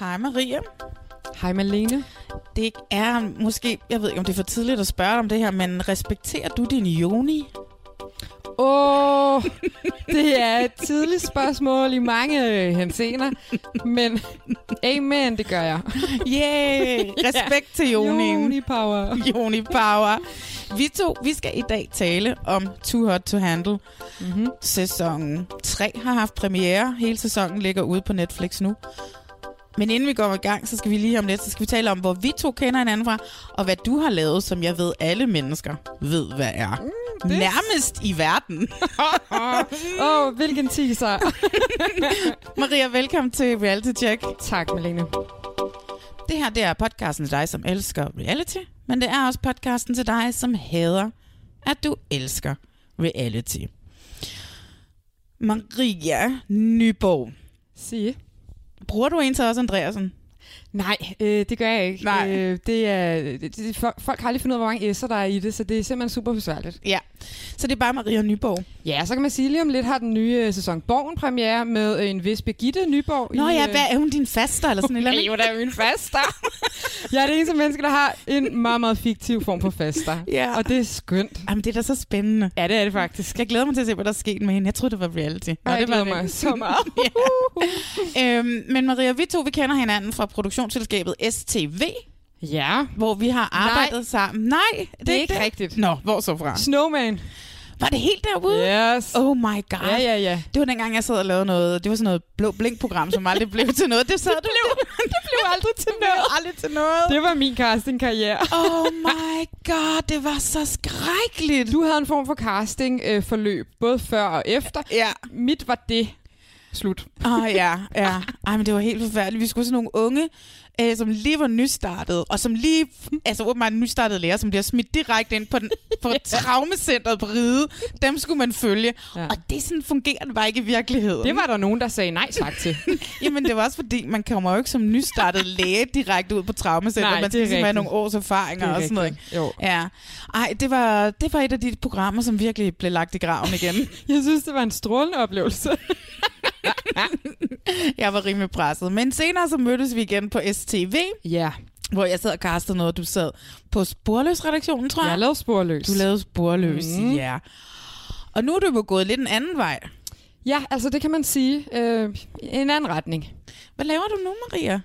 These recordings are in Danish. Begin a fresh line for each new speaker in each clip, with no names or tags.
Hej Maria.
Hej Malene.
Det er måske, jeg ved ikke om det er for tidligt at spørge dig om det her, men respekterer du din joni?
Åh, oh, det er et tidligt spørgsmål i mange øh, hensener, men amen, det gør jeg.
Yeah, respekt til jonien.
Joni power.
Joni Power. Vi to, vi skal i dag tale om Too Hot to Handle.
Mm-hmm.
Sæson 3 har haft premiere. Hele sæsonen ligger ude på Netflix nu. Men inden vi går i gang, så skal vi lige om lidt, så skal vi tale om, hvor vi to kender hinanden fra, og hvad du har lavet, som jeg ved, alle mennesker ved, hvad er. Mm,
det-
Nærmest i verden. Ah.
Åh, oh, hvilken teaser.
Maria, velkommen til Reality Check.
tak, Malene.
Det her, det er podcasten til dig, som elsker reality, men det er også podcasten til dig, som hader, at du elsker reality. Maria Nyborg.
Sige.
Bruger du en til os, Andreasen?
Nej, øh, det gør jeg ikke.
Nej.
Øh, det er, det, det, folk, folk har aldrig fundet ud af, hvor mange S'er der er i det, så det er simpelthen super besværligt.
Ja. Så det er bare Maria Nyborg.
Ja, så kan man sige, lige om lidt har den nye øh, sæson Borgen premiere med øh, en vis Birgitte Nyborg.
Nå
i,
ja,
øh,
hvad er hun din faster eller sådan et eller
Hey,
andet?
hvor er min faster. jeg er det eneste menneske, der har en meget, meget fiktiv form for faster.
Ja.
Og det er skønt.
Jamen, det er da så spændende.
Ja, det er det faktisk.
Jeg glæder mig til at se, hvad der er sket med hende. Jeg troede, det var reality. Nå,
Ej,
det
det
var
glæder
det
mig
ikke.
så meget.
øhm, men Maria, vi to vi kender hinanden fra produktionsselskabet STV,
Ja.
hvor vi har arbejdet Nej. sammen. Nej, det,
Det er ikke rigtigt.
Nå, hvor så fra?
Snowman.
Var det helt derude?
Yes.
Oh my god.
Ja, ja, ja.
Det var dengang, jeg sad og lavede noget. Det var sådan noget blå blink-program, som aldrig blev til noget. Det, sad det, blev, det blev aldrig til noget. Det blev aldrig til noget.
Det var min casting-karriere.
Oh my god, det var så skrækkeligt.
Du havde en form for casting-forløb, øh, både før og efter.
Ja.
Mit var det. Slut.
Åh oh, ja, ja. Ej, men det var helt forfærdeligt. Vi skulle sådan nogle unge, øh, som lige var nystartet, og som lige, altså åbenbart nystartede lærer, som bliver smidt direkte ind på, den, på yeah. traumecentret på Ride. Dem skulle man følge. Ja.
Ja.
Og det sådan fungerer det bare ikke i virkeligheden.
Det var der nogen, der sagde nej tak til.
Jamen, det var også fordi, man kommer jo ikke som nystartet læge direkte ud på traumacentret. man
Nej, det er
skal ligesom have
rigtigt.
nogle års erfaringer
Det er
og sådan noget.
rigtigt. Jo.
ikke? Ja. Ej, det var, det var et af de programmer, som virkelig blev lagt i graven igen.
Jeg synes, det var en strålende oplevelse.
jeg var rimelig presset. Men senere så mødtes vi igen på STV,
Ja.
hvor jeg sad og kastede noget, og du sad på Sporløs-redaktionen, tror jeg.
Jeg lavede sporløs.
du lavede Sporløs, mm. ja. Og nu er du jo gået lidt en anden vej.
Ja, altså det kan man sige. Øh, en anden retning.
Hvad laver du nu, Maria?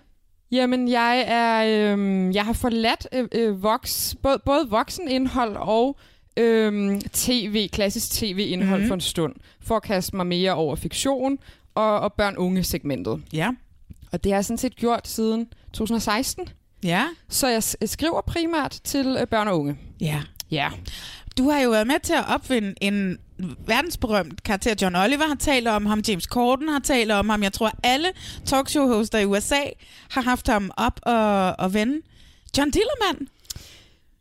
Jamen, jeg er, øhm, jeg har forladt øh, øh, voks, både, både voksenindhold og øhm, tv, klassisk tv-indhold mm. for en stund, for at kaste mig mere over fiktion og, og børn-unge-segmentet.
Ja.
Og det har jeg sådan set gjort siden 2016,
Ja?
så jeg s- skriver primært til øh, børn og unge.
Ja.
Ja.
Du har jo været med til at opfinde en verdensberømt karakter. John Oliver har talt om ham, James Corden har talt om ham. Jeg tror, alle talkshow-hoster i USA har haft ham op og, og vende. John Dillermand.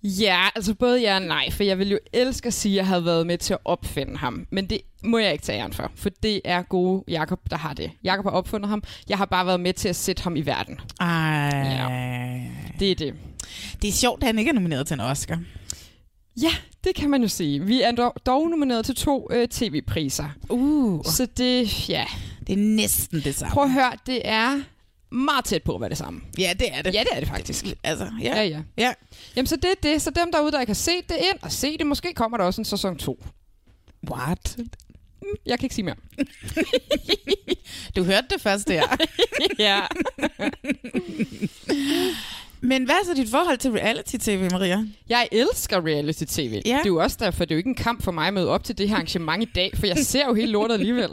Ja, altså både ja og nej, for jeg ville jo elske at sige, at jeg havde været med til at opfinde ham. Men det må jeg ikke tage æren for, for det er gode Jakob der har det. Jakob har opfundet ham, jeg har bare været med til at sætte ham i verden.
Ej.
Det er det.
Det er sjovt, at han ikke er nomineret til en Oscar.
Ja, det kan man jo sige. Vi er dog, dog nomineret til to øh, tv-priser.
Uh.
Så det, ja.
Det er næsten det samme.
Prøv at høre, det er meget tæt på at være det samme.
Ja, det er det.
Ja, det er det faktisk.
Altså, ja.
Ja, ja.
ja.
Jamen, så det er det. Så dem derude, der ikke har set det, ind og se det. Måske kommer der også en sæson 2.
What?
Jeg kan ikke sige mere.
Det Du hørte det først der.
ja.
Men hvad er så dit forhold til reality-tv, Maria?
Jeg elsker reality-tv. Ja. Det er jo også derfor, det er jo ikke en kamp for mig at møde op til det her arrangement i dag, for jeg ser jo hele lortet alligevel.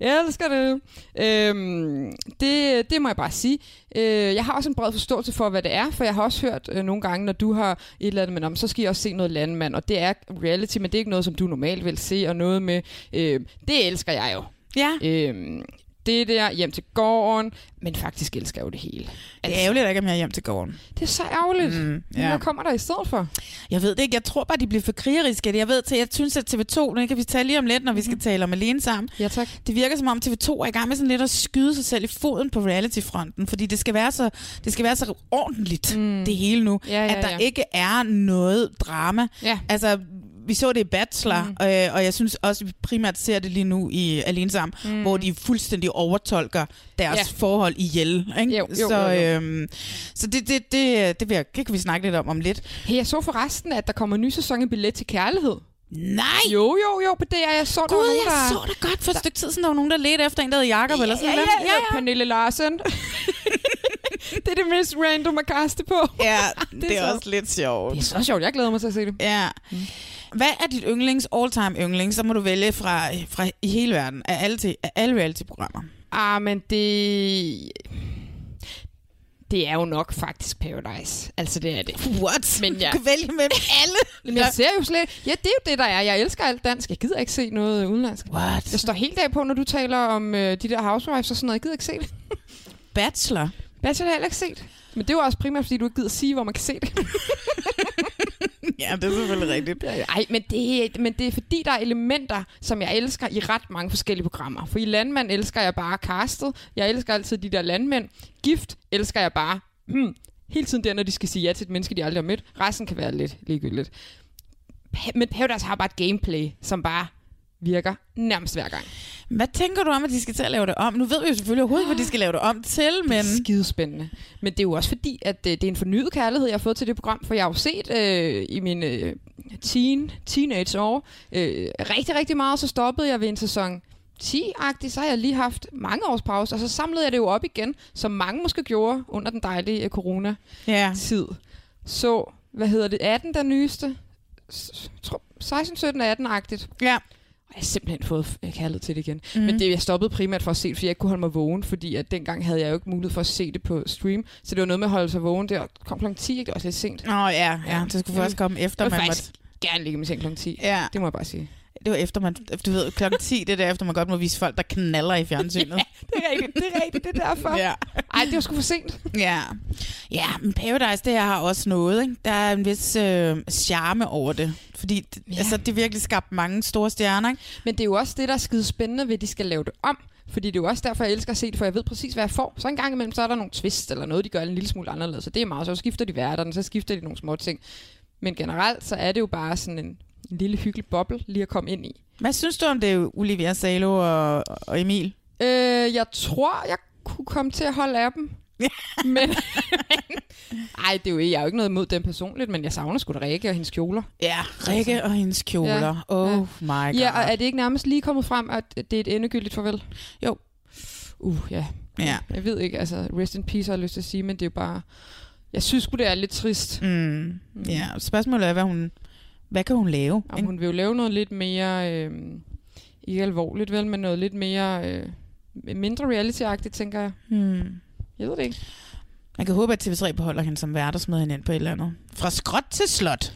Jeg elsker det. Øhm, det. Det må jeg bare sige. Øh, jeg har også en bred forståelse for, hvad det er, for jeg har også hørt øh, nogle gange, når du har et eller andet, men om, så skal jeg også se noget landmand, og det er reality, men det er ikke noget, som du normalt vil se, og noget med, øh, det elsker jeg jo.
Ja.
Øhm, det der, hjem til gården, men faktisk elsker jeg jo det hele. Altså,
Det er ærgerligt, at der ikke er mere hjem til gården.
Det er så ærgerligt.
Mm,
Mm,
ja.
ja. Hvad kommer der i stedet for?
Jeg ved det ikke. Jeg tror bare, de bliver for krigeriske. Jeg ved til, jeg synes, at TV2, nu kan vi tale lige om lidt, når vi skal tale om alene sammen.
Mhm. Ja, tak.
Det virker som om TV2 er i gang med sådan lidt at skyde sig selv i foden på reality-fronten, fordi det skal være så, det skal være så ordentligt, mm. det hele nu,
Ja, ja,
at der
ja.
ikke er noget drama.
Ja.
Altså, vi så det i Bachelor, mm. øh, og jeg synes også, at vi primært ser det lige nu i Alene Sammen, mm. hvor de fuldstændig overtolker deres ja.
Ja.
forhold ihjel. Ikke?
Jo, jo,
så
jo, jo.
Øhm, så det, det, det, det, vil jeg, det kan vi snakke lidt om om lidt.
Hey, jeg så forresten, at der kommer en ny sæson af Billet til Kærlighed.
Nej!
Jo, jo, jo, på DR. Jeg så, der var
Gud,
nogen,
jeg
der...
så det godt for et stykke tid siden, der var nogen, der ledte efter en, der hed Jacob, eller sådan
ja,
noget.
ja, ja, ja. Pernille Larsen. det er det mest random at kaste på.
ja, det
er
er
så-
også lidt sjovt. Mm.
Det er så sjovt. Jeg glæder mig til at se det.
Ja. Hvad er dit yndlings, all-time yndlings? Så må du vælge fra, fra i hele verden, af alle, til, af alle reality-programmer.
Ah, men det... Det er jo nok faktisk Paradise. Altså, det er det.
What?
Men ja.
Du kan vælge mellem alle.
Men jeg ser jo slet... Ja, det er jo det, der er. Jeg elsker alt dansk. Jeg gider ikke se noget øh, udenlandsk.
What?
Jeg står helt af på, når du taler om øh, de der housewives og sådan noget. Jeg gider ikke se det.
Bachelor.
Bachelor har jeg heller ikke set. Men det er jo også primært, fordi du ikke gider sige, hvor man kan se det.
Ja, det er selvfølgelig rigtigt.
Øh, Ej, men det, men det er fordi, der er elementer, som jeg elsker i ret mange forskellige programmer. For i Landmand elsker jeg bare castet. Jeg elsker altid de der landmænd. Gift elsker jeg bare hmm, hele tiden der, når de skal sige ja til et menneske, de aldrig har mødt. Resten kan være lidt ligegyldigt. Pa- men Paradise har bare et gameplay, som bare virker nærmest hver gang.
Hvad tænker du om, at de skal til at lave det om? Nu ved vi jo selvfølgelig overhovedet ikke, hvad de skal lave det om til, men...
Det er skidespændende. Men det er jo også fordi, at øh, det er en fornyet kærlighed, jeg har fået til det program, for jeg har jo set øh, i mine øh, teen, teenageår øh, rigtig, rigtig meget, så stoppede jeg ved en sæson 10-agtig, så har jeg lige haft mange års pause, og så samlede jeg det jo op igen, som mange måske gjorde under den dejlige øh, coronatid.
Ja.
Så, hvad hedder det, 18 den nyeste? S- tror- 16, 17, 18-agtigt.
ja.
Og jeg har simpelthen fået øh, kærlighed til det igen. Mm. Men det jeg stoppede primært for at se det, fordi jeg ikke kunne holde mig vågen, fordi at dengang havde jeg jo ikke mulighed for at se det på stream. Så det var noget med at holde sig vågen. Det kom kl. 10, ikke? Det var også lidt sent.
Nå ja, ja. Mm.
Ja.
Det skulle først komme efter,
Jeg vil
man
faktisk gerne ligge i min seng kl. 10.
Ja.
Det må jeg bare sige.
måtte... Det var efter, man... Du ved, klokken 10, det er der efter, man godt må vise folk, der knaller i fjernsynet.
Det er rigtigt, det er rigtigt, det er derfor.
ja.
Ej, det var sgu for sent.
Ja. ja, men Paradise, det her har også noget. Ikke? Der er en vis øh, charme over det. Fordi det, ja.
Ja.
altså, det virkelig skabt mange store stjerner. Ikke?
Men det er jo også det, der er skide spændende ved, at de skal lave det om. Fordi det er jo også derfor, jeg elsker at se det, for jeg ved præcis, hvad jeg får. Så en gang imellem, så er der nogle twist eller noget, de gør en lille smule anderledes. Så det er meget, så skifter de værterne, så skifter de nogle små ting. Men generelt, så er det jo bare sådan en, en lille hyggelig boble lige at komme ind i.
Hvad synes du om det, Olivia Salo og, og Emil?
Øh, jeg tror, jeg kunne komme til at holde af dem. men, ej, det er jo, ikke- jeg er jo ikke noget imod dem personligt, men jeg savner sgu da Rikke og hendes kjoler.
Ja, Rikke og hendes kjoler. Ja. Oh ja. my god.
Ja, og er det ikke nærmest lige kommet frem, at det er et endegyldigt farvel?
Jo.
Uh, ja.
Ja.
Jeg ved ikke, altså rest in peace har jeg lyst til at sige, men det er jo bare... Jeg synes sgu, det er lidt trist.
Mm. ja, spørgsmålet er, hvad hun... Hvad kan hun lave?
Om
ikke?
hun vil jo lave noget lidt mere... Øh, ikke alvorligt vel, men noget lidt mere... Øh, mindre reality-agtigt, tænker jeg.
Hmm.
Jeg ved det ikke.
Man kan håbe, at TV3 beholder hende som vært og smider hende ind på et eller andet. Fra skråt til slot.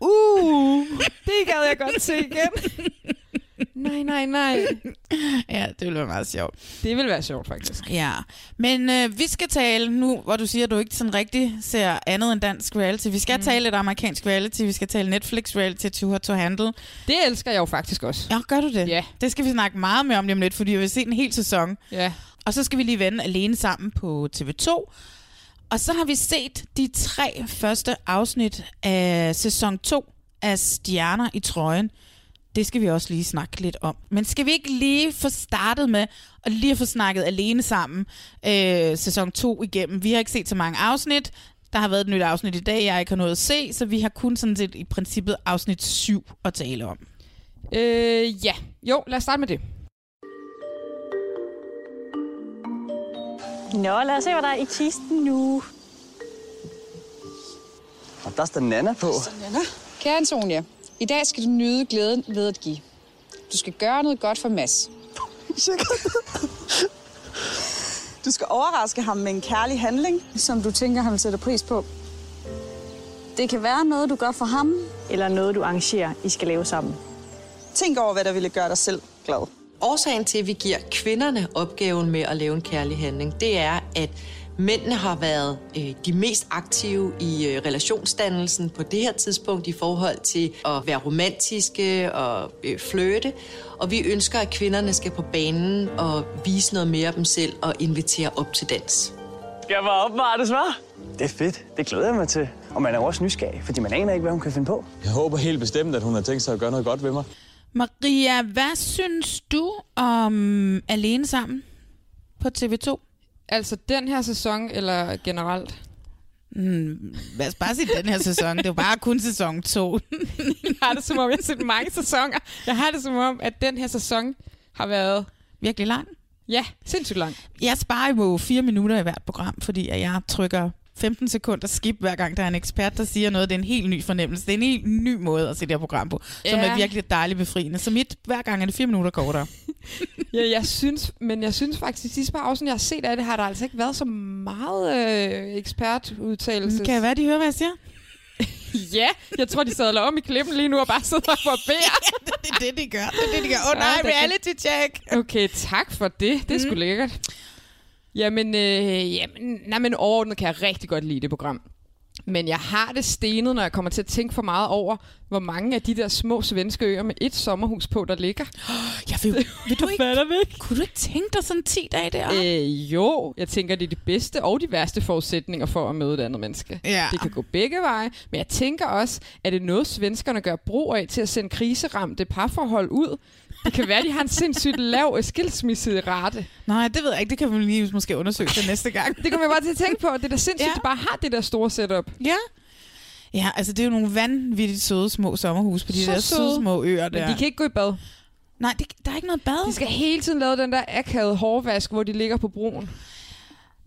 Uh!
Det gad jeg godt se igen. nej, nej, nej.
ja, det ville være meget sjovt.
Det vil være sjovt, faktisk.
Ja, men øh, vi skal tale nu, hvor du siger, at du ikke sådan rigtig ser andet end dansk reality. Vi skal mm. tale lidt amerikansk reality, vi skal tale Netflix reality, Too Hot to Handle.
Det elsker jeg jo faktisk også.
Ja, gør du det?
Ja.
Det skal vi snakke meget mere om lige om lidt, fordi vi har set en hel sæson.
Ja.
Og så skal vi lige vende alene sammen på TV2. Og så har vi set de tre første afsnit af sæson 2 af Stjerner i trøjen. Det skal vi også lige snakke lidt om. Men skal vi ikke lige få startet med at lige få snakket alene sammen øh, sæson 2 igennem? Vi har ikke set så mange afsnit. Der har været et nyt afsnit i dag, jeg ikke har nået at se, så vi har kun sådan set i princippet afsnit 7 at tale om.
Øh, ja. Jo, lad os starte med det.
Nå, lad os se, hvad der er i kisten nu.
Og der står Nana på.
Kære Antonia, i dag skal du nyde glæden ved at give. Du skal gøre noget godt for Mads.
Du skal overraske ham med en kærlig handling, som du tænker, han sætter pris på. Det kan være noget, du gør for ham.
Eller noget, du arrangerer, I skal lave sammen.
Tænk over, hvad der ville gøre dig selv glad.
Årsagen til, at vi giver kvinderne opgaven med at lave en kærlig handling, det er, at mændene har været øh, de mest aktive i øh, relationsdannelsen på det her tidspunkt i forhold til at være romantiske og øh, flytte. Og vi ønsker, at kvinderne skal på banen og vise noget mere af dem selv og invitere op til dans.
Skal bare opvartes, var? Det er fedt. Det glæder jeg mig til. Og man er jo også nysgerrig, fordi man aner ikke, hvad hun kan finde på.
Jeg håber helt bestemt, at hun har tænkt sig at gøre noget godt ved mig.
Maria, hvad synes du om Alene Sammen på TV2?
Altså den her sæson, eller generelt?
Lad os bare sige den her sæson. Det var bare kun sæson 2.
Jeg har det som om, jeg har set mange sæsoner. Jeg har det som om, at den her sæson har været,
Virkelig lang.
ja, sindssygt lang.
Jeg sparer jo fire minutter i hvert program, fordi at jeg trykker 15 sekunder skip, hver gang der er en ekspert, der siger noget. Det er en helt ny fornemmelse. Det er en helt ny måde at se det her program på, som
Ja.
er virkelig dejligt befriende. Så mit, hver gang er det fire minutter kortere.
Ja, jeg synes, men jeg synes faktisk, at de par afsnit, jeg har set af det, har der altså ikke været så meget øh, ekspertudtalelse.
Kan jeg være, de hører, hvad jeg siger?
Ja, jeg tror, de sadler om i klippen lige nu og bare sidder og barberer.
Det er det, de gør. Det er det, de gør. Åh oh,
nej,
nej, reality check.
Okay, tak for det. Det er sgu lækkert. Jamen, øh, jamen, nej, men overordnet kan jeg rigtig godt lide det program. Men jeg har det stenet, når jeg kommer til at tænke for meget over, hvor mange af de der små svenske øer med et sommerhus på, der ligger.
Jeg vil, vil du ikke,
Hvad er der væk?
kunne du ikke tænke dig sådan 10 dage der?
Øh, jo, jeg tænker, det er de bedste og de værste forudsætninger for at møde et andet menneske.
Ja.
Det kan gå begge veje, men jeg tænker også, at det er noget, svenskerne gør brug af til at sende kriseramte parforhold ud. Det kan være, de har en sindssygt lav skilsmisserate.
Nej, det ved jeg ikke. Det kan vi lige måske undersøge til næste gang.
Det kommer jeg bare til at tænke på. Det er da sindssygt,
Ja.
ja. at de bare har det der store setup.
Ja. Ja, altså det er jo nogle vanvittigt søde små sommerhus på de
Så
der søde
søde.
små øer
Men
der.
de kan ikke gå i bad.
Nej, det, der er ikke noget bad.
De skal hele tiden lave den der akavede hårvask, hvor de ligger på broen.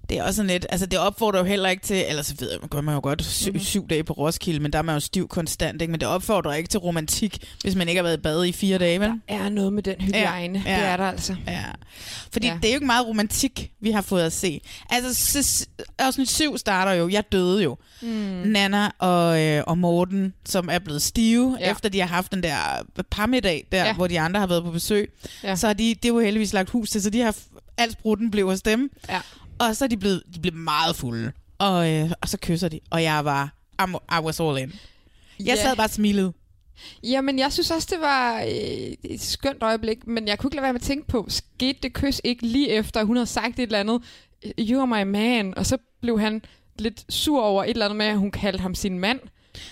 Det er også sådan lidt, altså det opfordrer jo heller ikke til, eller så ved jeg, man gør man jo godt sy- mm-hmm. syv dage på Roskilde, men der er man jo stiv konstant, ikke? men det opfordrer ikke til romantik, hvis man ikke har været i bad i fire dage, vel?
Er noget med den hygiejne.
Ja.
Ja. Det er der altså.
Ja. Fordi ja.
Ja.
det er jo ikke meget romantik, vi har fået at se. Altså, s- afsnit 7 starter jo, jeg døde jo. Mm. Nana og, øh, og Morten, som er blevet stive, ja.
Ja.
efter de har haft den der øh, parmiddag, der, ja.
Ja.
hvor de andre har været på besøg. Ja.
Ja.
Så har de, det er jo heldigvis lagt hus til, så de har f- alt brutten blev hos dem.
Ja.
Og så er de blevet, de blev meget fulde. Og, øh, og så kysser de. Og jeg var, I'm, I was all in. Jeg
Ja.
sad bare og smilede.
Jamen, jeg synes også, det var øh, et skønt øjeblik, men jeg kunne ikke lade være med at tænke på, skete det kys ikke lige efter, hun havde sagt et eller andet, you are my man, og så blev han lidt sur over et eller andet med, at hun kaldte ham sin mand.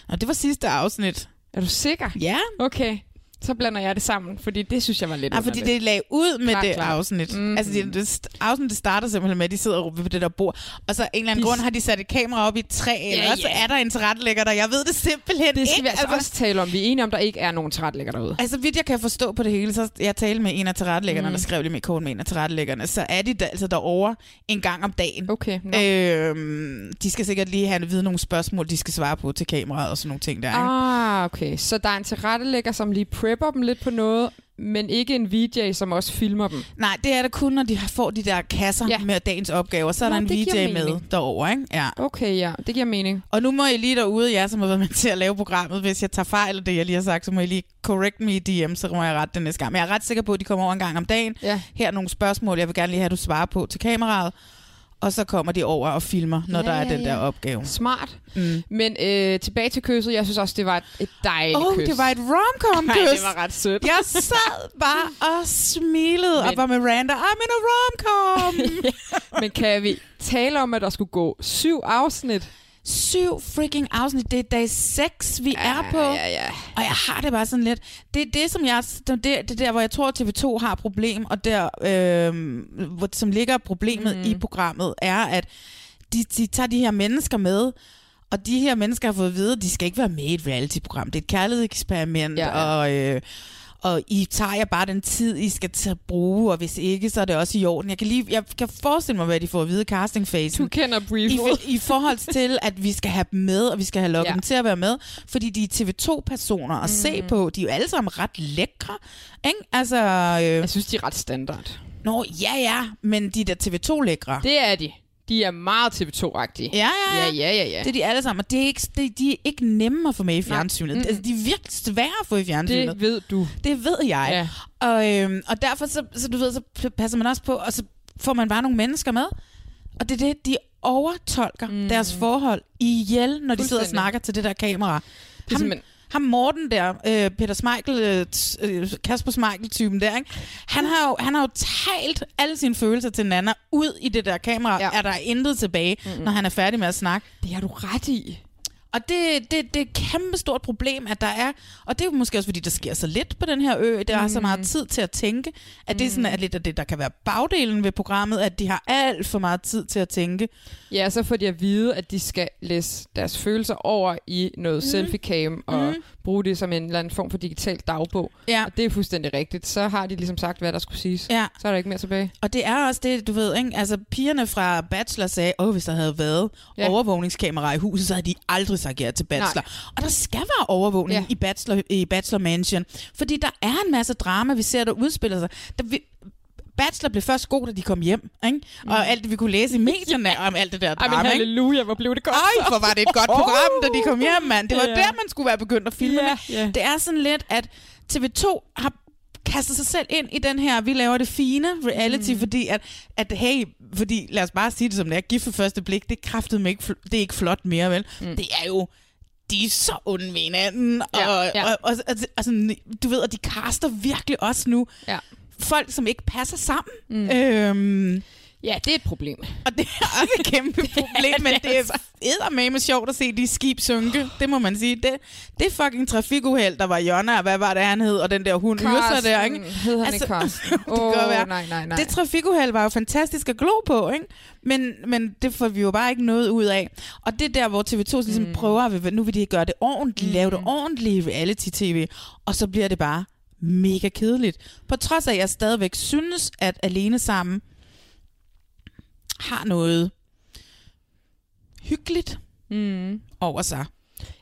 Og det var sidste afsnit.
Er du sikker?
Ja,
Okay, så blander jeg det sammen, fordi det Mhm. synes jeg var lidt
Nej, fordi
underligt.
det lag ud med
Klart,
det
klart.
afsnit. Mm-hmm. Altså, det, det, st- afsnit det starter simpelthen med, at de sidder ved det der bord, og så af en eller anden
De-
grund har de sat et kamera op i et træ, eller
ja.
så er der en tilrettelægger der. Jeg ved det simpelthen
Det skal
ikke.
vi altså,
altså,
også tale om. Vi er enige om, der ikke er nogen trætlægger derude.
altså, vidt jeg kan forstå på det hele, så jeg talte med en af
Mhm.
tilrettelæggerne, mm. der skrev lige med kort med en af tilrettelæggerne, så er de da, altså derovre en gang om dagen.
Okay, no.
Øhm, de skal sikkert lige have at vide nogle spørgsmål, de skal svare på til kameraet og sådan nogle ting der. ikke?
Ah, okay. Så der er en tilrettelægger, som lige prepper dem lidt på noget, men ikke en VJ, som også filmer dem.
Nej, det er der kun, når de har- får de der kasser
Ja.
ja. med dagens opgaver. Så er
Nå,
der en
det giver
VJ med
mening.
derovre, ikke? Ja.
Okay, ja. Det giver mening.
Og nu må I lige derude, jer som har været med til at lave programmet, hvis jeg tager fejl af det, jeg lige har sagt, så må I lige correct me i DM, så må jeg rette det næste gang. Men jeg er ret sikker på, at de kommer over en gang om dagen.
Ja.
Her er nogle spørgsmål, jeg vil gerne lige have, at du svarer på til kameraet. Og så kommer de over og filmer, når ja,
Ja,
der er
ja,
den der
ja.
opgave.
Smart. Mm. Men øh, tilbage til kysset. Jeg synes også, det var et, et dejligt
Åh, oh,
kys.
det var et romcom
Nej,
kys
det var ret sødt.
Jeg sad bare og smilede Men. og
Men-
var med Randa. I'm in a romcom!
Men kan vi tale om, at der skulle gå syv afsnit?
Syv freaking afsnit. Det er dag 6, vi ja, er på.
Ja, ja.
Og jeg har det bare sådan lidt. Det er det, som jeg, det, det er der, hvor jeg tror, at TV2 har et problem, og der, øh, hvor, som ligger problemet mm. i programmet, er, at de, de tager de her mennesker med, og de her mennesker har fået at vide, at de skal ikke være med i et reality-program. Det er et kærlighedseksperiment,
Ja,
ja,
ja.
ja. og... Øh, og I tager jer bare den tid, I skal til at bruge, og hvis ikke, så er det også i orden. Jeg kan, lige, jeg kan forestille mig, hvad de får at vide i castingfasen.
Du kender
I,
briefet.
for- I forhold til, at vi skal have dem med, og vi skal have lukket ja. dem til at være med, fordi de er TV2-personer at mm. se på. De er jo alle sammen ret lækre, ikke? Altså, øh... Jeg
synes, de er ret standard.
Nå, ja, ja, men de er da TV2-lækre.
Det er de. De er meget TV2-agtige.
Ja, ja,
ja. ja, ja, ja.
Det er de alle sammen, og det er ikke, det, de er ikke nemme at få med i fjernsynet.
Mm.
Mm. Altså, de er virkelig svære at få i fjernsynet.
Det ved du.
Det ved jeg. Ja. Og, øhm, og derfor så, så, du ved, så p- passer man også på, og så får man bare nogle mennesker med. Og det er det, de overtolker mm. deres forhold ihjel, når de sidder og
Fuldstændig.
snakker til det der kamera.
er
Ham,
simpelthen-
ham Morten der, øh, Peter Smeichel, øh, t- øh, Kasper Smeichel-typen der, ikke? Han, har jo, han har jo talt alle sine følelser til Nana ud i det der kamera. Ja. Er der intet tilbage, mm-hmm. når han er færdig med at snakke?
Det har du ret i.
Og det, det, det er et kæmpe stort problem, at der er, og det er jo måske også, fordi der sker så lidt på den her ø, der mm. er så meget tid til at tænke, at det er sådan at lidt af det, der kan være bagdelen ved programmet, at de har alt for meget tid til at tænke.
Ja, så får de at vide, at de skal læse deres følelser over i noget
Mhm.
mm. selfie-cam og mm. bruge det som en eller anden form for digital dagbog.
Ja.
Og det er fuldstændig rigtigt. Så har de ligesom sagt, hvad der skulle siges.
Ja.
Så er der ikke mere tilbage.
Og det er også det, du ved, ikke? Altså, pigerne fra Bachelor sagde, åh, hvis der havde været
Ja.
ja. overvågningskamera i huset, så havde de aldrig sagt ja til Bachelor.
Nej.
Nej. Og der skal være overvågning
Ja.
ja. i, bachelor, i Bachelor Mansion, fordi der er en masse drama, vi ser, der udspiller sig. Der, vi, Bachelor blev først god, da de kom hjem, ikke? Og alt det, vi kunne læse i medierne om alt det der
Mm. Ej,
drama,
men
ikke?
halleluja, hvor blev det godt.
Ej, hvor var det et godt program, da de kom hjem, mand. Det var
Ja.
der, man skulle være begyndt at filme.
Ja,
med.
ja.
Det er sådan lidt, at TV2 har kastet sig selv ind i den her, vi laver det fine reality, mm. fordi at, at, hey, fordi lad os bare sige det som det er, gift for første blik, det kræftede mig ikke, fl- det er ikke flot mere, vel? Mm. Det er jo de er så onde ved hinanden, og,
Ja,
ja,
ja.
ja. og, og, og, og sådan, du ved, at de kaster virkelig også nu
Ja.
folk, som ikke passer sammen. Mm. Øhm,
Ja, det er et problem.
og det er altså- også et kæmpe problem, men det er eddermame sjovt at se de skib synke. Det må man sige. Det, det er fucking trafikuheld, der var Jonna, og hvad var det, han hed, og den der hund Yrsa der, ikke?
Hedder han altså, ikke Karsten? det
kan godt være.
Nej, nej, nej.
Det trafikuheld var jo fantastisk at glo på, ikke? Men, men det får vi jo bare ikke noget ud af. Og det er der, hvor TV2 ligesom mm. prøver, at nu vil de gøre det ordentligt, mm. lave det ordentligt i reality-tv, og så bliver det bare mega kedeligt. På trods af, at jeg stadigvæk synes, at Alene Sammen har noget hyggeligt
Mm.
over sig.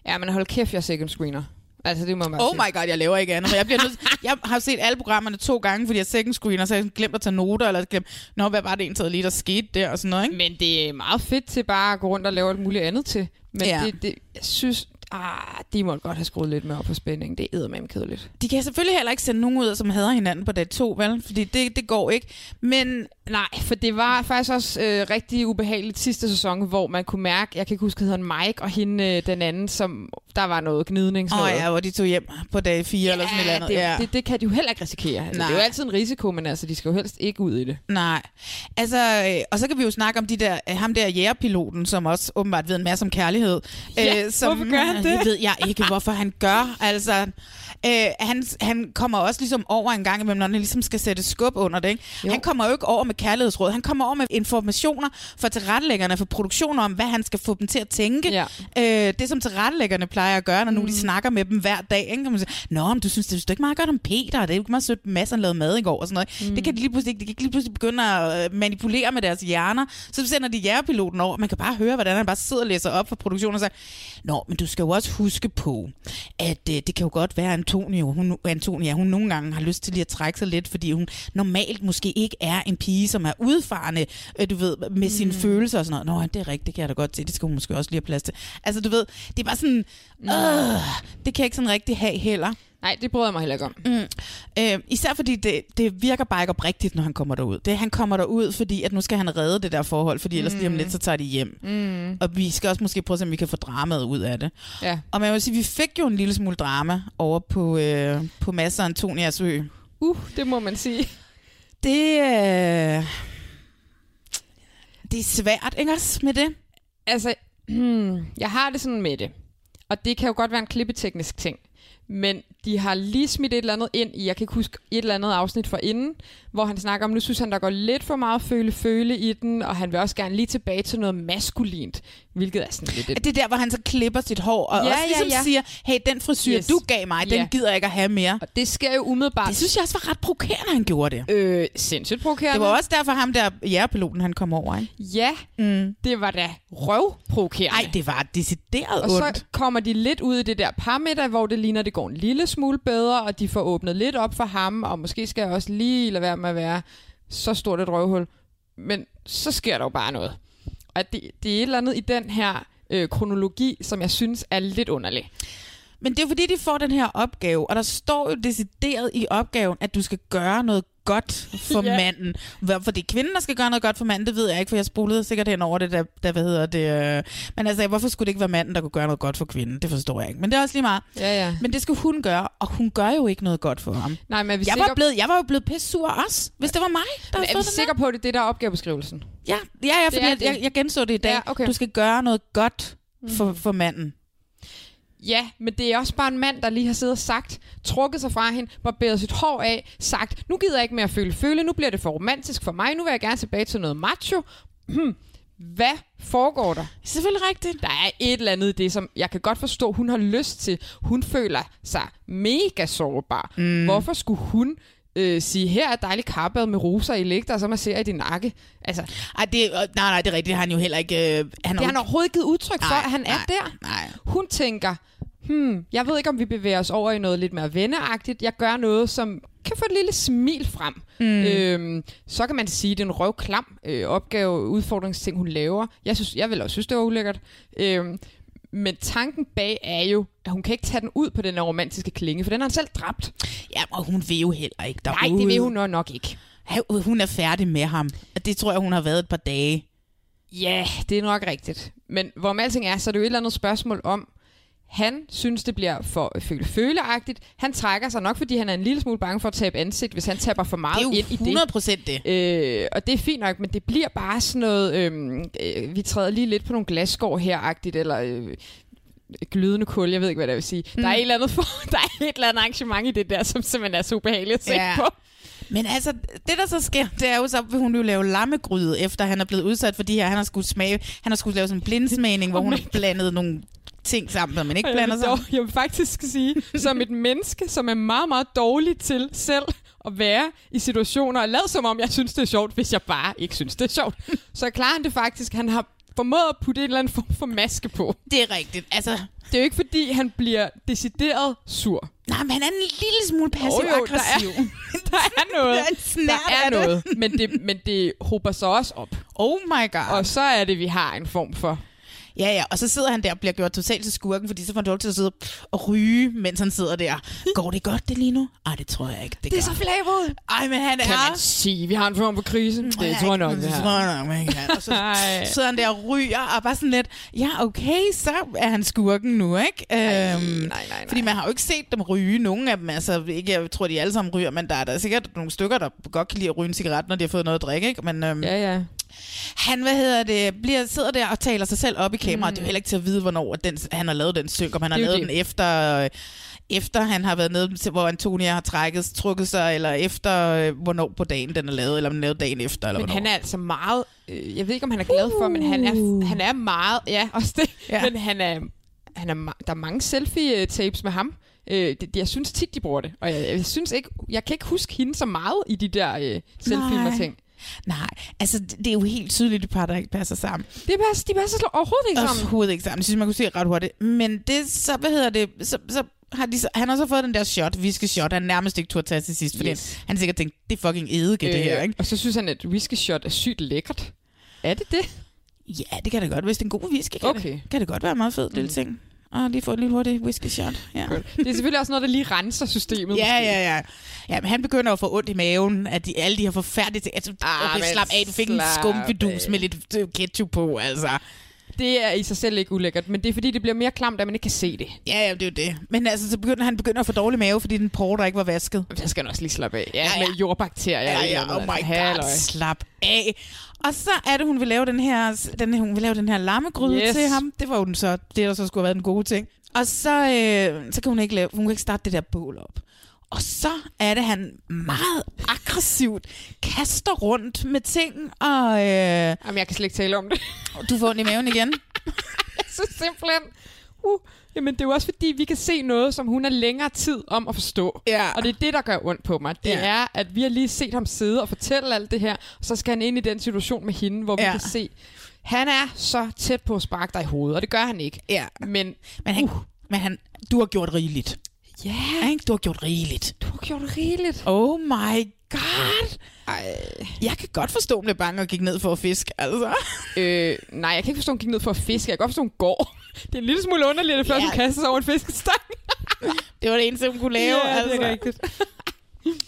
Ja, men hold kæft, jeg er second screener. Altså, det må man
Oh
sige.
my god, jeg laver ikke andet. Jeg, bliver nødt, jeg har set alle programmerne to gange, fordi jeg second screener, så jeg glemt at tage noter, eller glemt, nå, hvad var det egentlig lige, der skete der, og sådan noget, ikke?
Men det er meget fedt til bare at gå rundt og lave alt muligt andet til. Men ja.
Ja.
det, det, jeg synes, ah, de måtte godt have skruet lidt mere op på spænding. Det er med kedeligt.
De kan selvfølgelig heller ikke sende nogen ud, som hader hinanden på dag to, vel? Fordi det, det går ikke. Men
Nej, for det var faktisk også øh, rigtig ubehageligt sidste sæson, hvor man kunne mærke, jeg kan ikke huske, hedder han Mike, og hende øh, den anden, som der var noget gnidning. sådan
Åh
noget.
ja, hvor de tog hjem på dag 4 ja, eller sådan et eller andet.
det,
ja.
det, det kan de jo heller ikke risikere. Altså, det
Nej.
er jo altid en risiko, men altså, de skal jo helst ikke ud i det.
Nej. Altså, øh, og så kan vi jo snakke om de der, øh, ham der jægerpiloten, som også åbenbart ved en masse om kærlighed. øh,
Ja,
som,
hvorfor gør han det?
Det ved jeg ikke, hvorfor han gør. Altså, øh, han, han kommer også ligesom over en gang imellem, når han ligesom skal sætte skub under det. Ikke?
Jo.
Han kommer jo ikke over med kærlighedsråd. Han kommer over med informationer fra tilrettelæggerne, for produktioner om, hvad han skal få dem til at tænke.
Ja.
Øh, det, som tilrettelæggerne plejer at gøre, når nu de snakker med dem hver dag. Ikke? Kan man sige, Nå, men du synes, det er ikke meget godt om Peter, og det er jo ikke meget sødt, Mads han lavede mad i går og sådan noget. Mm. Det kan de lige pludselig ikke. De kan lige pludselig begynde at øh, manipulere med deres hjerner. Så sender de jægerpiloten over. Man kan bare høre, hvordan han bare sidder og læser op for produktionen og siger, Nå, men du skal jo også huske på, at øh, det kan jo godt være, at Antonio, hun, Antonia, hun nogle gange har lyst til lige at trække sig lidt, fordi hun normalt måske ikke er en pige, som er udfarende, øh, du ved, med sine følelser og sådan noget. Nå, det er rigtigt, det kan jeg da godt se. Det skal hun måske også lige have plads til. Altså, du ved, det er bare sådan, øh, det kan jeg ikke sådan rigtig have heller.
Nej, det bryder jeg mig heller ikke om.
Mm. Øh, især fordi det, det virker bare ikke oprigtigt, når han kommer derud. Det, han kommer derud, fordi at nu skal han redde det der forhold, fordi ellers mm. lige om lidt, så tager de hjem. Mm. Og vi skal også måske prøve at se, om vi kan få dramaet ud af det.
Ja.
Og man vil sige, vi fik jo en lille smule drama over på, øh, på Mads og Antonias ø.
Uh, det må man sige.
Det, øh, det er svært, ikke også, med det?
altså, hmm, jeg har det sådan med det. Og det kan jo godt være en klippeteknisk ting. Men De har lige smidt et eller andet ind i, jeg kan ikke huske et eller andet afsnit for inden, hvor han snakker om, nu synes han, der går lidt for meget føle-føle i den, og han vil også gerne lige tilbage til noget maskulint, hvilket er sådan lidt... et-
Det er der, hvor han så klipper sit hår, og ja, også ligesom ja, ja. siger, hey, den frisyr, yes. du gav mig, den
Ja.
gider jeg ikke at have mere.
Og det sker jo umiddelbart.
Det synes jeg også var ret provokerende, han gjorde det.
Øh, sindssygt provokerende.
Det var også derfor ham der jægerpiloten, han kom over, ikke?
Ja, mm. det var da røvprovokerende.
Nej, det var decideret
Og
ondt.
så kommer de lidt ud i det der parmiddag, hvor det ligner, det går en lille smule bedre, og de får åbnet lidt op for ham, og måske skal jeg også lige lade være med at være så stort et røvhul. Men så sker der jo bare noget. Og det, det er et eller andet i den her øh, kronologi, som jeg synes er lidt underlig.
Men det er fordi, de får den her opgave, og der står jo decideret i opgaven, at du skal gøre noget godt for
Ja.
ja. manden. Hvorfor det er kvinden, der skal gøre noget godt for manden, det ved jeg ikke, for jeg spolede sikkert hen over det, der, der hvad hedder det. Øh. Men altså, hvorfor skulle det ikke være manden, der kunne gøre noget godt for kvinden? Det forstår jeg ikke. Men det er også lige meget.
Ja, ja.
Men det skal hun gøre, og hun gør jo ikke noget godt for ham.
Nej, men er vi
Jeg
sikre...
var, blevet, jeg var jo blevet pisse sur også, hvis det var mig, der havde
men er vi
fået den
sikre på, at det er det, der er opgavebeskrivelsen?
Ja, ja, ja
Det
fordi
er
jeg,
det.
jeg, jeg genså det i dag.
Ja, okay. Mm.
Du skal gøre noget godt for, for manden.
Ja, men det er også bare en mand, der lige har siddet og sagt, trukket sig fra hende, barberet sit hår af, sagt, nu gider jeg ikke mere føle føle, nu bliver det for romantisk for mig, nu vil jeg gerne tilbage til noget macho. Hmm. Hvad foregår der?
Selvfølgelig rigtigt.
Der er et eller andet i det, som jeg kan godt forstå, hun har lyst til. Hun føler sig mega sårbar. Mm. Hvorfor skulle hun øh, sige, her er dejlig karbad med roser i lægter, og så masserer i din nakke? Altså,
Ej, det, øh, nej, nej, det er rigtigt. Det har han jo heller ikke... Øh, han
det har han overhovedet ikke givet udtryk for,
Nej,
at han er
nej,
der.
nej.
Hun tænker, hmm, jeg ved ikke, om vi bevæger os over i noget lidt mere venneagtigt. Jeg gør noget, som kan få et lille smil frem. Mm. Øhm, så kan man sige, at det er en røvklam øh, opgave, udfordringsting, hun laver. Jeg, synes, jeg vil også synes, det var ulækkert. Øhm, men tanken bag er jo, at hun kan ikke tage den ud på den her romantiske klinge, for den har han selv dræbt.
Ja, og hun vil jo heller ikke
Nej,
derude.
det vil hun nok- nok ikke.
Ha- Hun er færdig med ham. Og det tror jeg, hun har været et par dage.
Ja, det er nok rigtigt. Men hvorom alting er, så er det jo et eller andet spørgsmål om, han synes, det bliver for føle-føleagtigt. Han trækker sig nok, fordi han er en lille smule bange for at tabe ansigt, hvis han taber for meget
Det er jo
ind i det.
100% det.
Øh, og det er fint nok, men det bliver bare sådan noget, øhm, øh, vi træder lige lidt på nogle glasskår her-agtigt, eller øh, glødende kul, jeg ved ikke, hvad det vil sige. Mm. Der, er et eller andet for, der er et eller andet arrangement i det der, som simpelthen er så ubehageligt at se
Ja.
ja. på.
Men altså, det der så sker, det er jo så, vil hun jo lave lammegryde, efter han er blevet udsat for de her. Han har skulle smage, han har skulle lave sådan en blindsmagning, hvor hun har blandet nogle ting sammen, som man ikke
Og
blander
jeg vil,
sammen.
dog, jeg vil faktisk sige, som et menneske, som er meget, meget dårlig til selv at være i situationer, og lad som om, jeg synes, det er sjovt, hvis jeg bare ikke synes, det er sjovt. Så klarer han det faktisk. Han har formået at putte en eller anden form for maske på.
Det er rigtigt. Altså,
Det er jo ikke, fordi han bliver decideret sur.
nej, men han er en lille smule
der
passiv-aggressiv.
er, der er noget.
Der er en snert
der er
af det.
noget. Men det, men det hober sig også op.
Oh my god.
Og så er det, vi har en form for...
Ja, ja, og så sidder han der og bliver gjort totalt til skurken, fordi så får han lov til at sidde og ryge, mens han sidder der. Går det godt, det lige nu? Ej, det tror jeg ikke, det, gør.
flabet.
Ej, men han
Kan
er...
man sige, vi har en form for krise?
Mm,
Det tror jeg nok, vi
det
har.
tror jeg nok, man kan. Og så
Ej.
sidder han der og ryger, og bare sådan lidt, ja, okay, så er han skurken nu, ikke? Øhm,
nej, nej.
Fordi man har jo ikke set dem ryge, nogen af dem. Altså, ikke, jeg tror, de alle sammen ryger, men der er der sikkert nogle stykker, der godt kan lide at ryge en cigaret, når de har fået noget at drikke, ikke? Men, øhm,
Ja, ja.
han, hvad hedder det, bliver, sidder der og taler sig selv op i kameraet. Mm. Det er jo heller ikke til at vide, hvornår at den, han har lavet den synk, om han har
Det er jo
lavet
det.
den efter, øh, efter han har været nede, til, hvor Antonia har trækket, trukket sig, eller efter, øh, hvornår på dagen den er lavet, eller om den er lavet dagen efter, eller
Men
hvornår.
han er altså meget, øh, jeg ved ikke om han er glad for, men han er, han er meget, ja også det,
Uh. Ja.
ja. men han er, han er, ma- der er mange selfie-tapes med ham. Øh, det, jeg synes tit, de bruger det, og jeg, jeg synes ikke, jeg kan ikke huske hende så meget i de der øh, selfie og
Nej.
ting.
Nej, altså det det er jo helt tydeligt, det par, der ikke passer sammen.
Det passer, de passer slet overhovedet ikke sammen.
Overhovedet ikke sammen. Det synes jeg, man kunne se ret hurtigt. Men det, så, hvad hedder det, så, så har de, så, han har så fået den der shot, viske shot, han nærmest ikke turde tage til sidst, fordi
Yes.
han sikkert tænkte, det er fucking eddike, øh, det her, ikke?
Og så synes han, at whisky shot er sygt lækkert. Er det det?
Ja, det kan det godt. Hvis det er en god whisky, kan,
Okay. Mm.
det, kan det godt være en meget fed lille ting. Og lige få et lille hurtigt whisky shot. Ja.
Det er selvfølgelig også noget, der lige renser systemet.
Ja,
måske.
ja, ja. ja men han begynder at få ondt i maven, at de, alle de her forfærdelige ting. Altså,
Ah,
okay,
men
slap af, du fik en
slap
skumvidus
af.
med lidt øh, ketchup på, altså.
Det er i sig selv ikke ulækkert, men det er fordi, det bliver mere klamt, at man ikke kan se det.
Ja, ja, det er jo det. Men altså, så begynder han begynder at få dårlig mave, fordi den porter ikke var vasket.
Så skal han også lige slappe af. Ja, ja. med jordbakterier.
Ja,
eller
ja,
noget,
oh my
altså.
god,
Halløj.
slap af. Og så er det, hun vil lave den her, den, her- hun vil lave den her lammegryde
Yes.
yes. til ham. Det var jo den så, det der så skulle have været den gode ting. Og så, øh, så kan hun ikke, lave, hun kan ikke starte det der bål op. Og så er det, han meget aggressivt kaster rundt med ting, og øh,
Jamen, jeg kan slet ikke tale om det.
du får ondt i maven igen.
så simpelthen... Uh, jamen, det er jo også fordi, vi kan se noget, som hun er længere tid om at forstå.
Ja.
Og det er det, der gør ondt på mig. Det
Ja.
er, at vi har lige set ham sidde og fortælle alt det her, og så skal han ind i den situation med hende, hvor vi
Ja.
kan se... Han er så tæt på at sparke dig i hovedet, og det gør han ikke.
Ja.
Men
Men, han, uh. men han, du har gjort rigeligt.
ja,
Ja, ikke? Du har gjort rigeligt.
du har gjort rigeligt.
Oh my god. Ej. Jeg kan godt forstå, at hun blev bange og gik ned for at fiske, altså.
Øh, nej, jeg kan ikke forstå, at hun gik ned for at fiske. Jeg kan godt forstå, at hun går. Det er en lille smule underligt, at først
Ja.
hun kaster sig over en fiskestang.
Det var det eneste, hun kunne lave.
ja,
altså.
det er rigtigt.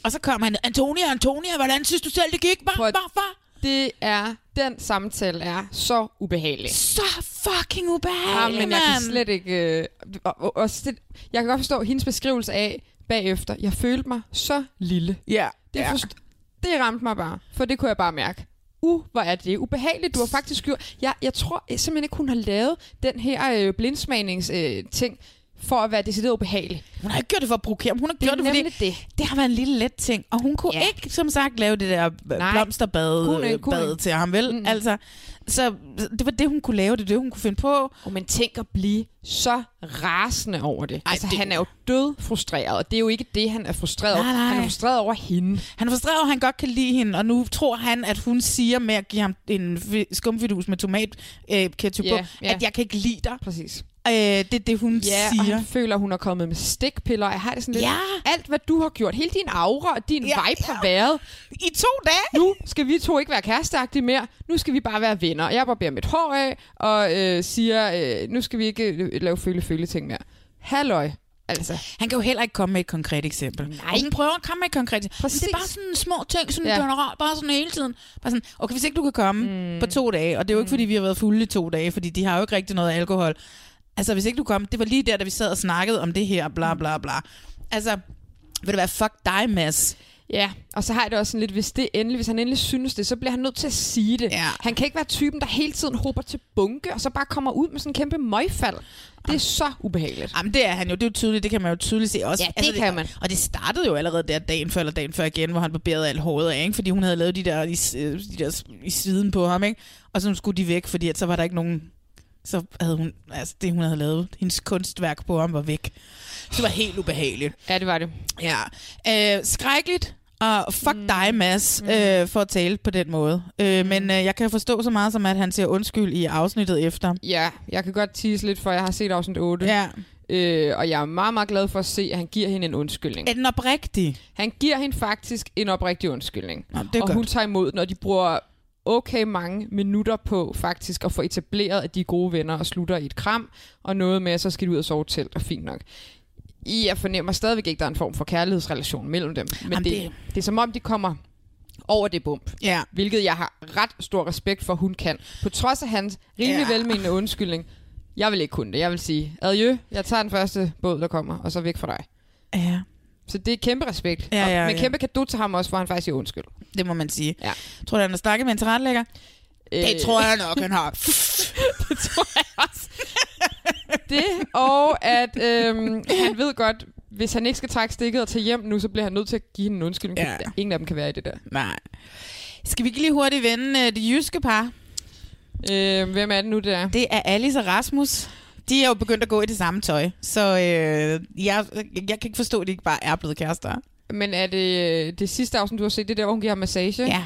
Og så kom han, Antonia, Antonia, hvordan synes du selv, det gik? Var,
Prøv at-
var, var.
Det er, den samtale er så ubehagelig.
Så fucking
Ja,
ubehageligt,
men jeg kan slet ikke... Øh, og, og, også det, jeg kan godt forstå hendes beskrivelse af bagefter. Jeg følte mig så lille.
Ja,
Det, ja. forst, det ramte mig bare, for det kunne jeg bare mærke. Uh, hvor er det ubehageligt. Du har faktisk gjort... Jeg, jeg tror jeg simpelthen ikke, hun har lavet den her øh, blindsmagnings-ting øh, ting for at være decideret ubehagelig.
Hun har ikke gjort det for at provokere ham. Hun har
Det er
gjort det, fordi
nemlig det.
det har været en lille let ting. Og hun kunne
Ja.
ja. ikke, som sagt, lave det der
Nej.
Nej. blomsterbad
Kunne ikke, kunne
bad
ikke.
til ham, vel?
Mm.
Mm. Altså, så det var det, hun kunne lave. Det er det, hun kunne finde på.
Og man tænker at blive så rasende over det. Ej, altså, det...
det-
han er jo død frustreret, og det er jo ikke det, han er frustreret over.
Nej, nej.
Han er frustreret over hende.
Han forstår, at han godt kan lide hende, og nu tror han, at hun siger med at give ham en fi- skumfidus med tomat øh, ketchup
Ja,
yeah, på,
ja.
at jeg kan ikke lide dig.
Præcis.
Øh, det er det, hun
Ja, og
siger.
han føler, hun er kommet med stikpiller. Jeg har det sådan lidt...
Ja.
Alt, hvad du har gjort, hele din aura og din ja,
Ja,
vibe har
ja.
været.
I to dage?
Nu skal vi to ikke være kæresteagtige mere. Nu skal vi bare være venner. Jeg barberer mit hår af og øh, siger, øh, nu skal vi ikke øh, lave føle-føle-ting mere. Halløj. Altså,
Han kan jo heller ikke komme med et konkret eksempel.
Nej.
Og hun prøver at komme med et konkret eksempel. Men Det
Præcis.
er bare sådan små ting, sådan
Ja.
ja. generelt, bare sådan hele tiden. Bare sådan, okay, hvis ikke du kan komme mm. på to dage, og det er jo ikke, fordi vi har været fulde i to dage, fordi de har jo ikke rigtig noget alkohol. Altså, hvis ikke du kom, det var lige der, da vi sad og snakkede om det her, bla bla bla. Altså, vil det være fuck dig, Mads?
Ja, og så har jeg det også sådan lidt, hvis, det endelig, hvis han endelig synes det, så bliver han nødt til at sige det.
Ja.
Han kan ikke være typen, der hele tiden hopper til bunke, og så bare kommer ud med sådan en kæmpe møgfald. Det er så ubehageligt.
Jamen, det er han jo. Det er jo tydeligt. Det kan man jo tydeligt se også.
Ja, det kan man.
Og det startede jo allerede der dagen før, eller dagen før igen, hvor han barberede alt håret af, ikke? fordi hun havde lavet de der, i, øh, de der i siden på ham, ikke? og så skulle de væk, fordi at så var der ikke nogen... Så havde hun, altså det hun havde lavet, hendes kunstværk på ham var væk. Det var helt ubehageligt.
Ja, det var det.
Ja. Øh, skrækkeligt, og fuck mm. dig, Mads, øh, for at tale på den måde. Øh, Men øh, jeg kan forstå så meget som, at han siger undskyld i afsnittet efter.
Ja, jeg kan godt tease lidt, for jeg har set afsnit 8.
Ja.
Øh, og jeg er meget, meget glad for at se, at han giver hende en undskyldning.
Er den oprigtig?
Han giver hende faktisk en oprigtig undskyldning.
Nå, det er
og
godt.
hun tager imod den, og de bruger okay mange minutter på faktisk at få etableret, at de er gode venner og slutter i et kram, og noget med, at så skal de ud og sove i telt, og fint nok. I, Jeg fornemmer stadigvæk ikke, at der er en form for kærlighedsrelation mellem dem, men
Jamen,
det, det...
det-
det er som om, de kommer over det bump,
Ja.
hvilket jeg har ret stor respekt for, hun kan. På trods af hans rimelig ja.
Ja.
velmenende undskyldning, jeg vil ikke kunne det. Jeg vil sige, adieu, jeg tager den første båd, der kommer, og så væk fra dig.
Ja.
Så det er kæmpe respekt.
Ja,
Og-
ja,
men
ja.
kæmpe kado til ham også, hvor han faktisk siger undskyld.
Det må man sige.
Ja.
Tror du, han har snakket med en tilrettelægger?
Øh,
Det tror jeg nok, han har.
det tror jeg også. det, og at øhm, han ved godt, hvis han ikke skal trække stikket og tage hjem nu, så bliver han nødt til at give hende en undskyldning.
Ja.
fordi Ingen af dem kan være i det der.
Nej. Skal vi ikke lige hurtigt vende øh, det jyske par?
Øh, hvem er det nu, det er?
Det er Alice og Rasmus. De er jo begyndt at gå i det samme tøj, så øh, jeg, jeg kan ikke forstå, at de ikke bare er blevet kærester.
Men er det øh, det sidste afsnit, du har set, det er der, hvor hun giver ham massage?
Ja,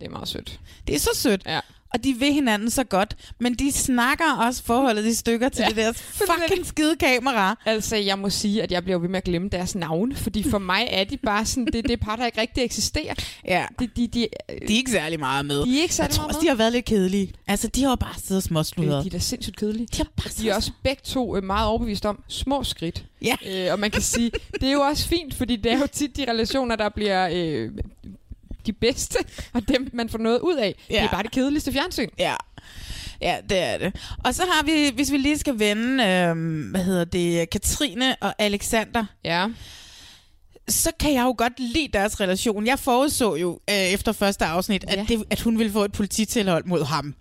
Det er meget sødt.
det er så sødt.
Ja.
Og de vil hinanden så godt, men de snakker også forholdet i stykker til ja. det der fucking skide kamera.
Altså, jeg må sige, at jeg bliver ved med at glemme deres navne, fordi for mig er de bare sådan, det er det par, der ikke rigtig eksisterer.
Ja.
De, de, de,
De er ikke særlig meget med.
de er ikke
jeg
særlig
tror
meget
også,
med.
de har været lidt kedelige. Altså, de har jo bare siddet og
Øh,
småsludret.
De er da sindssygt kedelige.
De har bare
De
siddet
er
og
også begge to øh, meget overbevist om små skridt.
Ja.
Øh, og man kan sige, det er jo også fint, fordi det er jo tit de relationer, der bliver øh, de bedste, og dem, man får noget ud af.
Ja.
Det er bare det kedeligste fjernsyn.
Ja. Ja, det er det. Og så har vi, hvis vi lige skal vende, øh, hvad hedder det, Katrine og Alexander.
Ja.
Så kan jeg jo godt lide deres relation. Jeg forudså jo øh, efter første afsnit, at, ja. det, at hun ville få et polititilhold mod ham.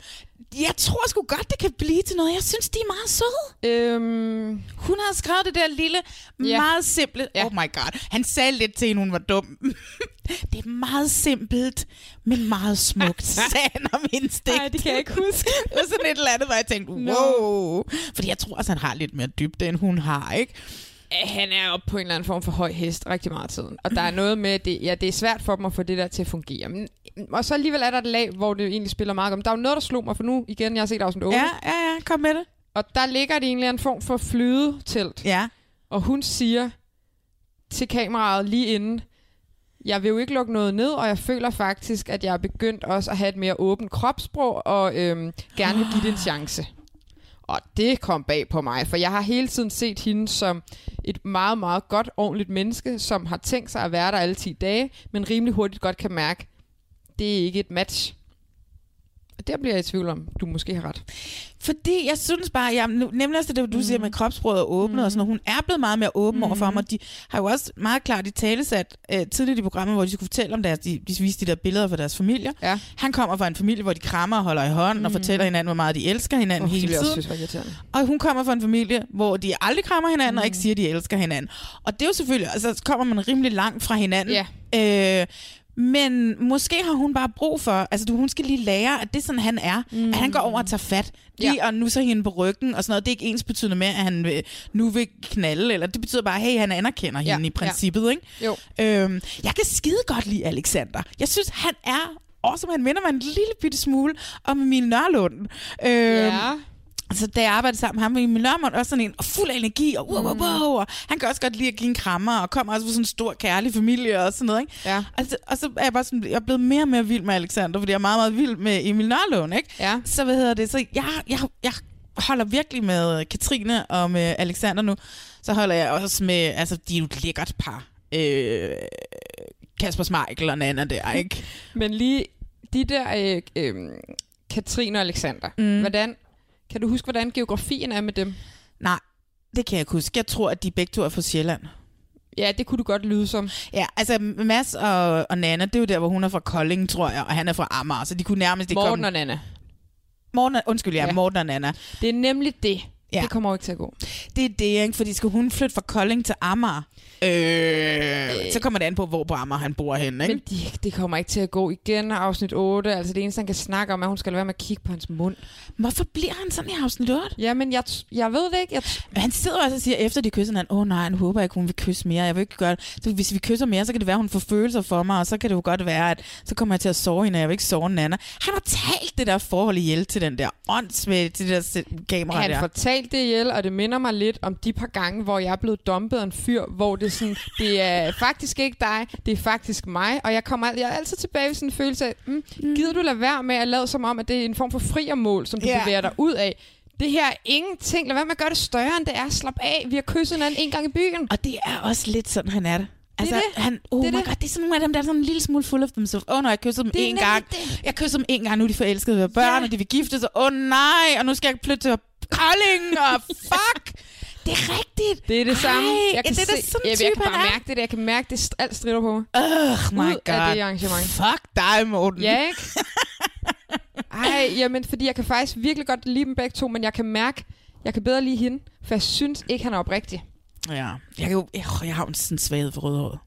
Jeg tror sgu godt, det kan blive til noget. Jeg synes, de er meget søde.
Øhm...
Hun havde skrevet det der lille, ja. meget simple... Ja. Oh my god. Han sagde lidt til hende, hun var dum. det er meget simpelt, men meget smukt, sagde han om instinkt.
Nej, det kan jeg ikke huske.
det var sådan et eller andet, hvor jeg tænkte, wow. No. Fordi jeg tror også, han har lidt mere dybde, end hun har, ikke?
han er oppe på en eller anden form for høj hest rigtig meget af tiden. Og der er noget med, at det, ja, det er svært for dem at få det der til at fungere. Men, og så alligevel er der et lag, hvor det egentlig spiller meget om. Der er jo noget, der slog mig for nu igen. Jeg har set afsnit 8.
Ja, ja, ja. Kom med det.
Og der ligger det egentlig en form for flydetelt.
Ja.
Og hun siger til kameraet lige inden, jeg vil jo ikke lukke noget ned, og jeg føler faktisk, at jeg er begyndt også at have et mere åbent kropssprog, og øhm, gerne vil give det en chance. Og det kom bag på mig, for jeg har hele tiden set hende som et meget, meget godt, ordentligt menneske, som har tænkt sig at være der alle 10 dage, men rimelig hurtigt godt kan mærke, det er ikke et match. Og der bliver jeg i tvivl om, du måske har ret.
Fordi jeg synes bare, jeg, nu, nemlig også det, du mm. siger med kropsbrødet og åbne mm. og sådan noget, hun er blevet meget mere åben mm. over for ham, og de har jo også meget klart i talesat øh, tidligt i programmet, hvor de skulle fortælle om deres, de, de viste de der billeder fra deres familier.
Ja.
Han kommer fra en familie, hvor de krammer og holder i hånden mm. og fortæller hinanden, hvor meget de elsker hinanden oh, hele tiden. Også
synes,
og hun kommer fra en familie, hvor de aldrig krammer hinanden mm. og ikke siger, at de elsker hinanden. Og det er jo selvfølgelig, altså så kommer man rimelig langt fra hinanden.
Yeah.
Øh, men måske har hun bare brug for, altså du, hun skal lige lære, at det er sådan, han er. Mm. At han går over og tager fat. Lige ja. og nu så hende på ryggen og sådan noget. Det er ikke ens betydende med, at han vil, nu vil knalde. Eller det betyder bare, hey, han anerkender ja. hende i princippet. Ja. Ikke?
Jo.
Øhm, jeg kan skide godt lide Alexander. Jeg synes, han er awesome. Han minder mig en lille bitte smule om Emil Nørlund. Øhm,
ja.
Altså, da jeg arbejdede sammen med ham, var Emil Nørmund også sådan en og fuld af energi, og, wow, wow,
Mm.
wow, og han kan også godt lide at give en krammer, og kommer også fra sådan en stor, kærlig familie og sådan noget. Ikke?
Ja.
Altså, og så er jeg bare sådan, jeg er blevet mere og mere vild med Alexander, fordi jeg er meget, meget vild med Emil Nørlund, ikke?
Ja.
Så hvad hedder det? Så jeg, jeg, jeg holder virkelig med Katrine og med Alexander nu. Så holder jeg også med, altså, de er jo et lækkert par. Øh, Kasper Smeichel og Nana der, ikke?
Men lige de der, øh, øh, Katrine og Alexander, mm. hvordan kan du huske, hvordan geografien er med dem?
Nej, det kan jeg ikke huske. Jeg tror, at de begge to er fra Sjælland.
Ja, det kunne du godt lyde som.
Ja, altså Mads og, og Nana, det er jo der, hvor hun er fra Kolding, tror jeg, og han er fra Amager, så de kunne nærmest ikke
Morten
komme...
og Nana.
Morten, og, undskyld, ja, ja, Morten og Nana.
Det er nemlig det. Ja. Det kommer jo ikke til at gå.
Det er det, ikke? Fordi skal hun flytte fra Kolding til Amager, øh, øh. så kommer det an på, hvor på Amager han bor henne, ikke?
Men det, det kommer ikke til at gå igen, afsnit 8. Altså det eneste, han kan snakke om, er, at hun skal være med at kigge på hans mund.
Hvorfor bliver han sådan i afsnit 8?
Jamen, jeg, jeg ved det ikke. Jeg
han sidder også og siger, efter de kysser han, åh oh, nej, han håber ikke, hun vil kysse mere. Jeg vil ikke gøre det. Så hvis vi kysser mere, så kan det være, hun får følelser for mig, og så kan det jo godt være, at så kommer jeg til at sove hende, og jeg vil ikke sove en anden. Han har talt det der forhold ihjel til den der åndssmæld, til det der kamera
han
der.
Fortæl talt det ihjel, og det minder mig lidt om de par gange, hvor jeg er blevet dumpet af en fyr, hvor det er sådan, det er faktisk ikke dig, det er faktisk mig, og jeg kommer al- jeg er altid tilbage ved sådan en følelse af, mm, gider du lade være med at lade som om, at det er en form for friermål, som du yeah. bevæger dig ud af? Det her er ingenting. Lad være med at gøre det større, end det er. Slap af. Vi har kysset hinanden en gang i byen.
Og det er også lidt sådan, han er det.
Altså, det er det.
Han, oh
det
er my det. God, det er sådan nogle af dem, der er sådan en lille smule full of themselves. Åh oh, nej, jeg kysser dem en gang. Det. Jeg kysser dem en gang, nu er de forelskede ved børn, yeah. og de vil gifte sig. Åh oh, nej, og nu skal jeg flytte til Kolding, og fuck! Det er rigtigt.
Det er det samme.
Ej, jeg kan, ja, det er se, sådan
jeg, jeg kan bare
er.
mærke det. Der. Jeg kan mærke, det st- alt strider på mig.
Ugh, my
Ud
God.
Af det arrangement.
Fuck dig, Morten.
Ja, ikke? Ej, jamen, fordi jeg kan faktisk virkelig godt lide dem begge to, men jeg kan mærke, jeg kan bedre lide hende, for jeg synes ikke, han er oprigtig.
Ja, jeg, kan jo, jeg, jeg har jo sådan en svaghed for rødhåret.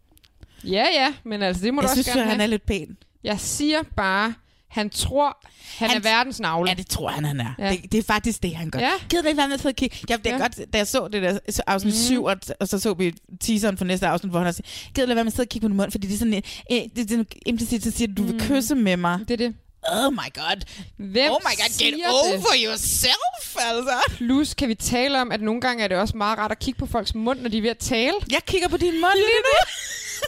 Ja, ja, men altså, det må
jeg
du også
synes,
gerne
Jeg synes, han er lidt pæn.
Jeg siger bare, han tror, han, han er verdens navle.
Ja, det tror han, han er. Ja. Det, det er faktisk det, han gør. Ja. Gider du ikke være med til at kigge? Jeg, det er ja. godt, da jeg så det der så afsnit mm. 7, og, og så så vi teaseren for næste afsnit, hvor han også siger, gider du være med til at kigge på din mund? Fordi det er sådan, øh, det, det, implicit, så siger du, du mm. vil kysse med mig.
Det er det.
Oh my god.
Hvem
oh my god, get over det? yourself, altså.
Plus kan vi tale om, at nogle gange er det også meget rart at kigge på folks mund, når de er ved at tale.
Jeg kigger på din mund lige nu.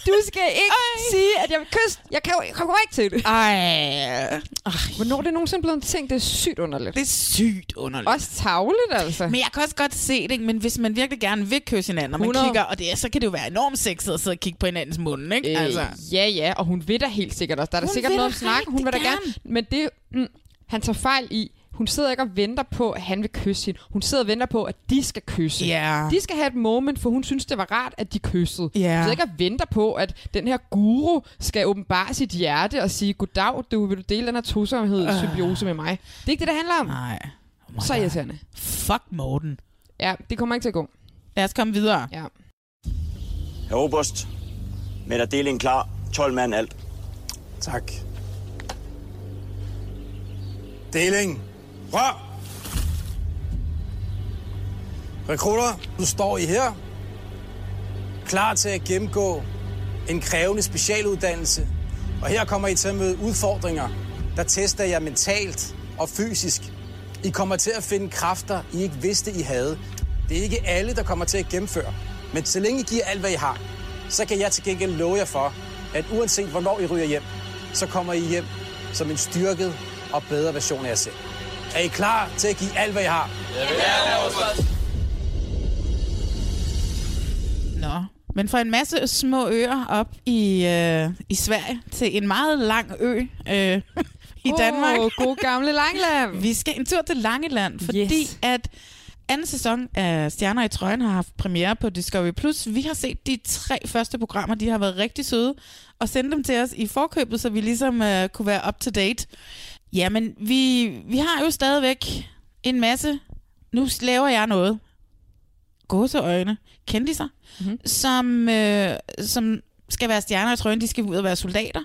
Du skal ikke Ej. sige, at jeg vil kysse. Jeg kan jo kommer ikke til det.
Ej.
Ej. Hvornår er det nogensinde blevet en ting? Det er sygt underligt.
Det er sygt underligt.
Også tavligt, altså.
Men jeg kan også godt se det, men hvis man virkelig gerne vil kysse hinanden, og man 100. kigger, og det er, så kan det jo være enormt sexet at sidde og kigge på hinandens mund, ikke?
Øh, altså. Ja, ja, og hun ved da helt sikkert også. Der er hun da sikkert noget at snakke. Hun vil da gerne. Men det, mm, han tager fejl i, Hun sidder ikke og venter på, at han vil kysse hende. Hun sidder og venter på, at de skal kysse.
Ja.
De skal have et moment, for hun synes, det var rart, at de kyssede.
Ja.
Hun sidder ikke og venter på, at den her guru skal åbenbare sit hjerte og sige, goddag, du vil du dele den her tosomhed,
Øh.
symbiose med mig. Det er ikke det, det handler om.
Nej. Oh
Så irriterende.
Fuck Morten.
Ja, det kommer ikke til at gå.
Lad os komme videre.
Ja.
Herr Oberst, med dig deling klar. 12 mand alt. Tak.
Deling. Rør. Rekrutter, nu står I her. Klar til at gennemgå en krævende specialuddannelse. Og her kommer I til at møde udfordringer, der tester jer mentalt og fysisk. I kommer til at finde kræfter, I ikke vidste, I havde. Det er ikke alle, der kommer til at gennemføre. Men så længe I giver alt, hvad I har, så kan jeg til gengæld love jer for, at uanset hvornår I ryger hjem, så kommer I hjem som en styrket og bedre version af jer selv. Er I klar til at give alt, hvad I har?
Nå. Men fra en masse små øer op i, øh, i Sverige til en meget lang ø øh, i
Åh,
Danmark.
god gamle Langeland.
Vi skal en tur til Langeland, fordi yes. at anden sæson af Stjerner i Trøjen har haft premiere på Discovery+. Plus. Vi har set de tre første programmer, de har været rigtig søde, og sendt dem til os i forkøbet, så vi ligesom øh, kunne være up to date. Jamen, vi, vi har jo stadigvæk en masse... Nu laver jeg noget gåseøjne, kendiser, mm-hmm. som, øh, som skal være stjerner i trøjen, de skal ud og være soldater.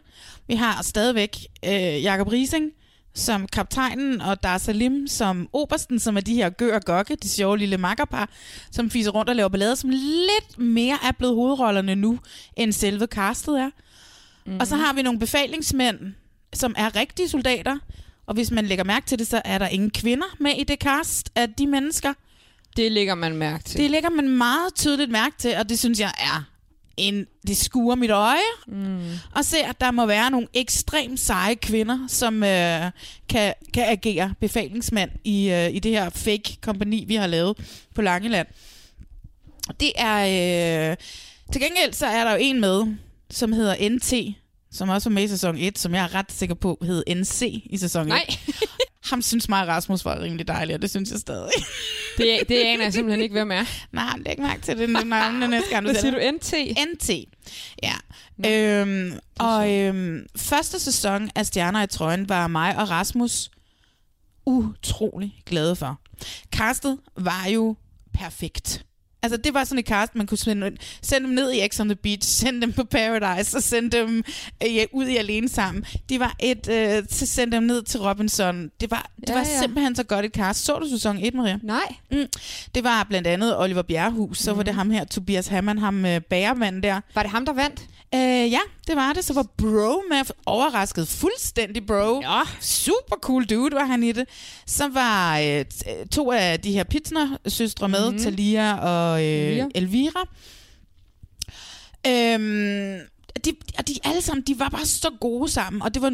Vi har stadigvæk øh, Jakob Rising som kaptajnen, og Dar Salim som obersten, som er de her gør og gokke, de sjove lille makkerpar, som fiser rundt og laver ballade, som lidt mere er blevet hovedrollerne nu, end selve castet er. Mm-hmm. Og så har vi nogle befalingsmænd, som er rigtige soldater, og hvis man lægger mærke til det, så er der ingen kvinder med i det cast af de mennesker.
Det lægger man mærke til.
Det lægger man meget tydeligt mærke til, og det synes jeg er en, det skuer mit øje,
Mm.
og se, at der må være nogle ekstremt seje kvinder, som øh, kan, kan agere befalingsmand i, øh, i det her fake kompani, vi har lavet på Langeland. Det er... Øh, til gengæld så er der jo en med, som hedder NT, som også var med i sæson 1, som jeg er ret sikker på hed NC i sæson 1.
Nej.
Ham synes mig og Rasmus var rimelig dejlig, og det synes jeg stadig.
Det, det aner jeg simpelthen ikke, hvem er.
Nej, læg mærke til det navn, næste gang du
Hvad
ser det.
siger du? NT?
NT. Ja. Øhm, og øhm, første sæson af Stjerner i Trøjen var mig og Rasmus utrolig glade for. Castet var jo perfekt. Altså, det var sådan et cast, man kunne sende, sende dem ned i X on the Beach, sende dem på Paradise og sende dem øh, ja, ud i alene sammen. De var et, øh, til- sende dem ned til Robinson. Det var, det
Ja,
ja, var
ja.
ja. simpelthen så godt et cast. Så du sæson 1, Maria?
Nej.
Mm. Det var blandt andet Oliver Bjerrehus, så mm. var det ham her, Tobias Hammann, ham øh, bagermanden der.
Var det ham, der vandt?
Øh, ja, det var det. Så var Bro med overrasket fuldstændig Bro. Ja. Super cool dude var han i det. Så var øh, t- to af de her Pitsner-søstre med,
Mhm.
mm. Talia og øh,
Elvira.
Elvira. Øhm, de, og de alle sammen, de var bare så gode sammen, og det var,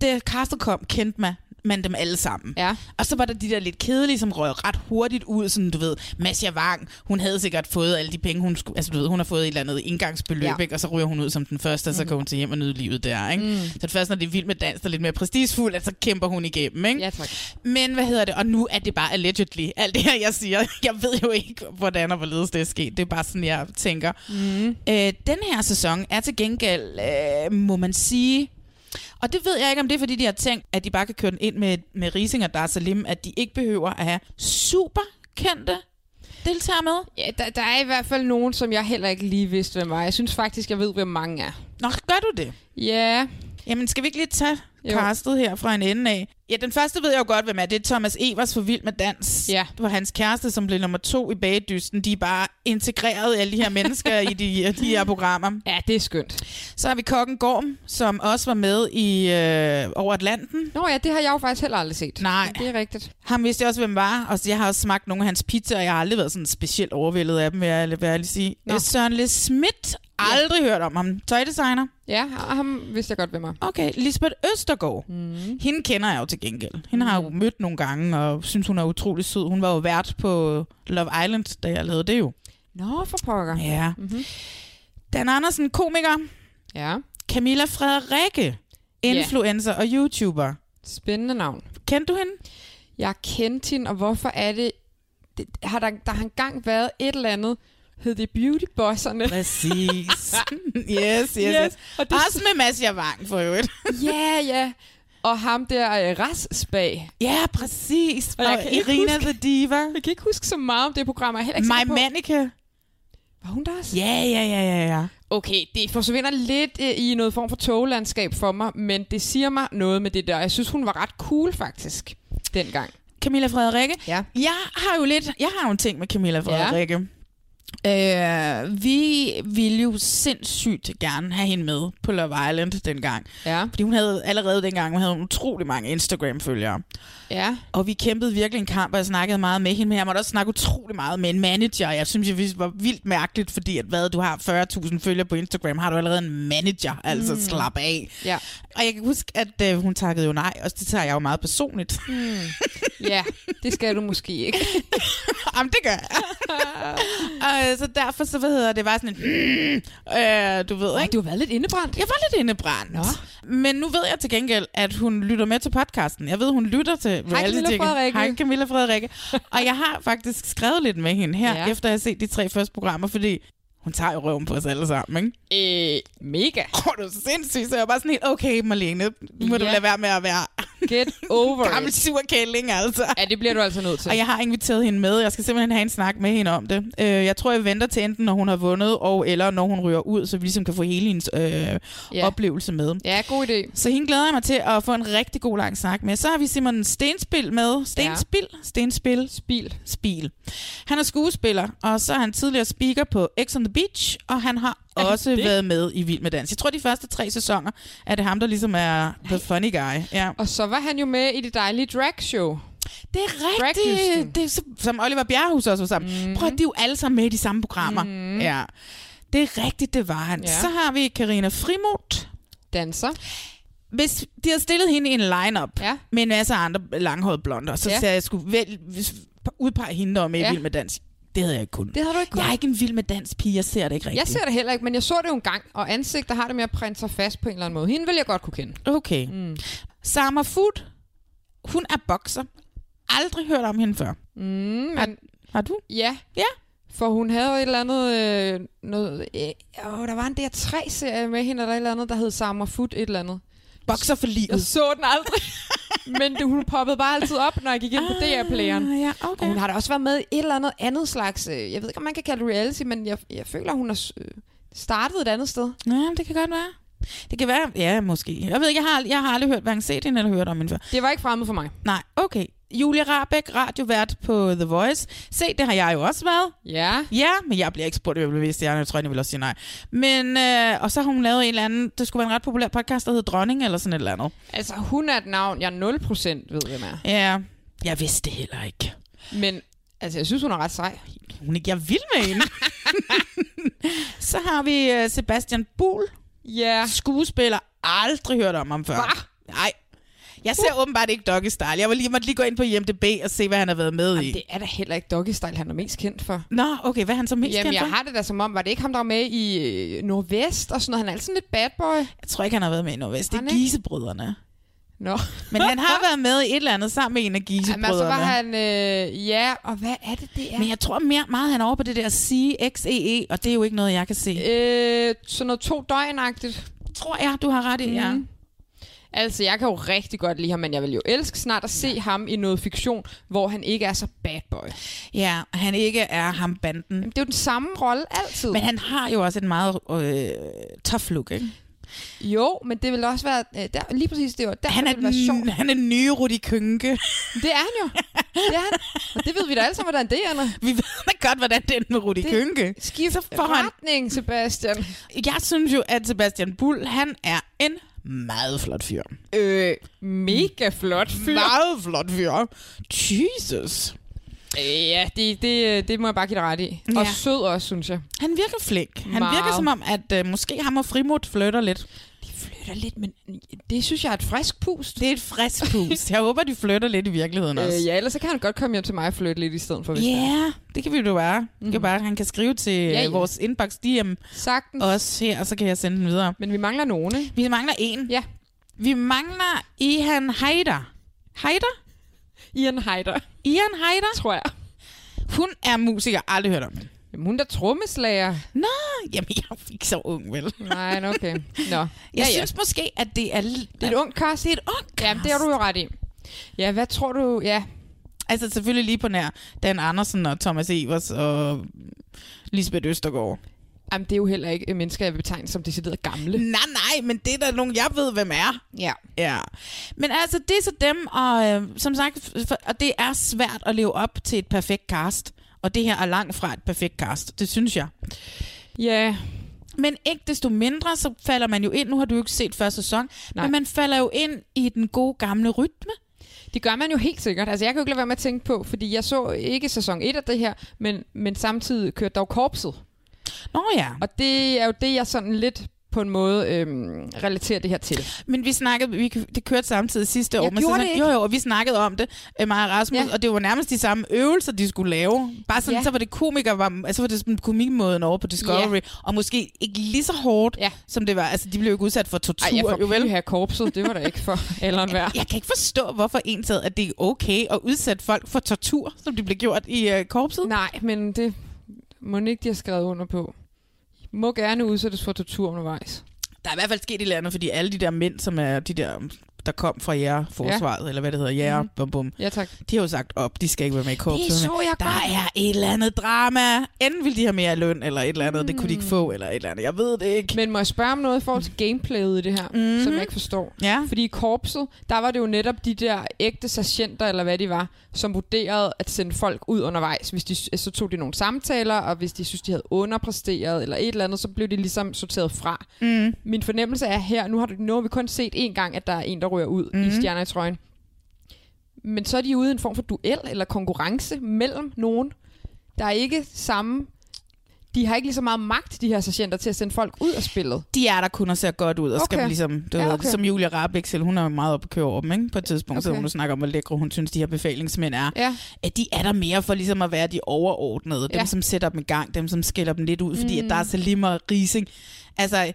det castet kom, kendte mig, man dem alle sammen.
Ja.
Og så var der de der lidt kedelige, som røg ret hurtigt ud, sådan du ved, Masha Wang, hun havde sikkert fået alle de penge, hun skulle, altså du ved, hun har fået et eller andet indgangsbeløb,
Ja.
ja. ikke? og så ryger hun ud som den første, og så
Mhm.
mm. går hun til hjem og nyde livet der. Ikke?
Mm.
Mm. Så det først, når det er vildt med dans, der er lidt mere prestigefuld, at så kæmper hun igennem. Ikke?
Ja, tak.
Men hvad hedder det? Og nu er det bare allegedly. Alt det her, jeg siger. Jeg ved jo ikke, hvordan og hvorledes det er sket. Det er bare sådan, jeg tænker.
Mm.
Øh, den her sæson er til gengæld, øh, må man sige... Og det ved jeg ikke, om det er, fordi de har tænkt, at de bare kan køre den ind med, med Rising og Dar Salim, at de ikke behøver at have super kendte deltagere med.
Ja, der, der er i hvert fald nogen, som jeg heller ikke lige vidste, hvem var. Jeg synes faktisk, jeg ved, hvem mange er.
Nå, gør du det?
Ja.
Jamen, skal vi ikke lige tage
Jo.
castet her fra en ende af? Ja, den første ved jeg jo godt, hvem er. Det er Thomas Evers for Vild med Dans.
Ja.
Det var hans kæreste, som blev nummer to i bagedysten. De er bare integreret, alle de her mennesker, i de, de her programmer.
Ja, det er skønt.
Så har vi Kokken Gorm, som også var med i øh, Over Atlanten.
Nå ja, det har jeg jo faktisk heller aldrig set.
Nej.
Det er rigtigt.
Ham vidste jeg også, hvem var, og jeg har også smagt nogle af hans pizzaer, og jeg har aldrig været sådan specielt overvældet af dem, vil jeg, vil jeg lige sige.
Nå.
Nå. Søren Le Schmidt, aldrig ja. hørt om ham. Tøjdesigner.
Ja, og ham vidste jeg godt, hvem var.
Okay, Lisbeth Østergaard. Mm. Hende kender jeg jo til gengæld. Hende mm. har jeg jo mødt nogle gange, og synes, hun er utrolig sød. Hun var jo vært på Love Island, da jeg lavede det jo.
Nå, for pokker.
Ja.
Mm-hmm.
Dan Andersen, komiker.
Ja.
Camilla Frederikke,
Ja.
influencer og YouTuber.
Spændende navn.
Kendte du hende?
jeg kendte hende, og hvorfor er det... det har der, der har engang været et eller andet, hed det Beautybosserne.
Præcis. yes, yes, yes. yes. Og det... Også med Mads Javang for øvrigt.
ja, ja. Og ham der øh, Rasbag.
Ja, præcis.
Og, jeg kan ikke
Irina
huske-
the Diva.
Jeg kan ikke huske så meget om det program, og jeg er heller ikke
My
sikker på...
Mannequin.
Var hun der også?
Ja, ja, ja, ja, ja.
Okay, det forsvinder lidt øh, i noget form for toglandskab for mig, men det siger mig noget med det der. Jeg synes, hun var ret cool faktisk, dengang.
Camilla Frederikke.
Ja.
Jeg har jo lidt, jeg har jo en ting med Camilla Frederikke. Ja. Øh, vi ville jo sindssygt gerne have hende med på Love Island dengang.
Ja.
Fordi hun havde allerede dengang, hun havde utrolig mange Instagram-følgere.
Ja.
Og vi kæmpede virkelig en kamp, og jeg snakkede meget med hende, men jeg måtte også snakke utrolig meget med en manager. Jeg synes, det var vildt mærkeligt, fordi at, hvad, du har 40.000 følgere på Instagram, har du allerede en manager, altså
Mm.
mm. slap af.
Ja.
Og jeg kan huske, at øh, hun takkede jo nej, og det tager jeg jo meget personligt.
Mm. Ja, det skal du måske ikke.
Jamen, det gør jeg. og øh, så derfor, så hvad hedder det, var sådan en... Mm, øh, du ved, ikke?
Du har været lidt indebrændt.
Jeg var lidt indebrændt. Nå. Men nu ved jeg til gengæld, at hun lytter med til podcasten. Jeg ved, hun lytter til
Camilla
reality-
Frederikke.
Hej Camilla Frederikke. og jeg har faktisk skrevet lidt med hende her,
Ja.
ja. efter jeg har set de tre første programmer, fordi hun tager jo røven på os alle sammen, ikke?
Øh, mega.
Åh, oh, du er sindssyg, så jeg var bare sådan helt, okay Marlene, nu må du
Ja.
lade være med at være
Get over
gammel
it.
sur kælling, altså.
Ja, det bliver du altså nødt til.
Og jeg har inviteret hende med. Jeg skal simpelthen have en snak med hende om det. Øh, jeg tror, jeg venter til enten, når hun har vundet, og eller når hun ryger ud, så vi ligesom kan få hele hendes øh,
Ja.
ja. oplevelse med.
Ja, god idé.
Så hende glæder jeg mig til at få en rigtig god lang snak med. Så har vi Simon Stenspil med. Stenspil? Ja. Stenspil?
Spil.
Spil. Han er skuespiller, og så er han tidligere speaker på X on the Beach, og han har
Er han
også
det?
været med i Vild med Dans. Jeg tror, de første tre sæsoner er det ham, der ligesom er the funny guy. Ja.
Og så var han jo med i det dejlige drag show.
Det er rigtigt. Det er, så- som Oliver Bjerrehus også var sammen.
Mhm.
Mm. Prøv at de er jo alle sammen med i de samme programmer. Mm. Ja. Det er rigtigt, det var han.
Ja.
Ja. Så har vi Karina Frimod.
Danser.
Hvis de havde stillet hende i en line-up
Ja.
med en masse andre langhårede blonder, så
Ja.
ja. sagde jeg, at jeg skulle vel, hvis- udpege hende om i
Ja.
ja. Vild med Dans. Det havde jeg ikke kun.
Det havde du ikke
Jeg er ikke en Vild med Dans pige, jeg ser det ikke rigtigt.
Jeg ser det heller ikke, men jeg så det jo engang, og ansigter har det med at printe sig fast på en eller anden måde. Hende vil jeg godt kunne kende.
Okay.
Mm.
Summer Food, hun er bokser. Aldrig hørt om hende før.
Mm, men
Har du?
ja.
Ja.
For hun havde jo et eller andet... Øh, noget, øh, åh, der var en der tre serie med hende, eller et eller andet, der hed Summer Food et eller andet.
Bokser for
Jeg
livet.
så den aldrig, men det, hun poppede bare altid op, når jeg gik ind på DR-playeren.
Ah, ja,
Og
okay.
hun har da også været med i et eller andet andet slags... Øh, jeg ved ikke, om man kan kalde det reality, men jeg, jeg føler, hun har øh, startet et andet sted.
Ja, det kan godt være. Det kan være, ja, måske. Jeg ved ikke, jeg har, jeg har aldrig hørt, hverken set hende eller hørt om hende før.
Det var ikke fremmed for mig.
Nej, okay. Julia Rabeck, radiovært på The Voice. Se, det har jeg jo også været.
Ja.
Ja, men jeg bliver ikke spurgt, om jeg blev vist. Jeg tror, jeg vil også sige nej. Men, øh, og så har hun lavet en eller anden, det skulle være en ret populær podcast, der hedder Dronning eller sådan et eller andet.
Altså, hun er et navn, jeg 0% ved, hvem er.
Ja, jeg vidste det heller ikke.
Men altså, jeg synes, hun er ret sej.
Hun er ikke, jeg vil med hende. så har vi øh, Sebastian Buhl,
Ja.
skuespiller. Aldrig hørt om ham før.
Hva?
Nej. Jeg ser uh. åbenbart ikke Doggy Style. Jeg, var lige, jeg måtte lige gå ind på IMDb og se, hvad han har været med i.
Jamen, det er da heller ikke Doggy Style, han er mest kendt for.
Nå, okay, hvad er han så mest
Jamen,
kendt for?
jeg har det da som om, var det ikke ham, der var med i øh, Nordvest og sådan noget? Han er altid sådan lidt bad boy.
Jeg tror ikke, han har været med i Nordvest. Det
Han
er
ikke?
Gisebrødrene.
Nå.
Men han har været med i et eller andet sammen med en af
Jamen, altså, og så
Gisebrødrene.
var han... Øh, ja, og hvad er det, det er?
Men jeg tror mere meget, han er over på det der CXEE, E, og det er jo ikke noget, jeg kan se.
Øh, sådan noget to døgnagtigt.
Tror jeg, du har ret i, ja.
Mhm. Altså, jeg kan jo rigtig godt lide ham, men jeg vil jo elske snart at se ham i noget fiktion, hvor han ikke er så bad boy.
Ja, han ikke er ham banden.
Det er jo den samme rolle altid.
Men han har jo også et meget øh, tough look, ikke?
Jo, men det vil også være... øh, Der, lige præcis, det var der,
Han er,
det ville være sjovt.
den, han er den nye Rudi Kynke.
Det er han jo. Det er han. Og det ved vi da alle sammen, hvordan det er. Anna.
Vi ved da godt, hvordan det er med Rudi
Det-
Kynke.
Skift
Så får han-
retning, Sebastian.
Jeg synes jo, at Sebastian Bull, han er en meget flot fyr.
Øh, mega flot fyr.
Meget flot fyr. Jesus.
Øh, ja, det, det, det må jeg bare give dig ret i. Og
Ja.
sød også, synes jeg.
Han virker flink. Han
Meget.
virker som om, at øh, måske ham og Frimod flytter lidt.
De flytter lidt, men det synes jeg er et frisk pust.
Det er et frisk pus. Jeg håber, de flytter lidt i virkeligheden også.
Øh, ja, ellers så kan han godt komme hjem til mig og flytte lidt i stedet for. hvis
Ja,
det er.
yeah, det kan vi jo være. Mm-hmm. Kan bare, han kan skrive til ja,
ja.
ja. vores inbox DM
Sagtens.
også her, og så kan jeg sende den videre.
Men vi mangler nogen, ikke?
Vi mangler en.
Ja.
Vi mangler Ihan Heider. Heider?
Ian Heider.
Ian Heider?
Tror jeg.
Hun er musiker. Aldrig hørt om hende.
Jamen, hun er trommeslager.
Nå, jamen jeg er ikke så ung, vel?
Nej, nå, okay. Nå. Jeg
Jeg synes måske, at det er... Det
er et ungt kast.
Det er et ungt
Jamen, det har du jo ret i. Ja, hvad tror du... Ja,
Altså selvfølgelig lige på nær Dan Andersen og Thomas Evers og Lisbeth Østergaard.
Jamen, det er jo heller ikke øh, mennesker, jeg vil betegne som decideret gamle.
Nej, nej, men det er der nogen, jeg ved, hvem er.
Ja.
Ja. Men altså, det er så dem, og øh, som sagt, f- f- og det er svært at leve op til et perfekt cast. Og det her er langt fra et perfekt cast, det synes jeg.
Ja.
Men ikke desto mindre, så falder man jo ind, nu har du jo ikke set første sæson,
Nej.
Nej. men man falder jo ind i den gode gamle rytme.
Det gør man jo helt sikkert. Altså, jeg kan jo ikke lade være med at tænke på, fordi jeg så ikke sæson 1 af det her, men, men samtidig kørte der jo korpset.
Nå ja.
Og det er jo det, jeg sådan lidt på en måde øhm, relaterer det her til.
Men vi snakkede, vi, det kørte samtidig sidste år.
Jeg
men
gjorde
så-
det ikke.
Jo, jo, og vi snakkede om det, øh, mig og Rasmus,
Ja.
ja. og det var nærmest de samme øvelser, de skulle lave. Bare sådan,
Ja.
ja. så var det komiker, var, altså var det sådan komikmåden over på Discovery,
Ja.
ja. og måske ikke lige så hårdt,
ja.
som det var. Altså, de blev jo ikke udsat for tortur.
Ej, jeg får
jo vel.
her korpset, det var da ikke for alderen værd.
Jeg kan ikke forstå, hvorfor en taget, at det er okay at udsætte folk for tortur, som de blev gjort i øh, korpset.
Nej, men det må ikke, de har skrevet under på. Må gerne udsættes for tortur undervejs.
Der er i hvert fald sket et eller andet, fordi alle de der mænd, som er de der der kom fra jer forsvaret, ja. eller hvad det hedder, jer, mm. bum, bum.
Ja, tak.
De har jo sagt op, de skal ikke være med i korpset.
Det så jeg
der
godt.
er et eller andet drama. Enten vil de have mere løn, eller et eller andet, mm. det kunne de ikke få, eller et eller andet. Jeg ved det ikke.
Men må jeg spørge om noget i forhold til gameplayet i det her, mm-hmm.
Mhm.
som jeg ikke forstår?
Ja.
Fordi i korpset, der var det jo netop de der ægte sergeanter, eller hvad de var, som vurderede at sende folk ud undervejs. Hvis de, så tog de nogle samtaler, og hvis de synes, de havde underpræsteret, eller et eller andet, så blev de ligesom sorteret fra.
Mm.
Min fornemmelse er her, nu har, du, nu har vi kun set én gang, at der er en, der rører ud mm. i
Mhm.
stjerner i trøjen. Men så er de ude i en form for duel eller konkurrence mellem nogen. Der er ikke samme... De har ikke lige så meget magt, de her sergeanter, til at sende folk ud af spillet.
De er der kun og ser godt ud, og okay.
Okay.
skal ligesom, du
Ja,
ja, okay. ved,
okay.
ligesom Julia Rabeksel, hun er jo meget oppe at køre over dem, ikke? På et tidspunkt okay. sidder
Okay.
hun og snakker om, hvor lækre hun synes, de her befalingsmænd er.
Ja.
At de er der mere for ligesom at være de overordnede, dem
Ja.
som sætter dem i gang, dem som skiller dem lidt ud, fordi
Mm.
at der er Salima og Rising. Altså,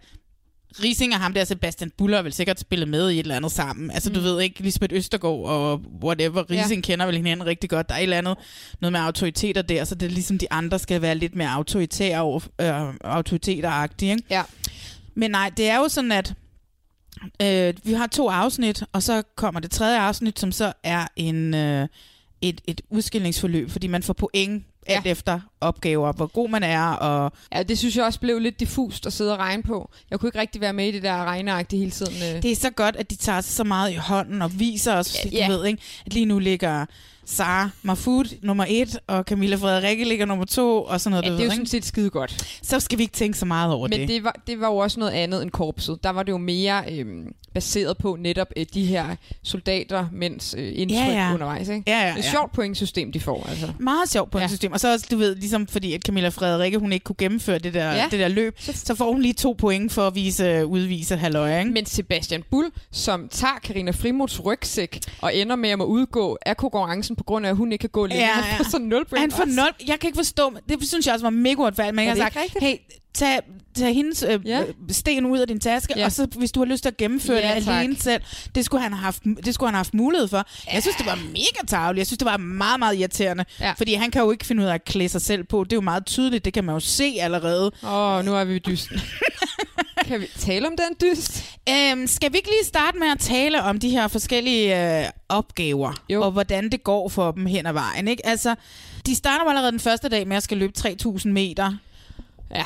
Rising og ham der, Sebastian Buller, har vel sikkert spillet med i et eller andet sammen. Altså, mm. du ved ikke, Lisbeth Østergaard og whatever,
Ja.
Rising ja. kender vel hinanden rigtig godt. Der er et eller andet, noget med autoriteter der, så det er ligesom, de andre skal være lidt mere autoritære over, øh, autoriteteragtige, ikke?
Ja.
Men nej, det er jo sådan, at øh, vi har to afsnit, og så kommer det tredje afsnit, som så er en, øh, et, et udskillingsforløb, fordi man får point
Ja.
alt efter opgaver, hvor god man er, og
Ja, det synes jeg også blev lidt diffust at sidde og regne på. Jeg kunne ikke rigtig være med i det der regneagtige hele tiden. øh.
det er så godt, at de tager sig så meget i hånden og viser os,
Ja,
du
ja.
ved, ikke? at lige nu ligger Sara Mahfoud nummer et, og Camilla Frederikke ligger nummer to, og sådan noget,
Ja,
du
det er
ved,
jo
ikke?
sådan set skide godt.
så skal vi ikke tænke så meget over
Men
det.
det var, det var jo også noget andet end korpset. Der var det jo mere øhm, baseret på netop øh, de her soldater, mens øh, indtryk ja,
Ja,
ja.
ja.
undervejs. Ikke?
Ja, ja,
Det er
ja. Mm.
et sjovt pointsystem, de får. Altså.
meget sjovt pointsystem. Ja. Og så også, du ved, ligesom fordi at Camilla Frederikke, hun ikke kunne gennemføre det der,
Ja.
ja. det der løb, så får hun lige to point for at vise, øh, udvise halvøje, ikke?
Men Sebastian Bull, som tager Karina Frimods rygsæk og ender med at må udgå af konkurrencen på grund af, at hun ikke kan gå længere.
Ja,
Han får
ja.
så nul point
Han får
også.
nul. Jeg kan ikke forstå, det synes jeg også var mega uretfærdigt. Man
Er
kan
det
have sagt,
ikke
hey, tag, tag hendes øh,
Ja.
ja. sten ud af din taske,
Ja.
ja. og så hvis du har lyst til at gennemføre
Ja,
ja, det
tak.
alene selv, det skulle, han have haft, det skulle han have haft mulighed for. Jeg synes, det var mega tavligt. Jeg synes, det var meget, meget irriterende.
Ja.
Ja. Fordi han kan jo ikke finde ud af at klæde sig selv på. Det er jo meget tydeligt, det kan man jo se allerede.
Åh, oh, nu er vi i dysten. kan vi tale om den dyst?
Øhm, skal vi ikke lige starte med at tale om de her forskellige øh, opgaver,
Jo.
jo. og hvordan det går for dem hen ad vejen? Ikke? Altså, de starter jo allerede den første dag med at skal løbe 3.000 meter,
Ja.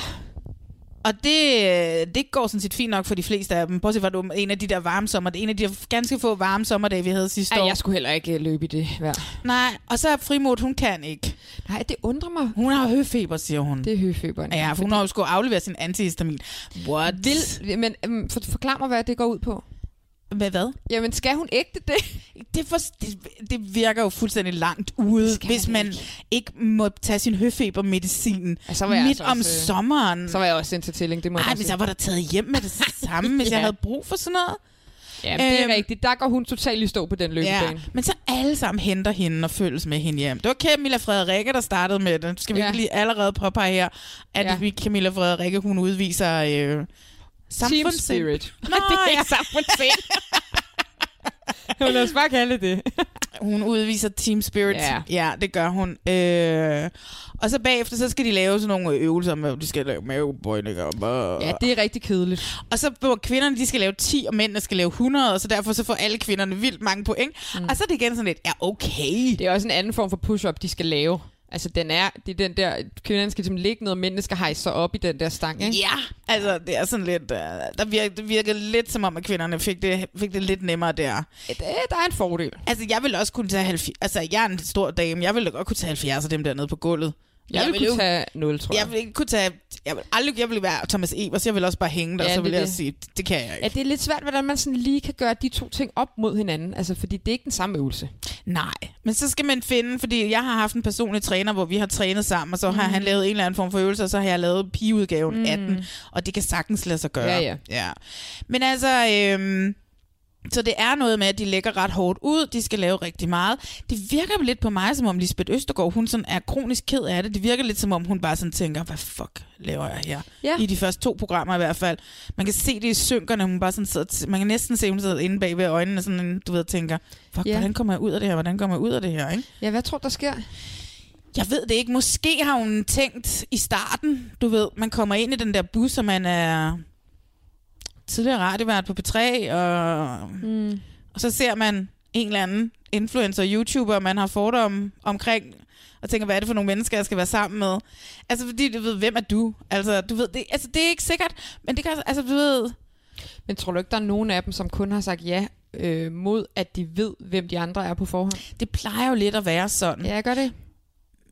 og det, øh, det går sådan set fint nok for de fleste af dem. Bortset fra, at det var en af de der varme sommer, det er en af de der ganske få varme sommerdage, vi havde sidste
Ej,
år.
jeg skulle heller ikke øh, løbe i det vejr.
Nej, og så er Frimod, hun kan ikke.
Nej, det undrer mig.
Hun har høfeber, siger hun.
Det er høfeberen.
Ja, for hun har jo skulle aflevere sin antihistamin. What?
Vil, men øhm, for, forklar mig, hvad det går ud på.
Hvad hvad?
Jamen, skal hun ægte det?
det, for, det, det virker jo fuldstændig langt ude,
Skal
hvis
man
man ikke. ikke må tage sin høfebermedicin
Ja,
ja,
så var jeg
midt
altså
om
også, øh,
sommeren.
Så var jeg også sendt til tilling, det må jeg
Ej,
bare
men
sige.
så var der taget hjem med det samme, hvis
Ja.
jeg havde brug for sådan noget.
Ja, men det er
Øhm.
rigtigt. Der går hun totalt i stå på den løbebane.
Men så alle sammen henter hende og følges med hende hjem. Det var Camilla Frederikke, der startede med det. Skal vi
Ja.
ja. lige allerede påpege her, at
Ja.
ja. Camilla Frederikke, hun udviser øh,
Team
samfundssind.
spirit.
Nå,
det er
ja.
ikke samfundssind. Lad os bare kalde det.
hun udviser team spirit.
Ja.
ja det gør hun. Øh, og så bagefter, så skal de lave sådan nogle øvelser med, de skal lave mavebøjninger.
Ja, det er rigtig kedeligt.
Og så hvor kvinderne, de skal lave 10, og mændene skal lave 100, og så derfor så får alle kvinderne vildt mange point. Mm. Og så er det igen sådan lidt, ja okay.
Det er også en anden form for push-up, de skal lave. Altså, den er, det er den der, kvinderne skal ligesom ligge ned, og mændene skal hejse sig op i den der stang, ikke?
Ja, altså det er sådan lidt, øh, der virker, det virker lidt som om, at kvinderne fik det, fik det lidt nemmere der.
Det, der er en fordel.
Altså jeg vil også kunne tage 70, altså jeg er en stor dame, jeg ville godt kunne tage 70 af dem dernede på gulvet.
Jeg, jeg vil
ville
kunne tage 0, tror jeg.
Jeg vil ikke kunne tage... Jeg vil aldrig jeg vil være Thomas Evers. Jeg vil også bare hænge der,
Ja,
ja, så
det
vil
er
jeg
det.
sige, det kan jeg ikke.
Ja, det er lidt svært, hvordan man sådan lige kan gøre de to ting op mod hinanden. Altså, fordi det er ikke den samme øvelse.
Nej, men så skal man finde, fordi jeg har haft en personlig træner, hvor vi har trænet sammen, og så har
Mm.
mm. han lavet en eller anden form for øvelse, og så har jeg lavet pigeudgaven mm. af
Mm.
den, og det kan sagtens lade sig gøre.
Ja, ja.
ja. Men altså, øhm, så det er noget med, at de lægger ret hårdt ud, de skal lave rigtig meget. Det virker lidt på mig, som om Lisbeth Østergaard, hun sådan er kronisk ked af det. Det virker lidt, som om hun bare sådan tænker, hvad fuck laver jeg her?
Ja.
I de første to programmer i hvert fald. Man kan se det i synkerne, hun bare sådan sidder, man kan næsten se, hun sidder inde bag ved øjnene, sådan, du ved, tænker, fuck,
Ja.
ja. hvordan kommer jeg ud af det her? Hvordan kommer jeg ud af det her? Ikke?
Ja, hvad tror du, der sker?
Jeg ved det ikke. Måske har hun tænkt i starten, du ved, man kommer ind i den der bus, og man er tidligere radiovært på P3, og,
Mm.
og så ser man en eller anden influencer, YouTuber, man har fordomme omkring, og tænker, hvad er det for nogle mennesker, jeg skal være sammen med? Altså, fordi du ved, hvem er du? Altså, du ved, det, altså, det er ikke sikkert, men det kan, altså, du ved,
Men tror du ikke, der er nogen af dem, som kun har sagt ja, øh, mod at de ved, hvem de andre er på forhånd?
det plejer jo lidt at være sådan.
Mm. Ja, gør det.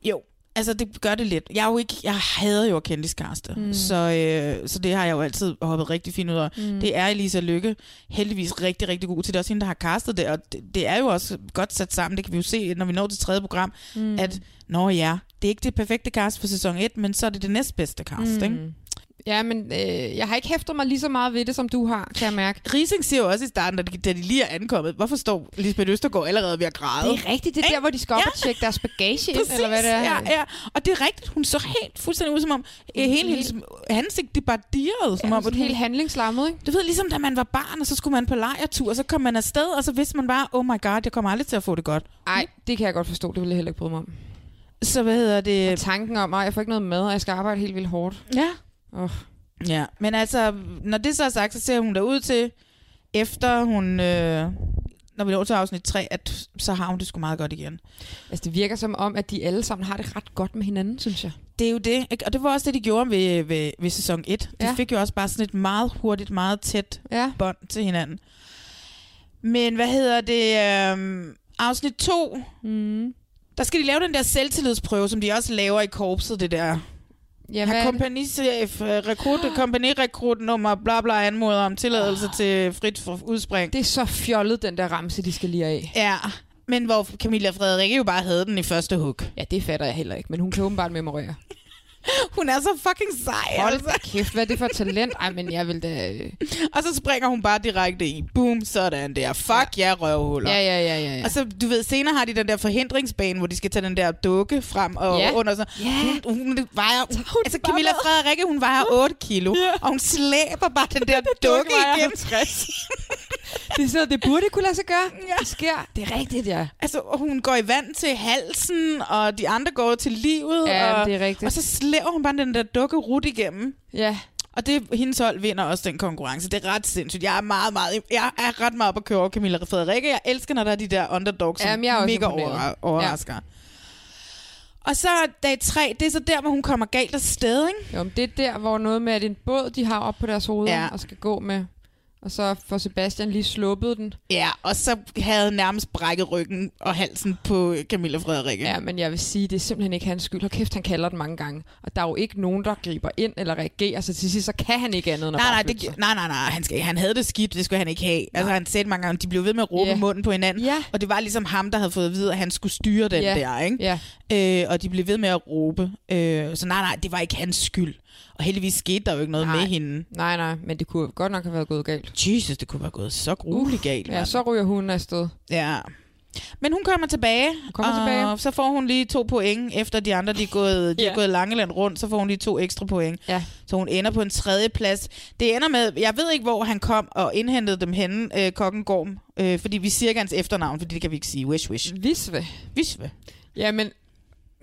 Jo, altså det gør det lidt. Jeg er jo ikke, jeg hader jo at kende Skarste,
Mm.
mm. så, øh, så det har jeg jo altid hoppet rigtig fint ud af.
Mm.
Mm. Det er Elisa Lykke heldigvis rigtig, rigtig god til. Det er også hende, der har castet det, og det, det er jo også godt sat sammen. Det kan vi jo se, når vi når til tredje program,
Mm.
mm. at nå ja, det er ikke det perfekte cast for sæson 1, men så er det det næstbedste cast, mm. ikke?
Ja, men øh, jeg har ikke hæftet mig lige så meget ved det, som du har, kan jeg mærke.
Rising siger jo også i starten, da de, da de lige er ankommet, hvorfor står Lisbeth Østergaard allerede ved at græde?
Det er rigtigt, det er der, hvor de skal op og tjekke deres bagage ind,
Præcis,
eller hvad det er.
Ja, ja. Og det er rigtigt, hun så helt fuldstændig ud, som om øh, hele hendes ansigt, det bare dirrede, som
Ja,
om,
sådan
at hun-
helt handlingslammet, ikke?
Du ved, ligesom da man var barn, og så skulle man på lejertur, og så kom man afsted, og så vidste man bare, oh my god, jeg kommer aldrig til at få det godt.
Nej, det kan jeg godt forstå, det ville jeg heller ikke bryde mig om.
Så hvad hedder det?
Og tanken om, at jeg får ikke noget med, og jeg skal arbejde helt vildt hårdt.
Ja.
Oh.
Ja, men altså, når det så er sagt, så ser hun der ud til, efter hun, øh, når vi når til afsnit 3, at så har hun det sgu meget godt igen.
Altså, det virker som om, at de alle sammen har det ret godt med hinanden, synes jeg.
Det er jo det, ikke? og det var også det, de gjorde ved, ved, ved sæson 1. De
Ja.
ja. fik jo også bare sådan et meget hurtigt, meget tæt
Ja.
bånd til hinanden. Men hvad hedder det? Øhm, afsnit 2,
Mm.
der skal de lave den der selvtillidsprøve, som de også laver i korpset, det der.
Ja,
Her
hvad er det?
kompagnichef, øh, rekrut, kompagnirekrut nummer, bla bla, anmoder om tilladelse til frit for udspring.
Ah. det er så fjollet, den der ramse, de skal lige af.
Ja, men hvor Camilla Frederikke jo bare havde den i første hug.
Ja, det fatter jeg heller ikke, men hun kan åbenbart memorere.
Hun er så fucking sej,
Hold
altså.
da kæft, hvad er det for et talent? Ej, men jeg vil da... øh,
Og så springer hun bare direkte i. Boom, sådan der. Fuck ja, ja røvhuller.
Ja, ja, ja, ja. ja.
Og så, du ved, senere har de den der forhindringsbane, hvor de skal tage den der dukke frem og
Ja.
ja. under. Sådan.
Ja.
Hun, hun vejer... Hun,
hun
altså,
bare
Camilla
med.
Frederikke, hun vejer 8 kilo, ja. og hun slæber bare den der dukke
vejer
igennem.
det er sådan, det burde kunne lade sig gøre. Ja. Det sker. Det er rigtigt, ja.
Altså, og hun går i vand til halsen, og de andre går til livet.
Ja,
og,
det er rigtigt.
Og så slæver hun bare den der dukke rut igennem.
Ja.
Og det, hendes hold vinder også den konkurrence. Det er ret sindssygt. Jeg er, meget, meget, jeg er ret meget på at køre over Camilla Frederikke. Jeg elsker, når der er de der underdogs, som
Jamen, jeg er også
mega
imponeret.
over, overrasker. Ja. Og så dag tre, det er så der, hvor hun kommer galt af sted, ikke?
Jo, men det er der, hvor noget med, at en båd, de har op på deres hoveder ja.
Ja.
og skal gå med. Og så får Sebastian lige sluppet den.
Ja, og så havde hun nærmest brækket ryggen og halsen på Camilla Frederikke.
Ja, men jeg vil sige, det er simpelthen ikke hans skyld. Hold kæft, han kalder den mange gange. Og der er jo ikke nogen, der griber ind eller reagerer, så til sidst, så kan han ikke andet end at
Nej,
bare
nej,
flytte
det,
sig.
gi- nej, nej, nej, han, skal, han havde det skidt, det skulle han ikke have. Altså, han sagde det mange gange, de blev ved med at råbe
Ja.
yeah. munden på hinanden,
Ja.
og det var ligesom ham, der havde fået at vide, at han skulle styre den
Ja.
der, ikke?
Ja,
Øh, og de blev ved med at råbe. Øh, så nej, nej, det var ikke hans skyld. Og heldigvis skete der jo ikke noget
Nej.
med hende.
nej, nej, men det kunne godt nok have været gået galt.
Jesus, det kunne være gået så grueligt galt.
Ja,
mand.
så ryger hun afsted.
ja. Men hun kommer tilbage,
kommer
og
tilbage.
så får hun lige to point, efter de andre de er gået, de
Ja.
er gået Langeland rundt, så får hun lige to ekstra point.
Ja.
Så hun ender på en tredje plads. Det ender med, jeg ved ikke, hvor han kom og indhentede dem henne, øh, kokken Gorm, øh, fordi vi siger ikke hans efternavn, fordi det kan vi ikke sige. Wish,
Mm.
wish.
Visve.
Visve.
Jamen,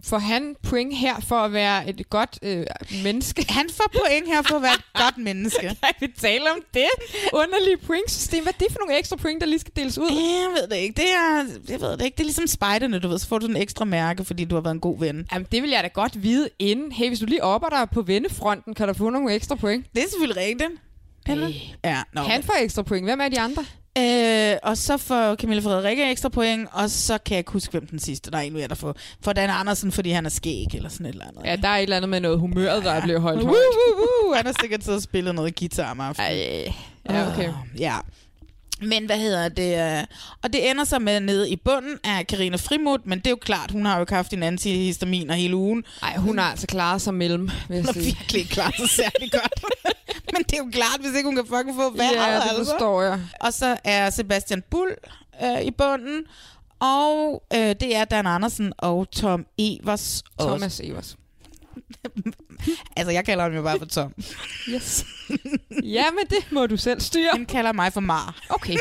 får han point her for at være et godt øh, menneske?
Han får point her for at være et godt menneske.
Nej, vi taler om det. Underlige pointsystem. Hvad er det for nogle ekstra point, der lige skal deles ud?
Jeg ved det ikke. Det er, jeg ved det ikke. Det er ligesom spejderne, du ved. Så får du sådan en ekstra mærke, fordi du har været en god ven.
Jamen, det vil jeg da godt vide inden. Hey, hvis du lige opper dig på vennefronten, kan du få nogle ekstra point.
Det er selvfølgelig rigtigt. Eller? Ja, nå,
Han får ekstra point. Hvem er de andre?
Øh, og så får Camilla Frederikke ekstra point, og så kan jeg ikke huske, hvem den sidste, der er en ved at få. For Dan Andersen, fordi han er skæg eller sådan et eller andet.
Ja, der er et eller andet med noget humøret, der ja. bliver holdt
Woo,
højt.
woo, woo. Han har sikkert siddet og spillet noget guitar om aftenen.
Ej. Ja, ah. okay.
Ja. Men hvad hedder det? øh, Og det ender så med nede i bunden af Karina Frimod, men det er jo klart, hun har jo ikke haft en antihistaminer hele ugen.
Nej, hun har altså klaret sig mellem, vil jeg
Hun har
sige.
virkelig ikke klaret sig særlig godt. men det er jo klart, hvis ikke hun kan fucking få vejret.
Ja, det
altså.
forstår jeg.
Og så er Sebastian Bull øh, i bunden. Og øh, det er Dan Andersen og Tom Evers. også.
Thomas Evers.
Altså, jeg kalder ham jo bare for Tom.
Yes. ja, men det må du selv styre.
Han kalder mig for Mar.
Okay.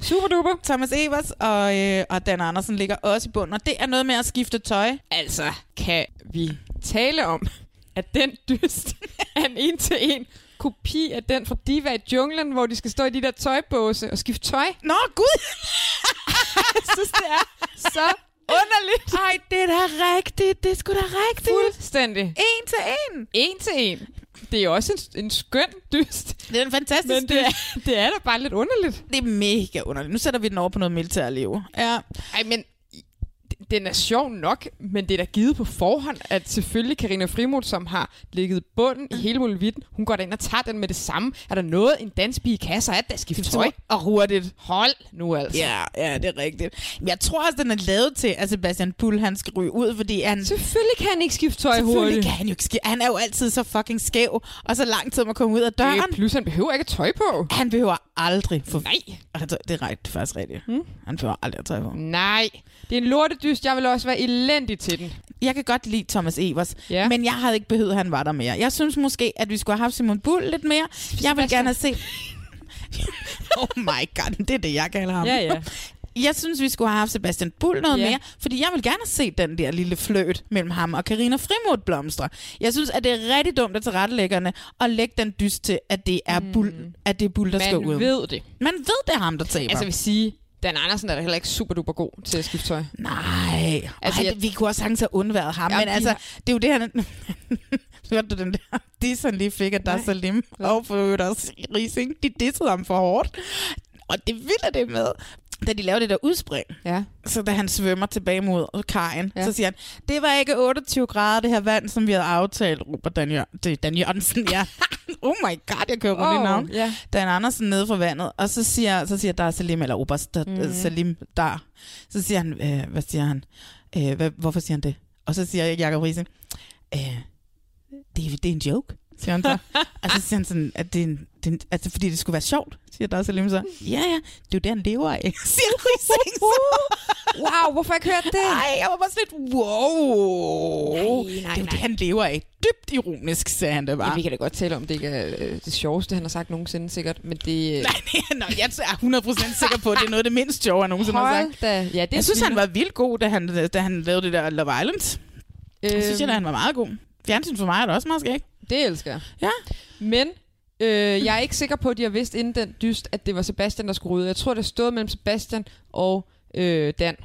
Super duper.
Thomas Evers og, øh, og Dan Andersen ligger også i bunden. Og det er noget med at skifte tøj.
Altså, kan vi tale om, at den dyst er en en-til-en kopi af den fra Diva i junglen, hvor de skal stå i de der tøjbåse og skifte tøj?
Nå, gud!
Jeg synes, det er så underligt.
Ej, det er da rigtigt. Det er sgu da rigtigt.
Fuldstændig.
En til en.
En til en. Det er også en, en skøn dyst,
Det er en fantastisk
men det
dyst.
er, det er da bare lidt underligt.
det er mega underligt. Nu sætter vi den over på noget militærliv. Ja.
Ej, men d- den er sjov nok, men det er da givet på forhånd, at selvfølgelig Karina Frimod, som har ligget i bunden i hele muligheden, hun går da ind og tager den med det samme. Er der noget, en danspige kan, så er det at skifte tøj.
Og hurtigt.
Hold nu altså.
Ja, ja, det er rigtigt. Men Jeg tror også, den er lavet til, at Sebastian Bull, han skal ryge ud, fordi han...
Selvfølgelig kan han ikke skifte tøj
Selvfølgelig
hurtigt.
kan han jo ikke ske. Han er jo altid så fucking skæv, og så lang tid om at komme ud af døren.
Øh, plus han behøver ikke tøj på.
Han behøver aldrig få...
Nej. Hmm?
Altså, det er rigtigt, faktisk rigtigt. Mm. Han behøver aldrig at tøj på.
Nej, det er en lortedyst. Jeg vil også være elendig til den.
Jeg kan godt lide Thomas Evers,
Ja.
men jeg havde ikke behøvet, at han var der mere. Jeg synes måske, at vi skulle have haft Simon Bull lidt mere. Jeg vil gerne have set... oh my god, det er det, jeg kalder ham. Jeg synes, vi skulle have haft Sebastian Bull noget
Ja.
mere, fordi jeg vil gerne se den der lille fløjt mellem ham og Karina Frimod blomstre. Jeg synes, at det er rigtig dumt af tilrettelæggerne at lægge den dyst til, at det er Bull, at det er Bull der skal
Mm. Man
ud.
ved det.
Man ved, det er ham, der taber.
Altså, jeg vil sige, Dan Andersen er da heller ikke super duper god til at skifte tøj.
Nej, altså,
Altså,
Ej,
jeg-
jeg... vi kunne også sagtens have undværet ham,
Jamen,
men
de
altså,
har-
det er jo det, han... Hørte du den der? Disseren lige fik, at der er Salim og for øvrigt også Rising, de dissede ham for hårdt. Og det vilde det med, da de lavede det der udspring,
Ja.
så da han svømmer tilbage mod kajen, ja.
Ja.
så siger han, det var ikke 28 grader, det her vand, som vi havde aftalt, råber Dan, Jør- det er Dan Jørgensen, ja. oh my god, jeg kører rundt oh, i navn.
ja.
Dan Andersen nede fra vandet, og så siger, så siger der er Salim, eller Oberst, der,
Mhm.
mm. Salim der. Så siger han, øh, hvad siger han? Øh, hvad, hvorfor siger han det? Og så siger Jacob Riese, øh, det, er- det er en joke, siger han så. og så siger han sådan, at det er en, det er en, altså, fordi det skulle være sjovt, siger der Salim så. Ja, ja, det er jo det, han lever af, siger Riese.
Wow, hvorfor har jeg ikke hørt det?
Ej, jeg var bare sådan lidt, wow.
Nej, nej,
det er jo
nej.
det, han lever af. Dybt ironisk, sagde han det bare.
Ja, vi kan da godt tale om, det ikke er øh, det sjoveste, han har sagt nogensinde sikkert, men det... øh,
Nej, nej, nej, jeg er 100% sikker på, at det er noget af det mindst sjove, jeg nogensinde har sagt.
Hold da. Ja, det er
Jeg synes, han
sviner.
var vildt god, da han, da han lavede det der Love Island. Jeg synes, at
Øhm,
han var meget god. Fjernsyn for mig er det også meget skægt.
Det elsker jeg.
Ja.
Men øh, jeg er ikke sikker på, at de har vidst inden den dyst, at det var Sebastian, der skulle ud. Jeg tror, det stod mellem Sebastian og øh, Dan.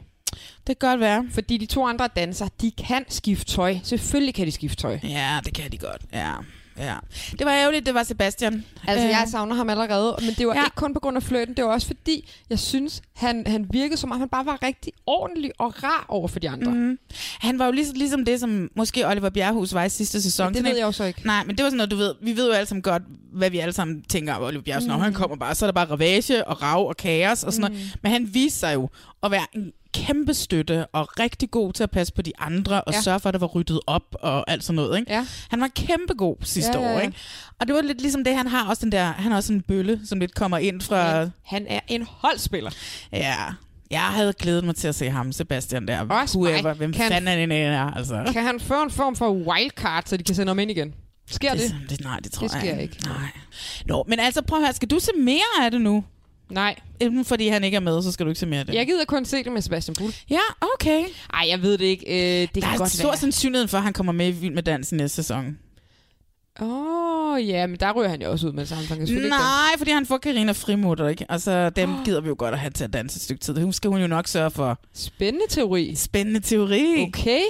Det kan godt være.
Fordi de to andre dansere, de kan skifte tøj. Selvfølgelig kan de skifte tøj.
Ja, det kan de godt. Ja. Ja. Det var ærgerligt, det var Sebastian.
Altså,
Øh,
jeg savner ham allerede, men det var
Ja.
ja. ikke kun på grund af fløjten, det var også fordi, jeg synes, han, han virkede som om, han bare var rigtig ordentlig og rar over for de
Mhm.
andre. Mm,
Han var jo ligesom, ligesom det, som måske Oliver Bjerrehus var i sidste sæson.
det
Sådan
ved
en-
jeg jo så ikke.
Nej, men det var sådan noget, du ved, vi ved jo alle sammen godt, hvad vi alle sammen tænker om Oliver Bjergsen, mm. han kommer bare, så er der bare ravage og rav og kaos og sådan mm. noget. Men han viste sig jo at være en kæmpe støtte og rigtig god til at passe på de andre og ja.
Ja.
sørge for, at der var ryddet op og alt sådan noget. Ikke?
Ja.
Han var kæmpe god sidste
Ja, ja,
ja, ja, år.
ja.
Ikke? Og det var lidt ligesom det, han har også den der, han har også en bølle, som lidt kommer ind fra...
Han er en holdspiller.
Ja. Jeg havde glædet mig til at se ham, Sebastian der.
Også
Whoever,
mig.
hvem
Kan-
fanden han end er, altså.
Kan han få en form for wildcard, så de kan sende ham ind igen? Sker det?
Det- det- nej, det tror
det
jeg
sker
ikke.
ikke.
Nej. Nå, men altså prøv at høre, skal du se mere af det nu?
Nej.
Enten fordi han ikke er med, så skal du ikke se mere af det.
Jeg gider kun se det med Sebastian Bull.
Ja, okay.
Ej, jeg ved det ikke. Øh, det
Der
kan
er
godt
stor
være.
sandsynlighed for, at han kommer med i Vild med Dansen næste sæson.
Åh, oh, ja, men der ryger han jo også ud med det samme. så Han kan selvfølgelig ikke
Nej, fordi han får Karina frimutter, ikke? Altså, dem gider vi jo godt at have til at danse et stykke tid. Hun skal hun jo nok sørge for.
Spændende teori.
Spændende teori.
Okay.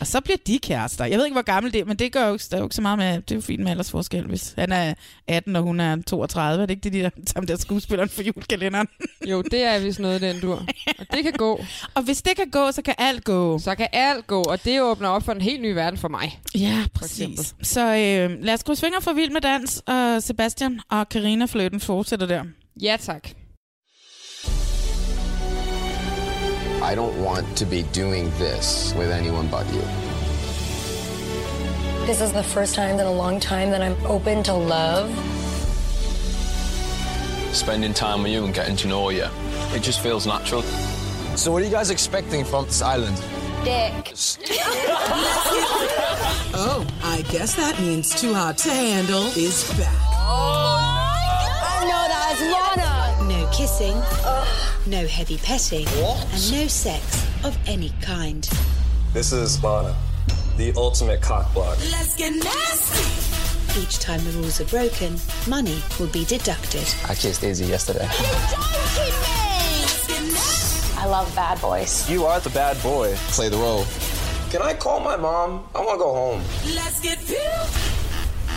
Og så bliver de kærester. Jeg ved ikke, hvor gammel det er, men det gør jo ikke, der er jo ikke så meget med... Det er jo fint med aldersforskel, hvis han er 18, og hun er 32. Er det ikke det, de der, sammen der skuespilleren for julekalenderen?
danse. Jo, det er vist noget, den dur. Og det kan gå.
og hvis det kan gå, så kan alt gå.
Så kan alt gå, og det åbner op for en helt ny verden for mig.
Ja,
eksempel.
præcis. Så øh, lad os krydse fingre for Vild med Dans, og Sebastian og Karina Fløten fortsætter der.
Ja, tak.
I don't want to be doing this with anyone but you.
This is the first time in a long time that I'm open to love.
Spending time with you and getting to know you, it just feels natural. So what are you guys expecting from this island?
Dick.
Oh, I guess that means Too Hot to Handle is back.
Oh no, that is Lana. No kissing, no heavy petting, and no sex of any kind.
This is Lana, the ultimate cock block.
Let's get nasty. Each time the rules are broken, money will be deducted.
I kissed Izzy yesterday.
I love bad boys.
You are the bad boy. Play the role. Can I call my mom? I want to go home.
Let's get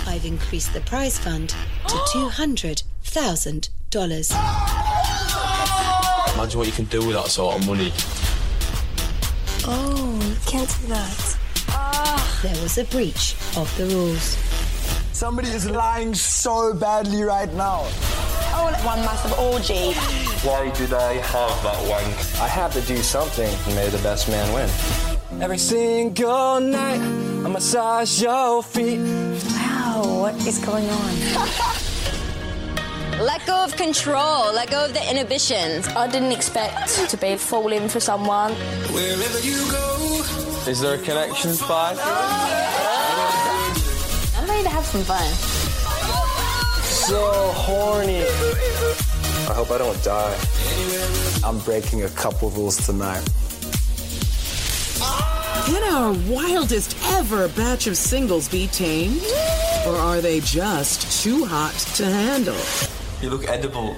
I've increased the prize fund to $200,000.
Imagine what you can do with that sort of money.
Oh, you can't do that. There was a breach of the rules.
Somebody is lying so badly right now.
Oh, one massive orgy.
Why did I have that wank? I had to do something. May the best man win.
Every single night, I massage your feet.
Wow, what is going on?
Let go of control, let go of the inhibitions. I didn't expect to be falling for someone.
Wherever you go.
Is there a connection, Spy?
I'm ready to have some fun. Oh,
So horny.
I hope I don't die.
I'm breaking a couple rules tonight.
Can our wildest ever batch of singles be tamed? Or are they just too hot to handle?
You look edible.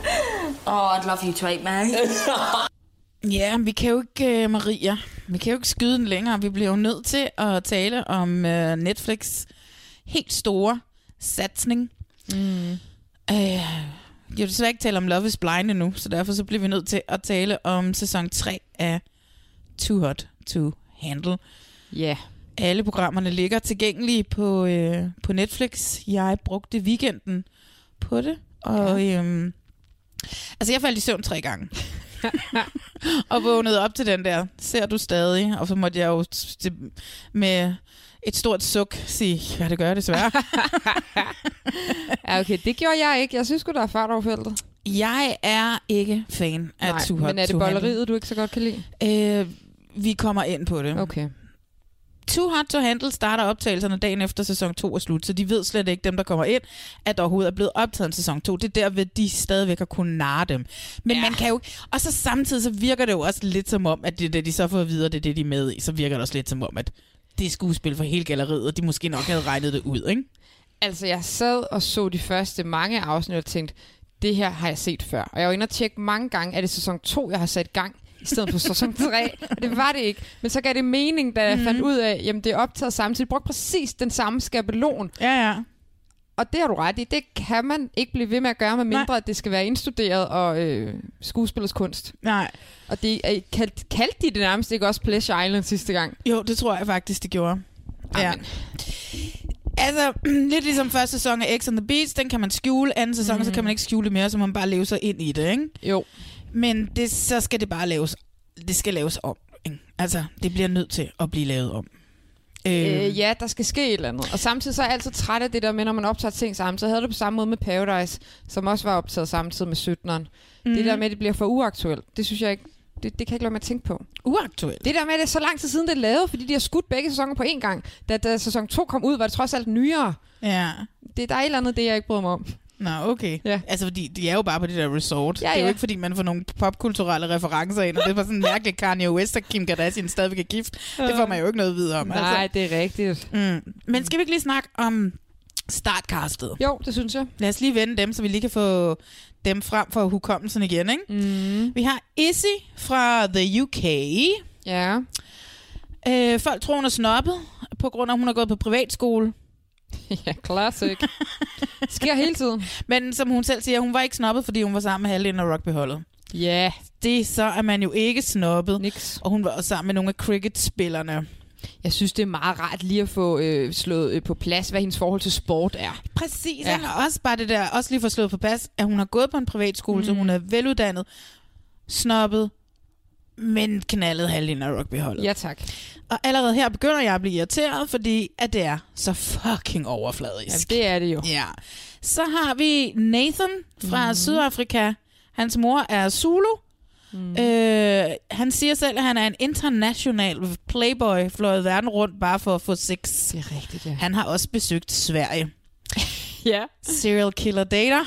Oh, I'd love you to eat me.
Ja, men vi kan jo ikke, øh, Maria, vi kan jo ikke skyde den længere. Vi bliver jo nødt til at tale om øh, Netflix helt store satsning. Mm. Øh, jeg vil desværre ikke tale om Love is Blind endnu, så derfor så bliver vi nødt til at tale om sæson 3 af Too Hot to Handle.
Ja. Yeah.
Alle programmerne ligger tilgængelige på, øh, på Netflix. Jeg brugte weekenden på det, og ja. øhm, altså jeg faldt i søvn tre gange. og vågnede op til den der, ser du stadig? Og så måtte jeg jo s- til- med et stort suk sige, ja det gør jeg desværre.
Ja, okay, det gjorde jeg ikke. Jeg synes sgu, der er fart over feltet.
Jeg er ikke fan af
Nej,
Too Hot
men er det
to Handle.
bolleriet, du ikke så godt kan lide?
Øh, vi kommer ind på det.
Okay.
Too Hot to Handle starter optagelserne dagen efter sæson 2 er slut, så de ved slet ikke, dem der kommer ind, at der overhovedet er blevet optaget en sæson 2. Det er derved, de stadigvæk har kunnet narre dem. Men ja. man kan jo ikke... Og så samtidig så virker det jo også lidt som om, at det er det, de så får at vide, og det er det, de er med i. Så virker det også lidt som om, at det er skuespil for hele galleriet, og de måske nok havde regnet det ud, ikke?
Altså, jeg sad og så de første mange afsnit og tænkte, det her har jeg set før. Og jeg var inde og tjekke mange gange, er det sæson 2, jeg har sat i gang, i stedet for sæson 3. Og det var det ikke. Men så gav det mening, da jeg mm. fandt ud af, jamen det er optaget samtidig. Brug præcis den samme skabelon.
Ja, ja.
Og det har du ret i. Det kan man ikke blive ved med at gøre, med mindre at det skal være indstuderet og øh, skuespillers kunst.
Nej.
Og det er, kaldte, kaldte de det nærmest ikke også Pleasure Island sidste gang?
Jo, det tror jeg faktisk, det gjorde. Ja. Altså, lidt ligesom første sæson af X on the Beach, den kan man skjule. Anden sæson, mm. så kan man ikke skjule det mere, så må man bare leve sig ind i det, ikke?
Jo.
Men det, så skal det bare laves. Det skal laves om, ikke? Altså, det bliver nødt til at blive lavet om. Øhm.
Øh, ja, der skal ske et eller andet. Og samtidig så er jeg altid træt af det der med, når man optager ting sammen. Så havde du på samme måde med Paradise, som også var optaget samtidig med 17'eren. Mm.
Mhm.
Det der med, at det bliver for uaktuelt, det synes jeg ikke det, det kan jeg ikke lade mig at tænke på.
Uaktuelt.
Det der med, at det er så lang tid siden, det er lavet, fordi de har skudt begge sæsoner på én gang. Da, da sæson 2 kom ud, var det trods alt nyere.
Ja.
Det, der er et eller andet, det jeg ikke bryder mig om.
Nå, okay. Ja. Altså, fordi de er jo bare på det der resort. Ja, det er jo
ja.
ikke, fordi man får nogle popkulturelle referencer ind, og det var sådan mærkeligt, Kanye West og Kim Kardashian stadigvæk er gift. Det får man jo ikke noget videre om.
Nej, det er rigtigt.
Mm. Men skal vi ikke lige snakke om startcastet?
Jo, det synes jeg.
Lad os lige vende dem, så vi lige kan få dem frem for hukommelsen igen, ikke? Mm. Vi har Izzy fra The UK.
Ja.
Øh, folk tror, hun er snobbet, på grund af, at hun har gået på privatskole.
ja, classic. Sker hele tiden.
Men som hun selv siger, hun var ikke snobbet, fordi hun var sammen med halvdelen af rugbyholdet.
Ja. Yeah.
Det, så er man jo ikke snobbet.
Niks.
Og hun var også sammen med nogle af cricketspillerne.
Jeg synes, det er meget rart lige at få øh, slået øh, på plads, hvad hendes forhold til sport er.
Præcis,
Ja.
ja. og også bare det der, også lige for slået på plads, at hun har gået på en privatskole, mm. så hun er veluddannet, snobbet, men knaldet halvdelen af rugbyholdet.
Ja, tak.
Og allerede her begynder jeg at blive irriteret, fordi at det er så fucking overfladisk.
Ja, det er det jo.
Ja. Så har vi Nathan fra mm. Sydafrika. Hans mor er Zulu. Mm. Øh, han siger selv, at han er en international playboy, fløjet verden rundt bare for at få sex. Det
er rigtigt, ja.
Han har også besøgt Sverige.
ja.
Serial killer data.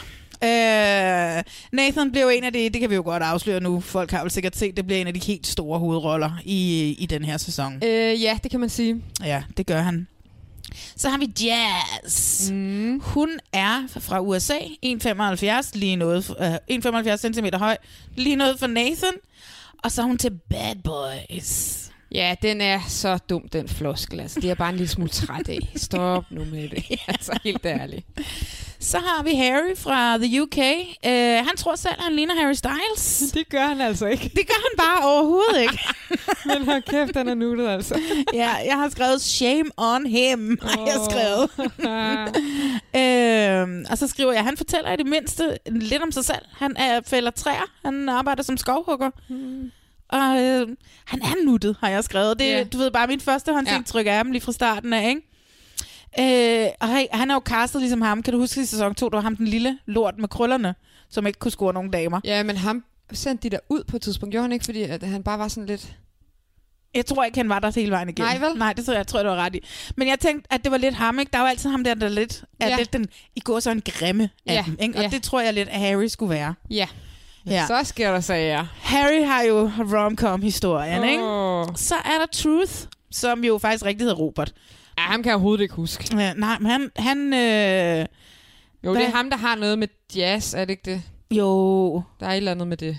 Øh, Nathan blev en af de, det kan vi jo godt afsløre nu, folk har vel sikkert set, det bliver en af de helt store hovedroller i, i den her sæson.
Øh, ja, det kan man sige.
Ja, det gør han. Så har vi Jazz. Mm. Hun er fra USA, 1,75 lige noget, øh, 1,75 cm høj, lige noget for Nathan. Og så er hun til Bad Boys.
Ja, den er så dum, den floskel. Altså, det er jeg bare en lille smule træt af. Stop nu med det. Altså, helt ærligt.
Så har vi Harry fra the UK. Uh, han tror selv, at han ligner Harry Styles.
Det gør han altså ikke.
Det gør han bare overhovedet ikke.
Men hold kæft, den er nuttet, altså.
ja, jeg har skrevet shame on him, har jeg skrevet. øhm, og så skriver jeg, han fortæller i det mindste lidt om sig selv. Han er fælder træer, han arbejder som skovhugger.
Mm.
Og øh, han er nuttet, har jeg skrevet. Det,
Ja.
yeah. Du ved bare, min første håndsindtryk af ham lige fra starten af, ikke? Øh, og hey, han er jo castet ligesom ham. Kan du huske i sæson 2, der var ham den lille lort med krøllerne, som ikke kunne score nogen damer?
Ja, men ham sendte de der ud på et tidspunkt. Gjorde han ikke, fordi at han bare var sådan lidt...
Jeg tror ikke, han var der hele vejen igennem.
Nej, vel?
Nej, det tror jeg, jeg tror, du har ret i. Men jeg tænkte, at det var lidt ham, ikke? Der var altid ham der, der lidt, at
Ja.
ja. lidt den, i går så en grimme af
Ja,
ja. dem, ikke? Og
ja.
ja. det tror jeg lidt, at Harry skulle være.
Ja.
Ja.
Så sker der sager.
Harry har jo rom-com-historien, oh.
Åh.
ikke? Så er der Truth, som jo faktisk rigtig hedder Robert.
Ja, ham kan jeg overhovedet ikke huske.
Ja, nej, men han... han øh,
Jo,
hvad-
det er ham, der har noget med jazz, er det ikke det?
Jo.
Der er et eller andet med det.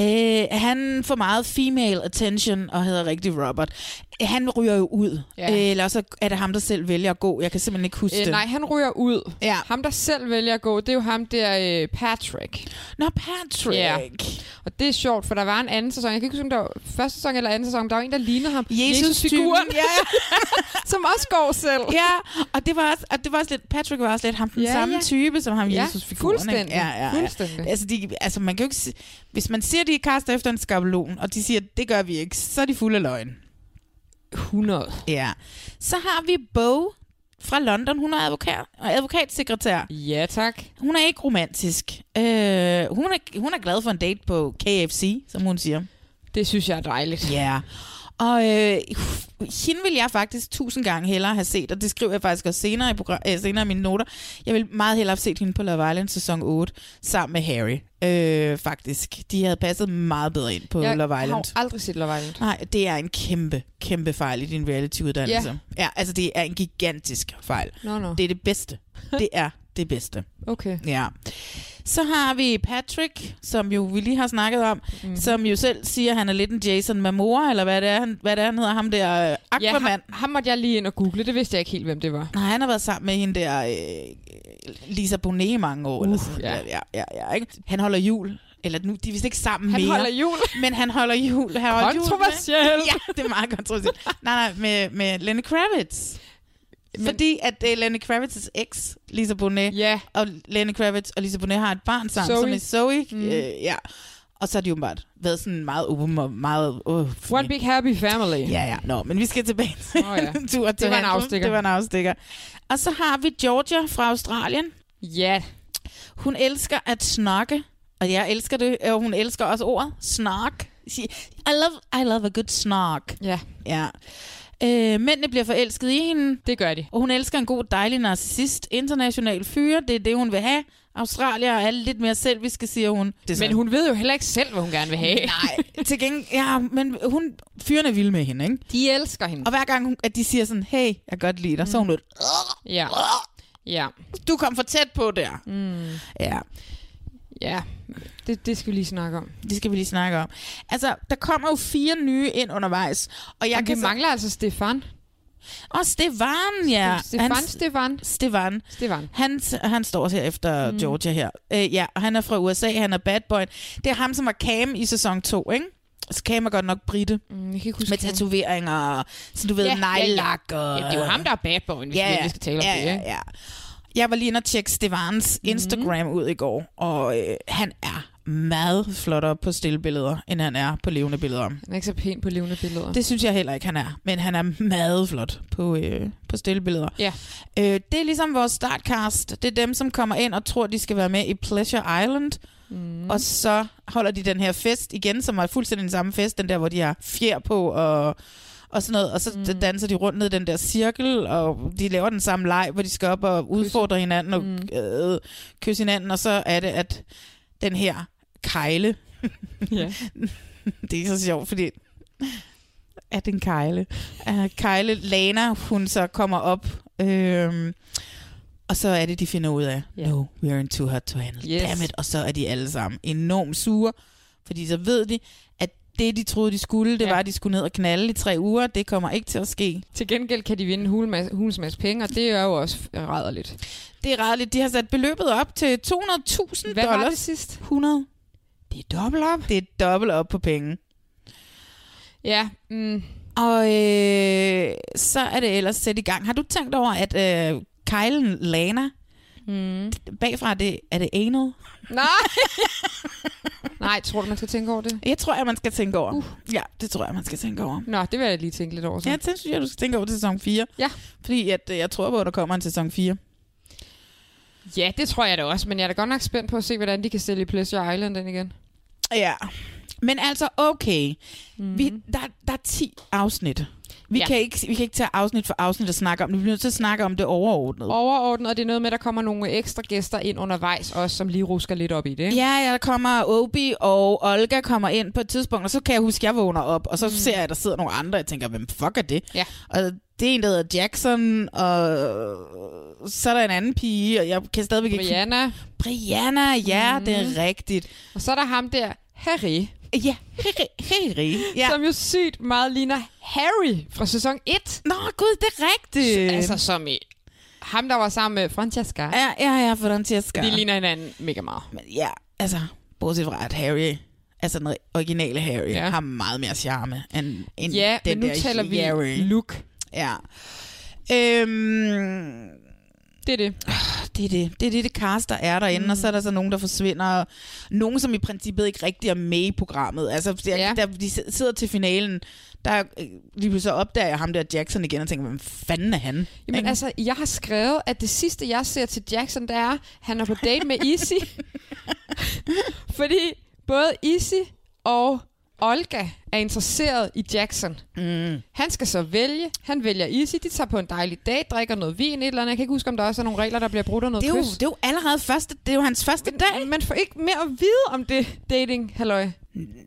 Øh, han får meget female attention og hedder rigtig Robert. Han ryger jo ud.
Ja.
Ja. Øh, eller også er det ham, der selv vælger at gå. Jeg kan simpelthen ikke huske
Øh,
det.
nej, han ryger ud.
Ja.
Ham, der selv vælger at gå, det er jo ham der øh, Patrick.
Nå, Patrick.
Ja. Og det er sjovt, for der var en anden sæson. Jeg kan ikke huske, om der var første sæson eller anden sæson. Der var en, der lignede ham. Jesus-figuren.
Jesus-typen, ja.
som også går selv.
Ja, og det var også, og det var også lidt, Patrick var også lidt ham den
Ja,
ja, samme
ja.
ja. type, som ham
Ja,
Jesus-figuren. ikke?
fuldstændig,
Ja, ja, ja.
fuldstændig.
Altså, de, altså, man kan jo ikke, si- hvis man siger, de er kastet efter en skabelon, og de siger, det gør vi ikke, så er de fulde af løgn.
100.
Ja. Så har vi Bo fra London. Hun er advokat, og advokatsekretær.
Ja, tak.
Hun er ikke romantisk. Øh, hun, er, hun er glad for en date på KFC, som hun siger.
Det synes jeg er dejligt.
Ja. Yeah. Og øh, hende vil jeg faktisk tusind gange hellere have set, og det skriver jeg faktisk også senere i, program, øh, senere i mine noter. Jeg vil meget hellere have set hende på Love Island sæson 8, sammen med Harry, øh, faktisk. De havde passet meget bedre ind på
jeg
Love Island.
har jo aldrig set Love Island.
Nej, det er en kæmpe, kæmpe fejl i din reality-uddannelse.
Ja.
Ja. ja, altså det er en gigantisk fejl.
Nå, nå.
Det er det bedste. Det er det bedste.
Okay.
Ja. Så har vi Patrick, som jo vi lige har snakket om, mm. som jo selv siger, at han er lidt en Jason Momoa, eller hvad det er, han, hvad det er, han hedder, ham der øh,
Ja,
Aquaman.
ham, ham måtte jeg lige ind og google. Det vidste jeg ikke helt, hvem det var.
Nej, han har været sammen med hende der øh, Lisa Bonet i mange år. eller
Uh,
sådan.
ja.
Ja. Ja, ja, ja, ikke? Han holder jul. Eller nu, de er vist ikke sammen
Han
mere.
holder jul.
Men han holder jul. Han holder jul med-
Kontroversielt.
Ja, det er meget kontroversielt. nej, nej, med, med Lenny Kravitz. Men... Fordi at uh, Lenny Kravitz' eks, Lisa Bonet,
ja.
og Lenny Kravitz og Lisa Bonet har et barn sammen,
Zoe.
som er Zoe.
Mm.
Mm. Øh, ja. Og så har de jo bare været sådan meget åben og meget... Uh,
One big happy family.
Ja, ja. Nå, men vi skal tilbage til
Åh, ja.
tur til
var en
handlen.
afstikker.
Det var en afstikker. Og så har vi Georgia fra Australien.
Ja.
Hun elsker at snakke Og jeg elsker det, og hun elsker også ordet snark. Sige, I love, I love a good snark.
Ja.
ja. Øh, mændene bliver forelsket i hende.
Det gør de.
Og hun elsker en god, dejlig narcissist. International fyre, det er det, hun vil have. Australier er lidt mere selviske, siger hun. Det er
Men
sådan-
hun ved jo heller ikke selv, hvad hun gerne vil have.
Nej, til gengæld, ja, men hun, fyren er vild med hende, ikke?
De elsker hende.
Og hver gang, hun, at de siger sådan, hey, jeg kan godt lide dig, så er hun lidt,
Ja. Ja.
du kom for tæt på der.
Mm.
Ja.
Ja, det, det skal vi lige snakke om.
Det skal vi lige snakke om. Altså, der kommer jo fire nye ind undervejs. Og jeg
Jamen,
kan
vi
så-
mangler altså Stefan.
Og Stefan, ja.
Stefan,
Han-
Stefan.
Stefan.
Stefan.
Han, han står også her efter mm. Georgia her. Øh, ja, og han er fra USA, han er bad boy. Det er ham, som var Cam i sæson 2, ikke? Så Cam er godt nok britte.
Mm, jeg kan ikke huske
med
Cam.
tatoveringer, og så du ved,
Ja,
ja,
ja, ja.
nejlak og...
Ja, det er jo ham, der er bad boyen, hvis vi virkelig skal tale om
ja,
det,
Ja,
ikke? Mhm.
ja. Jeg var lige inde og tjekke Stefans Instagram ud i går, og øh, han er meget flottere på stille billeder, end han er på levende billeder.
Han er ikke så pæn på levende billeder.
Det synes jeg heller ikke, han er. Men han er meget flot på, øh, på stille billeder.
Ja.
Øh, det er ligesom vores startcast. Det er dem, som kommer ind og tror, de skal være med i Pleasure Island. Mm. Og så holder de den her fest igen, som er fuldstændig den samme fest. Den der, hvor de har fjer på og, og sådan noget. Og så mm. danser de rundt ned i den der cirkel, og de laver den samme leg, hvor de skal op og udfordre hinanden og mm. øh, kysse hinanden. Og så er det, at den her kejle...
Ja.
det er så sjovt, fordi at en kejle. Uh, kejle Lana, hun så kommer op, øhm, og så er det, de finder ud af, yeah. no, we are in too hot to handle, yes.
Yes.
damn it. Og så er de alle sammen enormt sure, fordi så ved de, at det, de troede, de skulle, det ja. var, at de skulle ned og knalde i tre uger. Det kommer ikke til at ske.
Til gengæld kan de vinde en hulmas, hulens masse penge, og det er jo også f- ræderligt.
Det er rædeligt. De har sat beløbet op til 200.000 dollars.
Hvad var det sidst?
100. Det er dobbelt op. Det er dobbelt op på penge.
Ja, mm,
Og øh, så er det ellers sæt i gang. Har du tænkt over, at øh, kejlen Lana,
mm.
bagfra er det, er det anal?
Nej. Nej, tror du, man skal tænke over det?
Jeg tror, at man skal tænke over. Uh. Ja, det tror jeg, man skal tænke over.
Nå, det vil jeg lige tænke lidt over. Så.
Ja, det synes jeg, du skal tænke over til sæson 4.
Ja.
Fordi at, øh, jeg tror på, at der kommer en sæson 4.
ja, det tror jeg da også, men jeg er da godt nok spændt på at se, hvordan de kan sælge Pleasure Island den igen.
Ja. Men altså, okay. Mm. Vi, der, der er 10 afsnit. Vi,
Ja.
ja. kan ikke, vi kan ikke tage afsnit for afsnit og snakke om det. Vi bliver nødt til at snakke om det overordnet.
Overordnet, og det er noget med, at der kommer nogle ekstra gæster ind undervejs også, som lige rusker lidt op i det. ikke?
Ja, ja, der kommer Obi og Olga kommer ind på et tidspunkt, og så kan jeg huske, at jeg vågner op, og så mm. ser jeg, at der sidder nogle andre, og jeg tænker, hvem fuck er det?
Ja.
Og det er en, der hedder Jackson, og så er der en anden pige, og jeg kan stadigvæk ikke...
Brianna. Mhm.
Brianna, ja, mm. det er rigtigt.
Og så er der ham der, Harry,
Ja, Harry. Harry. Ja.
ja. som jo sygt meget ligner Harry fra sæson 1.
Nå, gud, det er rigtigt.
Altså som i ham, der var sammen med Francesca. Ja.
Øhm. Ja, ja, ja, for den til at skære.
De ligner hinanden mega meget.
Men ja, altså, bortset fra, at Harry, altså den originale Harry,
Ja.
ja. har meget mere charme end, end
Ja,
den
men nu
der
taler vi
Harry.
look.
Ja. Øhm,
Det er det.
det er det. Det er det, det cast, der er derinde, mm. og så er der så nogen, der forsvinder. og Nogen, som i princippet ikke rigtig er med i programmet. Altså, der,
Ja.
ja. der, de si- sidder til finalen, der øh, lige pludselig opdager jeg ham der Jackson igen og tænker, hvem fanden er han?
Jamen
Ikke?
altså, jeg har skrevet, at det sidste, jeg ser til Jackson, det er, at han er på date med Izzy. Fordi både Izzy og Olga er interesseret i Jackson.
Mm.
Han skal så vælge. Han vælger Izzy. De tager på en dejlig dag, drikker noget vin, et eller andet. Jeg kan ikke huske, om der også er nogle regler, der bliver brudt og noget
Det, er jo,
kys.
det er jo allerede første, det er jo hans første dag.
Man får ikke mere at vide om det dating, halløj.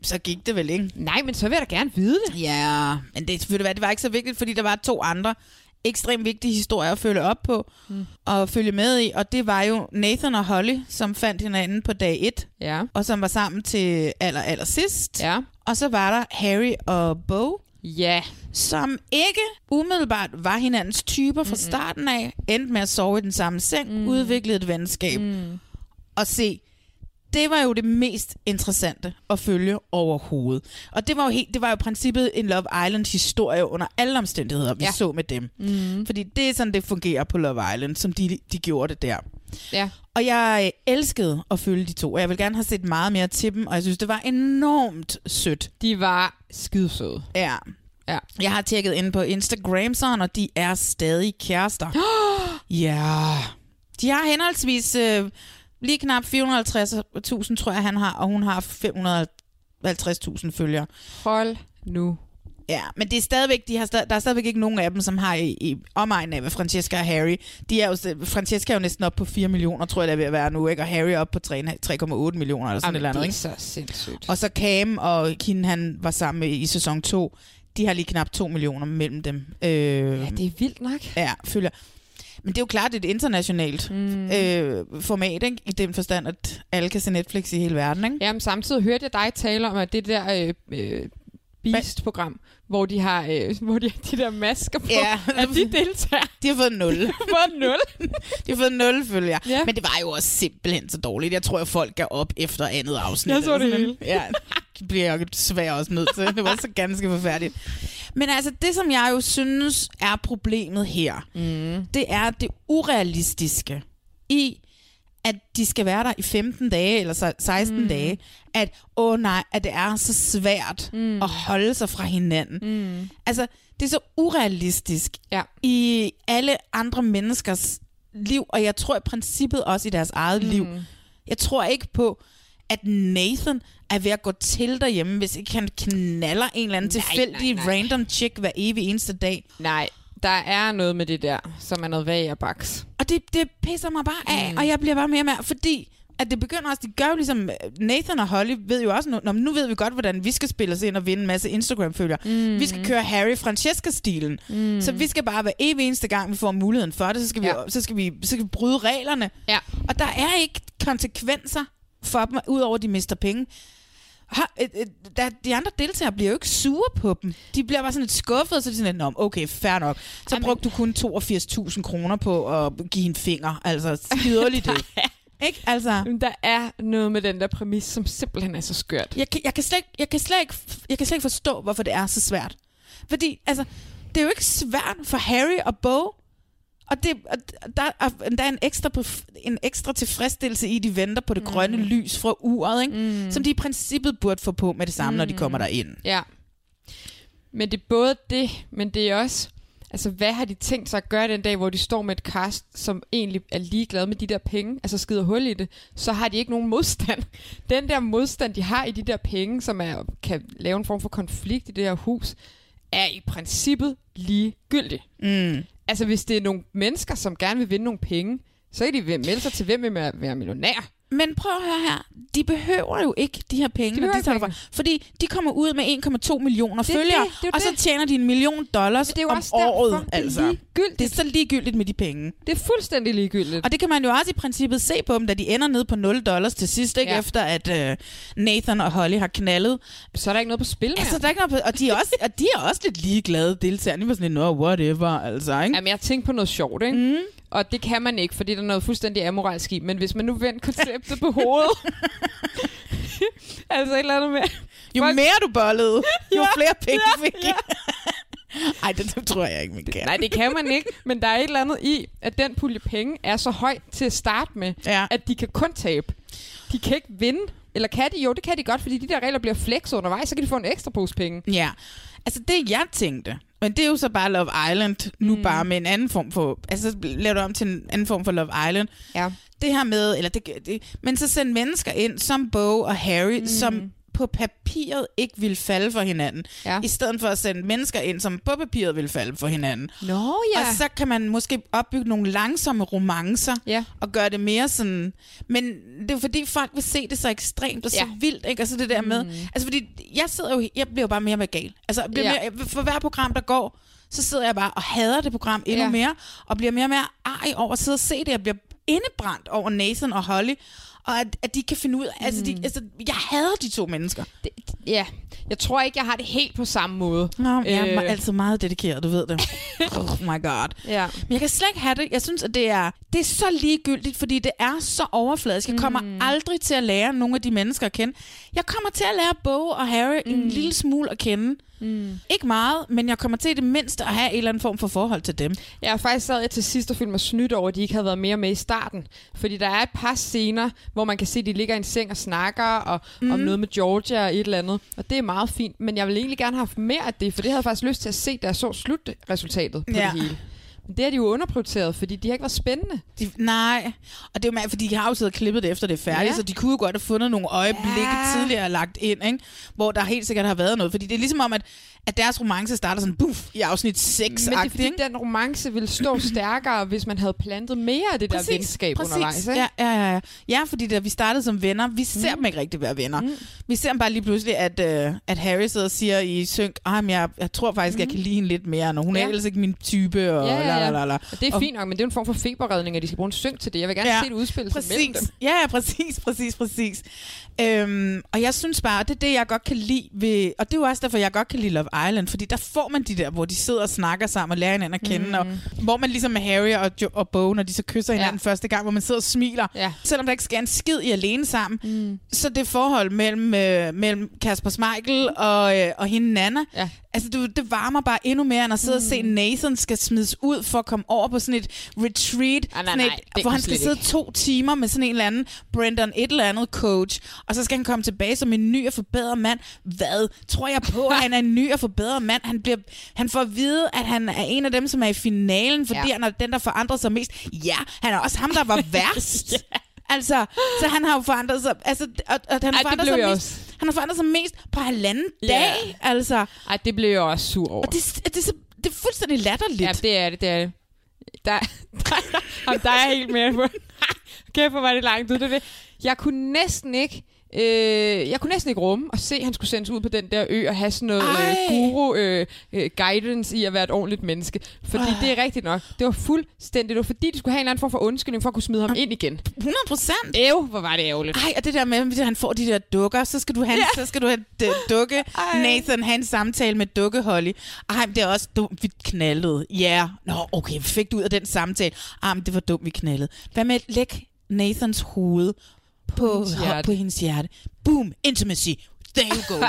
Så gik det vel, ikke?
Nej, men så vil jeg da gerne vide det.
Ja, men det, ved du hvad, det var ikke så vigtigt, fordi der var to andre ekstremt vigtige historier at følge op på mm. og følge med i, og det var jo Nathan og Holly, som fandt hinanden på dag 1,
Ja,
og som var sammen til aller, aller sidst.
ja,
Og så var der Harry og Bo,
ja.
som ikke umiddelbart var hinandens typer fra starten af, endte med at sove i den samme seng, mm. udviklede et venskab. Mm. Og se, det var jo det mest interessante at følge overhovedet. Og det var jo, helt, det var jo i princippet en Love Island historie under alle omstændigheder, vi
Ja.
ja. så med dem. Mm. Fordi det er sådan, det fungerer på Love Island, som de, de gjorde det der.
ja.
Og jeg elskede at følge de to, og jeg vil gerne have set meget mere til dem, og jeg synes, det var enormt sødt.
De var skidesøde.
Ja.
Ja.
Jeg har tjekket ind på Instagram, sådan, og de er stadig kærester. ja. De har henholdsvis øh, Lige knap 450.000 tror jeg, han har, og hun har 550.000 følgere.
Hold nu.
Ja, men det er stadigvæk, de har stad, der er stadigvæk ikke nogen af dem, som har i, i omegn af, hvad Francesca og Harry. De er jo, st- Francesca er jo næsten op på 4 millioner, tror jeg, der vil være nu, ikke? og Harry er op på 3 3,8 millioner eller sådan
Jamen,
et eller andet.
det er
ikke?
så sindssygt.
Og så Cam og Kin, han var sammen med i sæson 2, de har lige knap 2 millioner mellem dem. Øh, ja,
det er vildt nok.
Ja, følger. Men det er jo klart, det er et internationalt mm. øh, format, ikke? i den forstand, at alle kan se Netflix i hele verden. Ikke?
Jamen samtidig hørte jeg dig tale om, at det der øh, øh, Beast-program, hvor de har øh, hvor de, har de der masker på,
Ja.
at de deltager.
De har fået 0. de har
fået 0.
de har fået 0 følger.
Ja.
Ja. Men det var jo også simpelthen så dårligt. Jeg tror, at folk gav op efter andet afsnit.
Jeg så
eller
det
sådan
hele.
noget. Ja, det bliver jeg jo desværre også nødt til. Det var så ganske forfærdeligt. Men altså, det som jeg jo synes er problemet her, mm. det er det urealistiske i, at de skal være der i 15 dage eller så- 16 mm. dage, at åh nej, at det er så svært mm. at holde sig fra hinanden. Mm. Altså, det er så urealistisk
ja.
i alle andre menneskers liv, og jeg tror i princippet også i deres eget mm. liv. Jeg tror ikke på, at Nathan er ved at gå til derhjemme, hvis ikke han knaller en eller anden
Nej,
tilfældig
nej, nej.
random chick hver evig eneste dag.
Nej, der er noget med det der, som er noget vag af baks.
Og det, det pisser mig bare af, mm. og jeg bliver bare mere og mere, fordi at det begynder også, de gør jo ligesom, Nathan og Holly ved jo også, nu, "Nå, men nu ved vi godt, hvordan vi skal spille os ind og vinde en masse Instagram-følgere. Mm. Vi skal køre Harry Francesca-stilen. Mm. Så vi skal bare hver evig eneste gang, vi får muligheden for det, så skal, ja. vi, så skal, vi, så skal vi bryde reglerne.
Ja.
Og der er ikke konsekvenser for dem, udover at de mister penge. Har, øh, øh, der, de andre deltagere bliver jo ikke sure på dem. De bliver bare sådan lidt skuffede, så er de sådan lidt, "Nå, okay, fair nok. Så Amen. brugte du kun 82.000 kroner på at give en finger. Altså, skiderligt det. Ikke? Altså.
Der er noget med den der præmis, som simpelthen er så skørt.
Jeg kan, jeg, kan slet, ikke- jeg, kan slet ikke, jeg kan slet ikke forstå, hvorfor det er så svært. Fordi, altså, det er jo ikke svært for Harry og Bo. Og, det, og der, er, der er en ekstra, bef- en ekstra tilfredsstillelse i, at de venter på det mm. grønne lys fra uret, ikke? Mm. som de i princippet burde få på med det samme, mm. når de kommer derind.
Ja. Men det er både det, men det er også... Altså, hvad har de tænkt sig at gøre den dag, hvor de står med et cast, som egentlig er ligeglad med de der penge, altså skider hul i det, så har de ikke nogen modstand. Den der modstand, de har i de der penge, som er, kan lave en form for konflikt i det her hus, er i princippet ligegyldig.
Mm.
Altså, hvis det er nogle mennesker, som gerne vil vinde nogle penge, så kan de melde sig til, hvem vil være millionær.
Men prøv at høre her. De behøver jo ikke de her penge, når
De behøver
de
ikke
tager derfra. Fordi de kommer ud med 1,2 millioner
Det er
følgere,
det, det er jo
og
det.
så tjener de en million dollars
Men det er jo
om
også derfor,
året.
det er
altså.
ligegyldigt.
det er så ligegyldigt med de penge.
Det er fuldstændig ligegyldigt.
Og det kan man jo også i princippet se på dem, da de ender ned på 0 dollars til sidst, ikke?
Ja.
Ja. efter at øh, Nathan og Holly har knaldet.
Så er der ikke noget på spil mere.
Altså, der er ikke noget på, og, de er også, og de er også lidt ligeglade deltagerne. De var sådan lidt, no, whatever, altså, ikke?
Jamen, jeg tænkte på noget sjovt, ikke? Mm. Og det kan man ikke, fordi der er noget fuldstændig amoralsk i. Men hvis man nu vendte konceptet på hovedet... altså et eller andet med...
Jo mere du bollede, jo
Ja,
flere penge
ja,
fik I. Ej, det, det tror jeg ikke, man kan.
Nej, det kan man ikke, men der er et eller andet i, at den pulje penge er så høj til at starte med,
Ja.
at de kan kun tabe. De kan ikke vinde. Eller kan de? Jo, det kan de godt, fordi de der regler bliver flexet undervejs, så kan de få en ekstra pose penge.
Ja, altså det jeg tænkte, men det er jo så bare Love Island, nu mm. bare med en anden form for, altså så laver du om til en anden form for Love Island.
Ja.
Det her med, eller det, det men så send mennesker ind, som Bo og Harry, mm. som på papiret ikke vil falde for hinanden,
Ja.
i stedet for at sende mennesker ind, som på papiret vil falde for hinanden.
Nå
Og så kan man måske opbygge nogle langsomme romancer,
Ja.
og gøre det mere sådan... Men det er jo fordi, folk vil se det så ekstremt og så
Ja.
ja. vildt, ikke? Og så det der med... Altså fordi, jeg sidder jo... Jeg bliver jo bare mere og mere gal. Altså, jeg bliver
Ja.
ja. mere, for hver program, der går, så sidder jeg bare og hader det program endnu
Ja.
ja. mere, og bliver mere og mere ej over at sidde og se det. Jeg bliver indebrændt over Nathan og Holly, og at, at de ikke kan finde ud af... Mm. Altså, de, altså, jeg hader de to mennesker.
Det, ja, jeg tror ikke, jeg har det helt på samme måde.
Nå, øh. jeg er altid meget dedikeret, du ved det. oh my god.
Ja.
Men jeg kan slet ikke have det. Jeg synes, at det er, det er så ligegyldigt, fordi det er så overfladisk. Jeg kommer mm. aldrig til at lære nogle af de mennesker at kende. Jeg kommer til at lære Bo og Harry mm. en lille smule at kende. Mm. Ikke meget, men jeg kommer til i det mindste at have en eller anden form for forhold til dem.
Ja, faktisk sad jeg til sidst og følte mig snydt over, at de ikke havde været mere med i starten. Fordi der er et par scener, hvor man kan se, at de ligger i en seng og snakker og, mm. om noget med Georgia og et eller andet. Og det er meget fint, men jeg ville egentlig gerne have haft mere af det, for det havde jeg faktisk lyst til at se, da jeg så slutresultatet på ja.
Ja.
det hele. Men det har de jo underprioriteret, fordi de har ikke været spændende.
De, nej, og det er jo mærkeligt, fordi de har jo siddet og klippet det efter det er færdigt,
Ja.
ja. så de kunne jo godt have fundet nogle øjeblikke ja. tidligere lagt ind, ikke? hvor der helt sikkert har været noget. Fordi det er ligesom om, at, at deres romance starter sådan, buff, i afsnit 6
Men det er fordi, den romance ville stå stærkere, hvis man havde plantet mere af det præcis, der venskab præcis. undervejs. Ikke?
Ja, ja, ja, ja. ja, fordi da vi startede som venner, vi ser mm. dem ikke rigtig være venner. Mm. Vi ser dem bare lige pludselig, at, øh, at Harry sidder og siger i synk, "Ej, men jeg, jeg tror faktisk, mm. jeg kan lide hende lidt mere, når hun ja.
Ja.
er ellers ikke min type. Og,
Ja,
la,
ja, ja.
la, la, la.
Og det er fint nok, men det er jo en form for feberredning, at de skal bruge en synk til det. Jeg vil gerne ja, se det udspille sig mellem
præcis.
dem.
Ja, ja, præcis, præcis, præcis. Øhm, og jeg synes bare, og det er det, jeg godt kan lide ved... Og det er jo også derfor, jeg godt kan lide Love Island, fordi der får man de der, hvor de sidder og snakker sammen og lærer hinanden at kende,
Mm.
mm. og hvor man ligesom med Harry og, jo, og Bo, når de så kysser hinanden ja. første gang, hvor man sidder og smiler, ja. selvom der ikke sker en skid i alene sammen. Mm. Så det forhold mellem, øh, mellem Kasper Smeichel og, øh, og hende Nana, ja. altså det, det varmer bare endnu mere, end at sidde mm. og se Nathan skal smides ud for at komme over på sådan et retreat,
Ah, nej,
sådan et,
nej, det kan
hvor han
slet
skal sidde
ikke.
to timer med sådan en eller anden Brendan et eller andet coach, og så skal han komme tilbage som en ny og forbedret mand. Hvad? Tror jeg på, at han er en ny og forbedret mand? Han, bliver, han får at vide, at han er en af dem, som er i finalen, fordi
Ja.
ja. han er den, der forandrer sig mest. Ja, han er også ham, der var værst. Altså, så han har jo forandret sig. Altså, og, og han,
Ej,
har
det
forandret
blev
sig
jeg
mest, han har forandret sig mest på halvanden
Ja.
dag. Altså.
Ej, det blev jeg også sur over.
Og det, det, det, det er fuldstændig latterligt.
Ja, det er det, det er det. Der, der, der, der er jeg helt mere på. Kæft, hvor var det langt ud. Det, er det. Jeg kunne næsten ikke... Øh, jeg kunne næsten ikke rumme at se, at han skulle sendes ud på den der ø og have sådan noget øh, guru-guidance i at være et ordentligt menneske. Fordi
Ej.
det er rigtigt nok. Det var fuldstændig... Det var fordi, de skulle have en eller anden form for undskyldning for at kunne smide ham ind igen.
100 procent.
Æv, hvor var det ærgerligt.
Ej, og det der med, at han får de der dukker, så skal du have,
Ja.
ja. så skal du have d- dukke.
Ej.
Nathan have en samtale med dukke Holly. Ej, men det er også dumt, vi knaldede. Ja, yeah. nå okay, vi fik det ud af den samtale. Ej, men det var dumt, vi knaldede. Hvad med at lægge Nathans hoved på,
hendes
på,
hjerte.
på hendes hjerte? Boom, intimacy. There you go.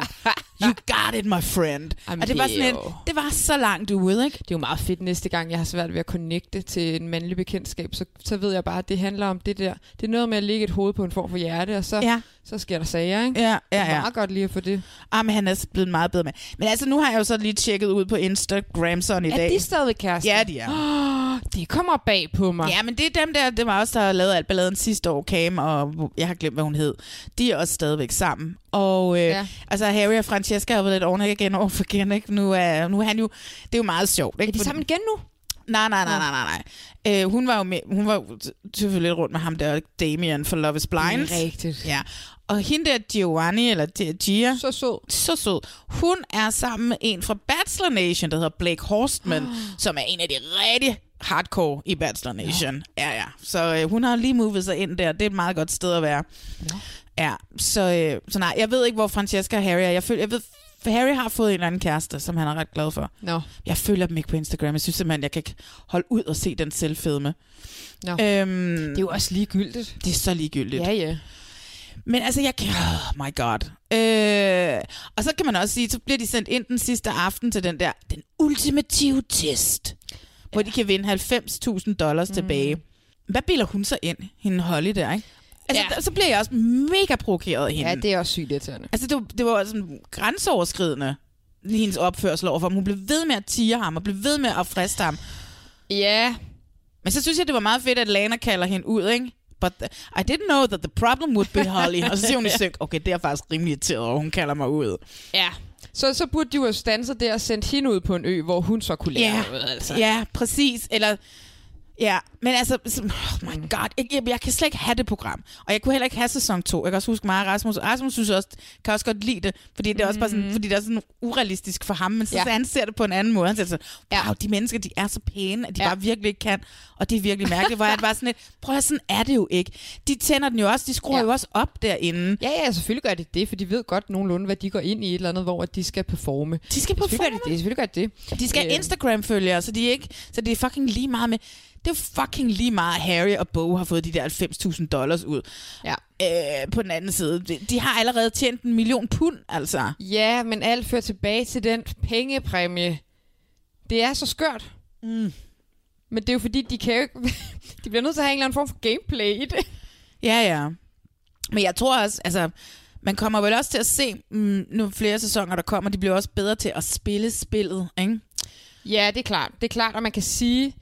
You got it, my friend.
Jamen,
og det var sådan en, det var så langt ude, ikke?
Det er jo meget fedt næste gang, jeg har svært ved at connecte til en mandlig bekendtskab, så, så ved jeg bare, at det handler om det der. Det er noget med at lægge et hoved på en form for hjerte, og så, ja.
Ja.
så sker der sager, ikke?
Ja, ja,
Det er
ja.
meget godt lige at få det.
Ah, men han er blevet en meget bedre mand. Men altså, nu har jeg jo så lige tjekket ud på Instagram sådan i
Er
dag.
de stadigvæk kærester?
Ja, de er.
Oh, det kommer bag på mig.
Ja, men det er dem der, det var også der lavede alt balladen sidste år, Cam, og jeg har glemt, hvad hun hed. De er også stadigvæk sammen. Og øh,
Ja.
ja. altså, Harry og Francesca har været lidt oven igen over for igen, ikke? Nu er, nu er han jo, det er jo meget sjovt. Ikke?
Er de sammen igen nu?
Nej, nej, nej, nej, nej. nej. Øh, hun var jo med, hun var jo t- selvfølgelig lidt rundt med ham der, Damien for Love is Blind.
Rigtigt.
Ja. Og hende der Giovanni, eller der Gia.
Så sød.
Så sød. Hun er sammen med en fra Bachelor Nation, der hedder Blake Horstman, oh. som er en af de rigtig hardcore i Bachelor Nation. Ja, ja. Så øh, hun har lige movet sig ind der. Det er et meget godt sted at være.
Nå.
Ja, så, øh, så nej, jeg ved ikke, hvor Francesca og Harry er. Jeg, føler, jeg ved, Harry har fået en eller anden kæreste, som han er ret glad for.
Nå.
Jeg følger dem ikke på Instagram. Jeg synes simpelthen, jeg kan ikke holde ud og se den selvfedme.
Nå.
Øhm,
Det er jo også ligegyldigt.
det er så ligegyldigt.
Ja, ja.
Men altså, jeg kan... Oh my god. Øh, og så kan man også sige, så bliver de sendt ind den sidste aften til den der, den ultimative test, hvor de kan vinde 90.000 dollars mm. tilbage. Hvad bilder hun så ind, hende Holly der, ikke? Altså,
Ja.
ja. der, så bliver jeg også mega provokeret af hende.
Ja, det er også sygt irriterende.
Altså, det, var- det var sådan grænseoverskridende, hendes opførsel overfor ham. Hun blev ved med at tire ham, og blev ved med at friste ham.
Ja.
Men så synes jeg, det var meget fedt, at Lana kalder hende ud, ikke? But the, I didn't know that the problem would be Holly. og så siger hun i synk, okay, det er jeg faktisk rimelig irriteret over, hun kalder mig ud.
Ja. Så, så burde de jo have stanset der og sendt hende ud på en ø, hvor hun så kunne lære
Ja,
noget, altså.
ja, præcis. Eller, ja, men altså, så- oh
Mm.
my god, jeg, jeg, jeg kan slet ikke have det program. Og jeg kunne heller ikke have sæson 2. Jeg kan også huske mig og Rasmus. Rasmus synes også, kan også godt lide det, fordi det er også bare sådan, fordi det er sådan urealistisk for ham, men så,
Mm. Ja.
ja. så han ser det på en anden måde. Han siger så, wow, de mennesker, de er så pæne, at de
Ja.
ja. bare virkelig ikke kan, og det er virkelig mærkeligt, hvor jeg bare sådan lidt, prøv at høre, sådan er det jo ikke. De tænder den jo også, de skruer
Ja.
ja. jo også op derinde.
Ja, ja, selvfølgelig gør det det, for de ved godt nogenlunde, hvad de går ind i et eller andet, hvor at de skal performe.
De skal
Selvfølgelig gør de
performe.
det, selvfølgelig gør de det.
De skal have
Øhm,
Instagram-følgere, så de er ikke, så det er fucking lige meget med... Det er jo fucking lige meget, at Harry og Bo har fået de der 90.000 dollars ud.
Ja.
Øh, på den anden side, de, de har allerede tjent en million pund, altså.
Ja, men alt fører tilbage til den pengepræmie. Det er så skørt.
Mm.
Men det er jo fordi, de kan jo ikke... de bliver nødt til at have en eller anden form for gameplay i det.
Ja, ja. Men jeg tror også, altså, man kommer vel også til at se mm, nu flere sæsoner, der kommer, de bliver også bedre til at spille spillet, ikke?
Ja, det er klart. Det er klart, og man kan sige,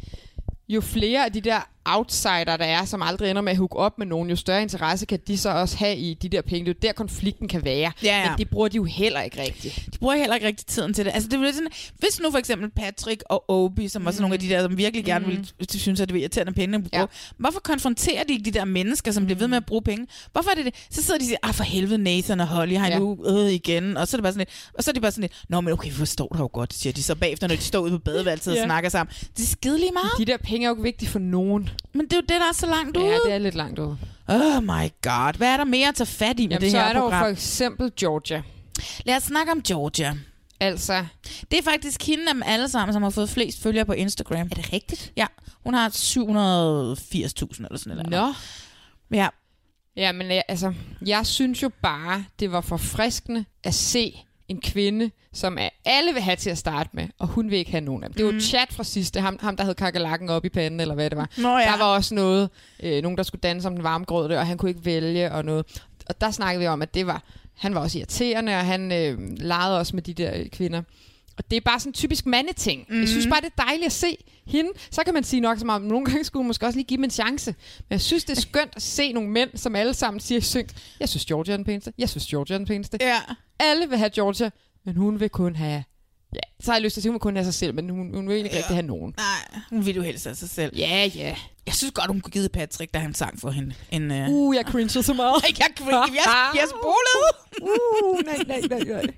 jo flere af de der outsider, der er, som aldrig ender med at hooke op med nogen, jo større interesse kan de så også have i de der penge. Det er jo der, konflikten kan være.
Ja, ja.
Men det bruger de jo heller ikke rigtigt.
De bruger heller ikke rigtig tiden til det. Altså, det er jo lidt sådan, hvis nu for eksempel Patrick og Obi, som var sådan
Mm.
nogle af de der, som virkelig gerne ville de synes, at det var irriterende at pengene blev brugt. Ja. Hvorfor konfronterer de ikke de der mennesker, som bliver ved
Mm.
med at bruge penge? Hvorfor er det det? Så sidder de og siger, ah for helvede Nathan og Holly, har I
Ja.
nu øh, igen? Og så er det bare sådan lidt, og så er det bare sådan lidt, nå men okay, vi forstår dig jo godt, siger de så bagefter, når de står ude på badeværelset
Ja.
og snakker sammen. Det er skide lige meget.
De der penge er jo ikke vigtige for nogen.
Men det er jo det, der er så langt ude.
Ja, det er lidt langt ude.
Oh my god. Hvad er der mere at tage fat i med
Jamen,
det
så
her
er der jo
program?
for eksempel Georgia.
Lad os snakke om Georgia.
Altså.
Det er faktisk hende af dem alle sammen, som har fået flest følgere på Instagram. Er
det rigtigt?
Ja. Hun har 780.000 eller sådan noget.
Nå.
Ja.
Ja, men jeg- altså, jeg synes jo bare, det var forfriskende at se en kvinde, som er, alle vil have til at starte med, og hun vil ikke have nogen af dem. Det var
Mm.
jo chat fra sidste, ham, ham der havde kakalakken op i panden, eller hvad det var.
Nå ja.
Der var også noget, øh, nogen der skulle danse om den varme grød, og han kunne ikke vælge, og noget. Og der snakkede vi om, at det var, han var også irriterende, og han øh, legede også med de der øh, kvinder. Og det er bare sådan en typisk mandeting. Mm. Jeg synes bare, det er dejligt at se hende. Så kan man sige nok så meget, nogle gange skulle hun måske også lige give dem en chance. Men jeg synes, det er skønt at se nogle mænd, som alle sammen siger i synk, jeg synes, Georgia er den pæneste, jeg synes, Georgia er den pæneste.
Ja.
Alle vil have Georgia, men hun vil kun have... Ja, så har jeg lyst til at sige, hun vil kun have sig selv, men hun, hun vil egentlig ikke rigtig have nogen.
Nej, hun ville jo helst af sig selv.
Ja, ja.
Jeg synes godt, hun kunne give Patrick, da han sang for hende. En, øh,
Uh, jeg cringede så meget.
jeg cringede. Jeg, jeg spolede.
uh, nej, nej, nej, nej.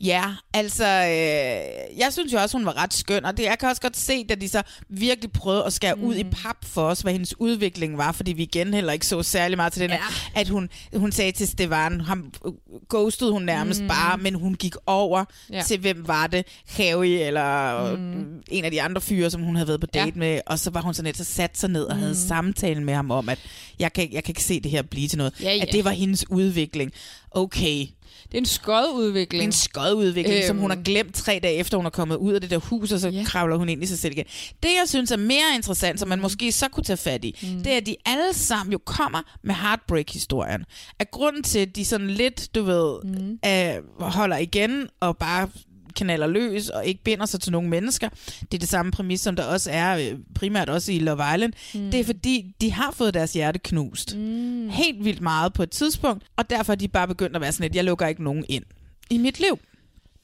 Ja, altså, øh, jeg synes jo også, hun var ret skøn, og det, jeg kan også godt se, da de så virkelig prøvede at skære mm. ud i pap for os, hvad hendes udvikling var, fordi vi igen heller ikke så særlig meget til den ja. at hun, hun sagde til Stefan, ham øh, ghostede hun nærmest mm. bare, men hun gik over
Ja.
ja. til, hvem var det, Harry eller mm. en af de andre fyre, som hun havde været på date ja. med, og så var hun sådan lidt, så satte sig ned og mm. havde samtalen med ham om, at jeg kan, ikke- jeg kan ikke se det her blive til noget,
Ja,
ja,
ja.
ja. at det var hendes udvikling. Okay,
Det er en skodudvikling.
en skodudvikling, øhm. som
Øhm.
hun har glemt tre dage efter, hun er kommet ud af det der hus, og så yeah. kravler hun ind i sig selv igen. Det, jeg synes er mere interessant, som man måske så kunne tage fat i, mm. det er, at de alle sammen jo kommer med heartbreak-historien. At grunden til, at de sådan lidt, du ved, mm. øh, holder igen og bare kanaler løs og ikke binder sig til nogen mennesker. Det er det samme præmis, som der også er øh, primært også i Love Island. Mm. Det er fordi, de har fået deres hjerte knust. Mm. Helt vildt meget på et tidspunkt, og derfor er de bare begyndt at være sådan lidt, jeg lukker ikke nogen ind i mit liv.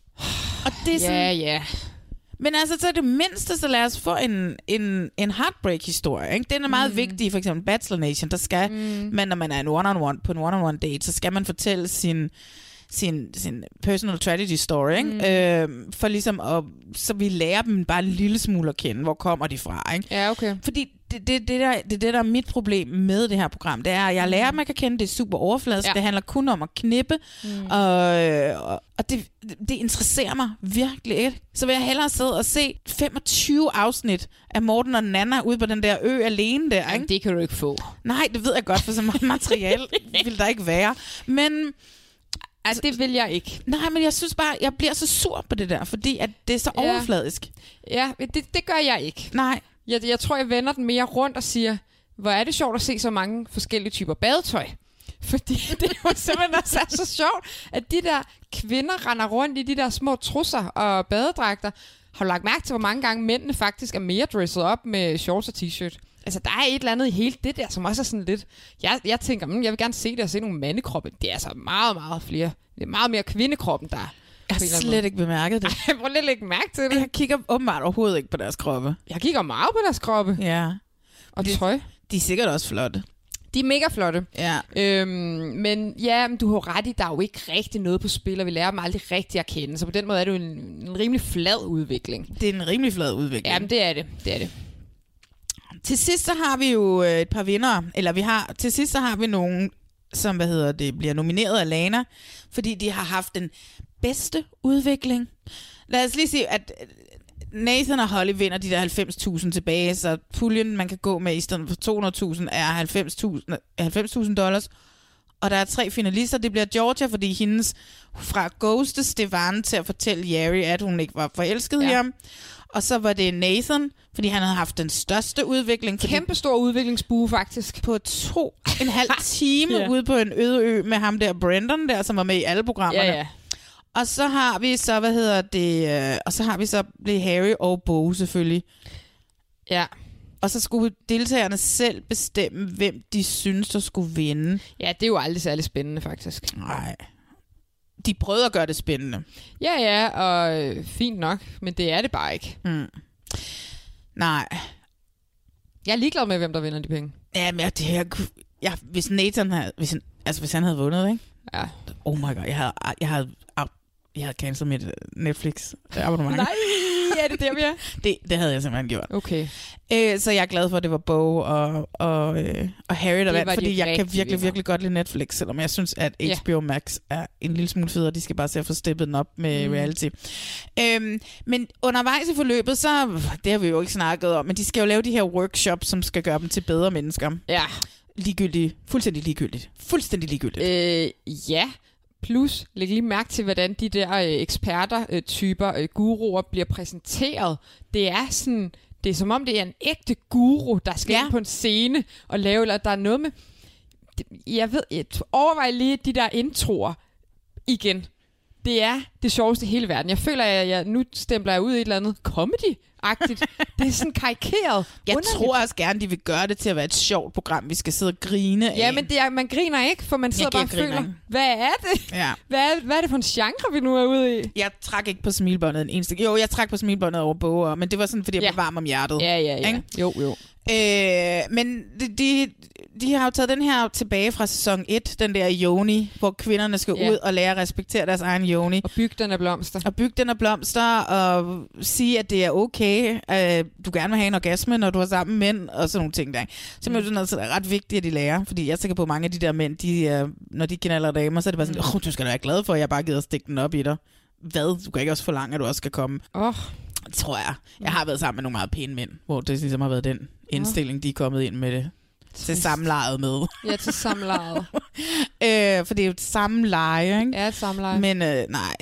Og det er sådan,
Ja, ja.
men altså, så er det mindste, så lad os få en, en, en heartbreak-historie. Ikke? Den er meget mm. vigtig, for eksempel Bachelor Nation. Der skal mm. man, når man er en one-on-one, på en one-on-one date, så skal man fortælle sin, sin, sin personal tragedy story. Ikke? Mm. Øh, for ligesom at, så vi lærer dem bare en lille smule at kende. Hvor kommer de fra? Ikke?
Ja, okay.
Fordi det, det, det, der, det, er det, der er mit problem med det her program, det er, at jeg lærer, at man kan kende det er super overfladisk.
Mm. Ja.
Ja. Det handler kun om at knippe, mm. og, øh, og- og det, det interesserer mig virkelig ikke. Så vil jeg hellere sidde og se 25 afsnit af Morten og Nana ude på den der ø alene der. Ikke?
Jamen, det kan du ikke få.
Nej, det ved jeg godt, for så meget materiale vil der ikke være. Men
Altså, det vil jeg ikke.
nej, men jeg synes bare, jeg bliver så sur på det der, fordi at det er så
Ja.
overfladisk.
Ja, men det, det gør jeg ikke.
Nej.
Jeg, jeg tror, jeg vender den mere rundt og siger, hvor er det sjovt at se så mange forskellige typer badetøj. Fordi det var simpelthen også er så sjovt, at de der kvinder render rundt i de der små trusser og badedragter. Har du lagt mærke til, hvor mange gange mændene faktisk er mere dresset op med shorts og t-shirt? Altså, der er et eller andet i hele det der, som også er sådan lidt... Jeg, jeg tænker, mm, jeg vil gerne se det og se nogle mandekroppe. Det er altså meget, meget flere. Det er meget mere kvindekroppen, der...
Jeg har slet ikke bemærket det.
Jeg prøver lidt at lægge mærke til det.
Jeg kigger åbenbart overhovedet ikke på deres kroppe.
Jeg kigger meget på deres kroppe
Ja.
og tøj.
De er sikkert også flotte.
De er mega flotte.
Ja.
Øhm, men ja, men du har jo ret i, der er jo ikke rigtig noget på spil, og vi lærer dem aldrig rigtig at kende. Så på den måde er det jo en, en rimelig flad udvikling.
Det er en rimelig flad udvikling.
Jamen, det er det. Det er det.
Til sidst så har vi jo øh, et par vinder, eller vi har, til sidst så har vi nogen, som hvad hedder det, bliver nomineret af Lana, fordi de har haft den bedste udvikling. Lad os lige sige, at øh, Nathan og Holly vinder de der 90.000 tilbage, så puljen, man kan gå med i stedet for 200.000, er 90.000 90.000 øh, dollars. Og der er tre finalister. Det bliver Georgia, fordi hendes fra Ghost Stefan til at fortælle Jerry, at hun ikke var forelsket ja. i ham. Og så var det Nathan, fordi han havde haft den største udvikling. Fordi
Kæmpe stor udviklingsbue, faktisk.
på to en halv time
Ja.
ja. ude på en øde ø med ham der Brandon der, som var med i alle programmerne.
Ja, ja.
Og så har vi så, hvad hedder det, øh, og så har vi så blev Harry og Bo selvfølgelig.
Ja.
Og så skulle deltagerne selv bestemme, hvem de synes, der skulle vinde.
Ja, det er jo aldrig særlig spændende, faktisk.
Nej. De prøvede at gøre det spændende.
Ja, ja, og øh, fint nok, men det er det bare ikke.
Mm. Nej.
Jeg er ligeglad med, hvem der vinder de penge.
Ja, men jeg, det, jeg, jeg, hvis Nathan havde, hvis, han- altså hvis han havde vundet, ikke?
Ja.
Oh my god, jeg havde, jeg havde, jeg havde cancel mit øh, Netflix øh, abonnement.
Nej, er det der, vi er?
Det, det havde jeg simpelthen gjort.
Okay.
Øh, så jeg er glad for, at det var Bo og, og, øh, og Harry, der
Det
vandt,
var de
fordi jeg kan
rigtige
virkelig,
vinder.
virkelig godt lide Netflix, selvom jeg synes, at
Ja.
HBO Max er en lille smule federe. De skal bare se at få steppet den op med
Mm.
mm. reality. Øhm, men undervejs i forløbet, så det har vi jo ikke snakket om, men de skal jo lave de her workshops, som skal gøre dem til bedre mennesker.
Ja.
Ligegyldigt. Fuldstændig ligegyldigt. Fuldstændig ligegyldigt.
Øh, ja, plus læg lige mærke til, hvordan de der øh, eksperter, øh, typer, øh, guruer bliver præsenteret. Det er sådan, det er som om det er en ægte guru, der skal ja. ind på en scene og lave, eller der er noget med, det- jeg ved, jeg t- overvej lige de der introer igen. Det er det sjoveste i hele verden. Jeg føler, at jeg, jeg nu stempler jeg ud i et eller andet comedy-agtigt. det er sådan karikeret.
Jeg tror også gerne, de vil gøre det til at være et sjovt program, vi skal sidde og grine af.
Ja, men det er, man griner ikke, for man sidder
Jeg
bare og
kan ikke grine
føler,
af.
hvad er det?
Ja.
Hvad, er, hvad er det for en genre, vi nu er ude i?
Jeg trak ikke på smilbåndet en eneste... Jo, jeg trak på smilbåndet over boger, men det var sådan, fordi jeg
Ja.
blev varm om hjertet.
Ja, ja, ja.
Ikke?
Jo, jo.
Øh, men de, de, de har jo taget den her tilbage fra sæson 1, den der Joni, hvor kvinderne skal
Ja.
ud og lære at respektere deres egen Joni. Og
bygge den af blomster.
Og bygge den af blomster, og sige, at det er okay, øh, du gerne vil have en orgasme, når du er sammen med mænd, og sådan nogle ting der. ikke? Så mm. er det noget, der er ret vigtigt, at de lærer, fordi jeg er sikker på, at mange af de der mænd, de, øh, når de knaller damer, så er det bare sådan, oh, du skal da være glad for, at jeg bare gider at stikke den op i dig. Hvad? Du kan ikke også forlange, at du også skal komme.
Oh.
Tror jeg. Jeg har været sammen med nogle meget pæne mænd, hvor det ligesom har været den indstilling, de er kommet ind med det. Til samlejet med.
Ja, til samlejet.
øh, for det er jo et samleje, ikke?
Ja, et samleje.
Men øh, nej.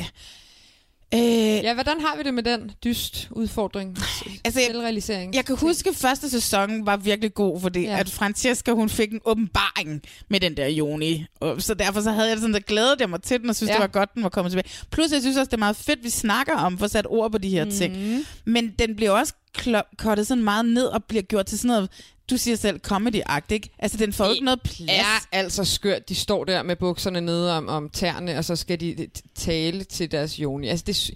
Øh,
Ja, hvordan har vi det med den dyst udfordring?
Altså, jeg-
Selvrealisering.
Jeg kan huske, at første sæson var virkelig god, fordi ja. at Francesca hun fik en åbenbaring med den der Joni. Og Så derfor så havde jeg det sådan, der glædede jeg mig til den, og synes,
Ja.
ja. det var godt, den var kommet tilbage. Plus, jeg synes også, det er meget fedt, vi snakker om, for sat ord på de
Mhm.
her mm. ting. Men den bliver også klo- kortet sådan meget ned, og bliver gjort til sådan noget, du siger selv, comedy-agtigt, ikke? Altså, den får jo ikke noget plads.
er altså skørt. De står der med bukserne nede om, om tæerne, og så skal de t- tale til deres joni. Altså, det, sy-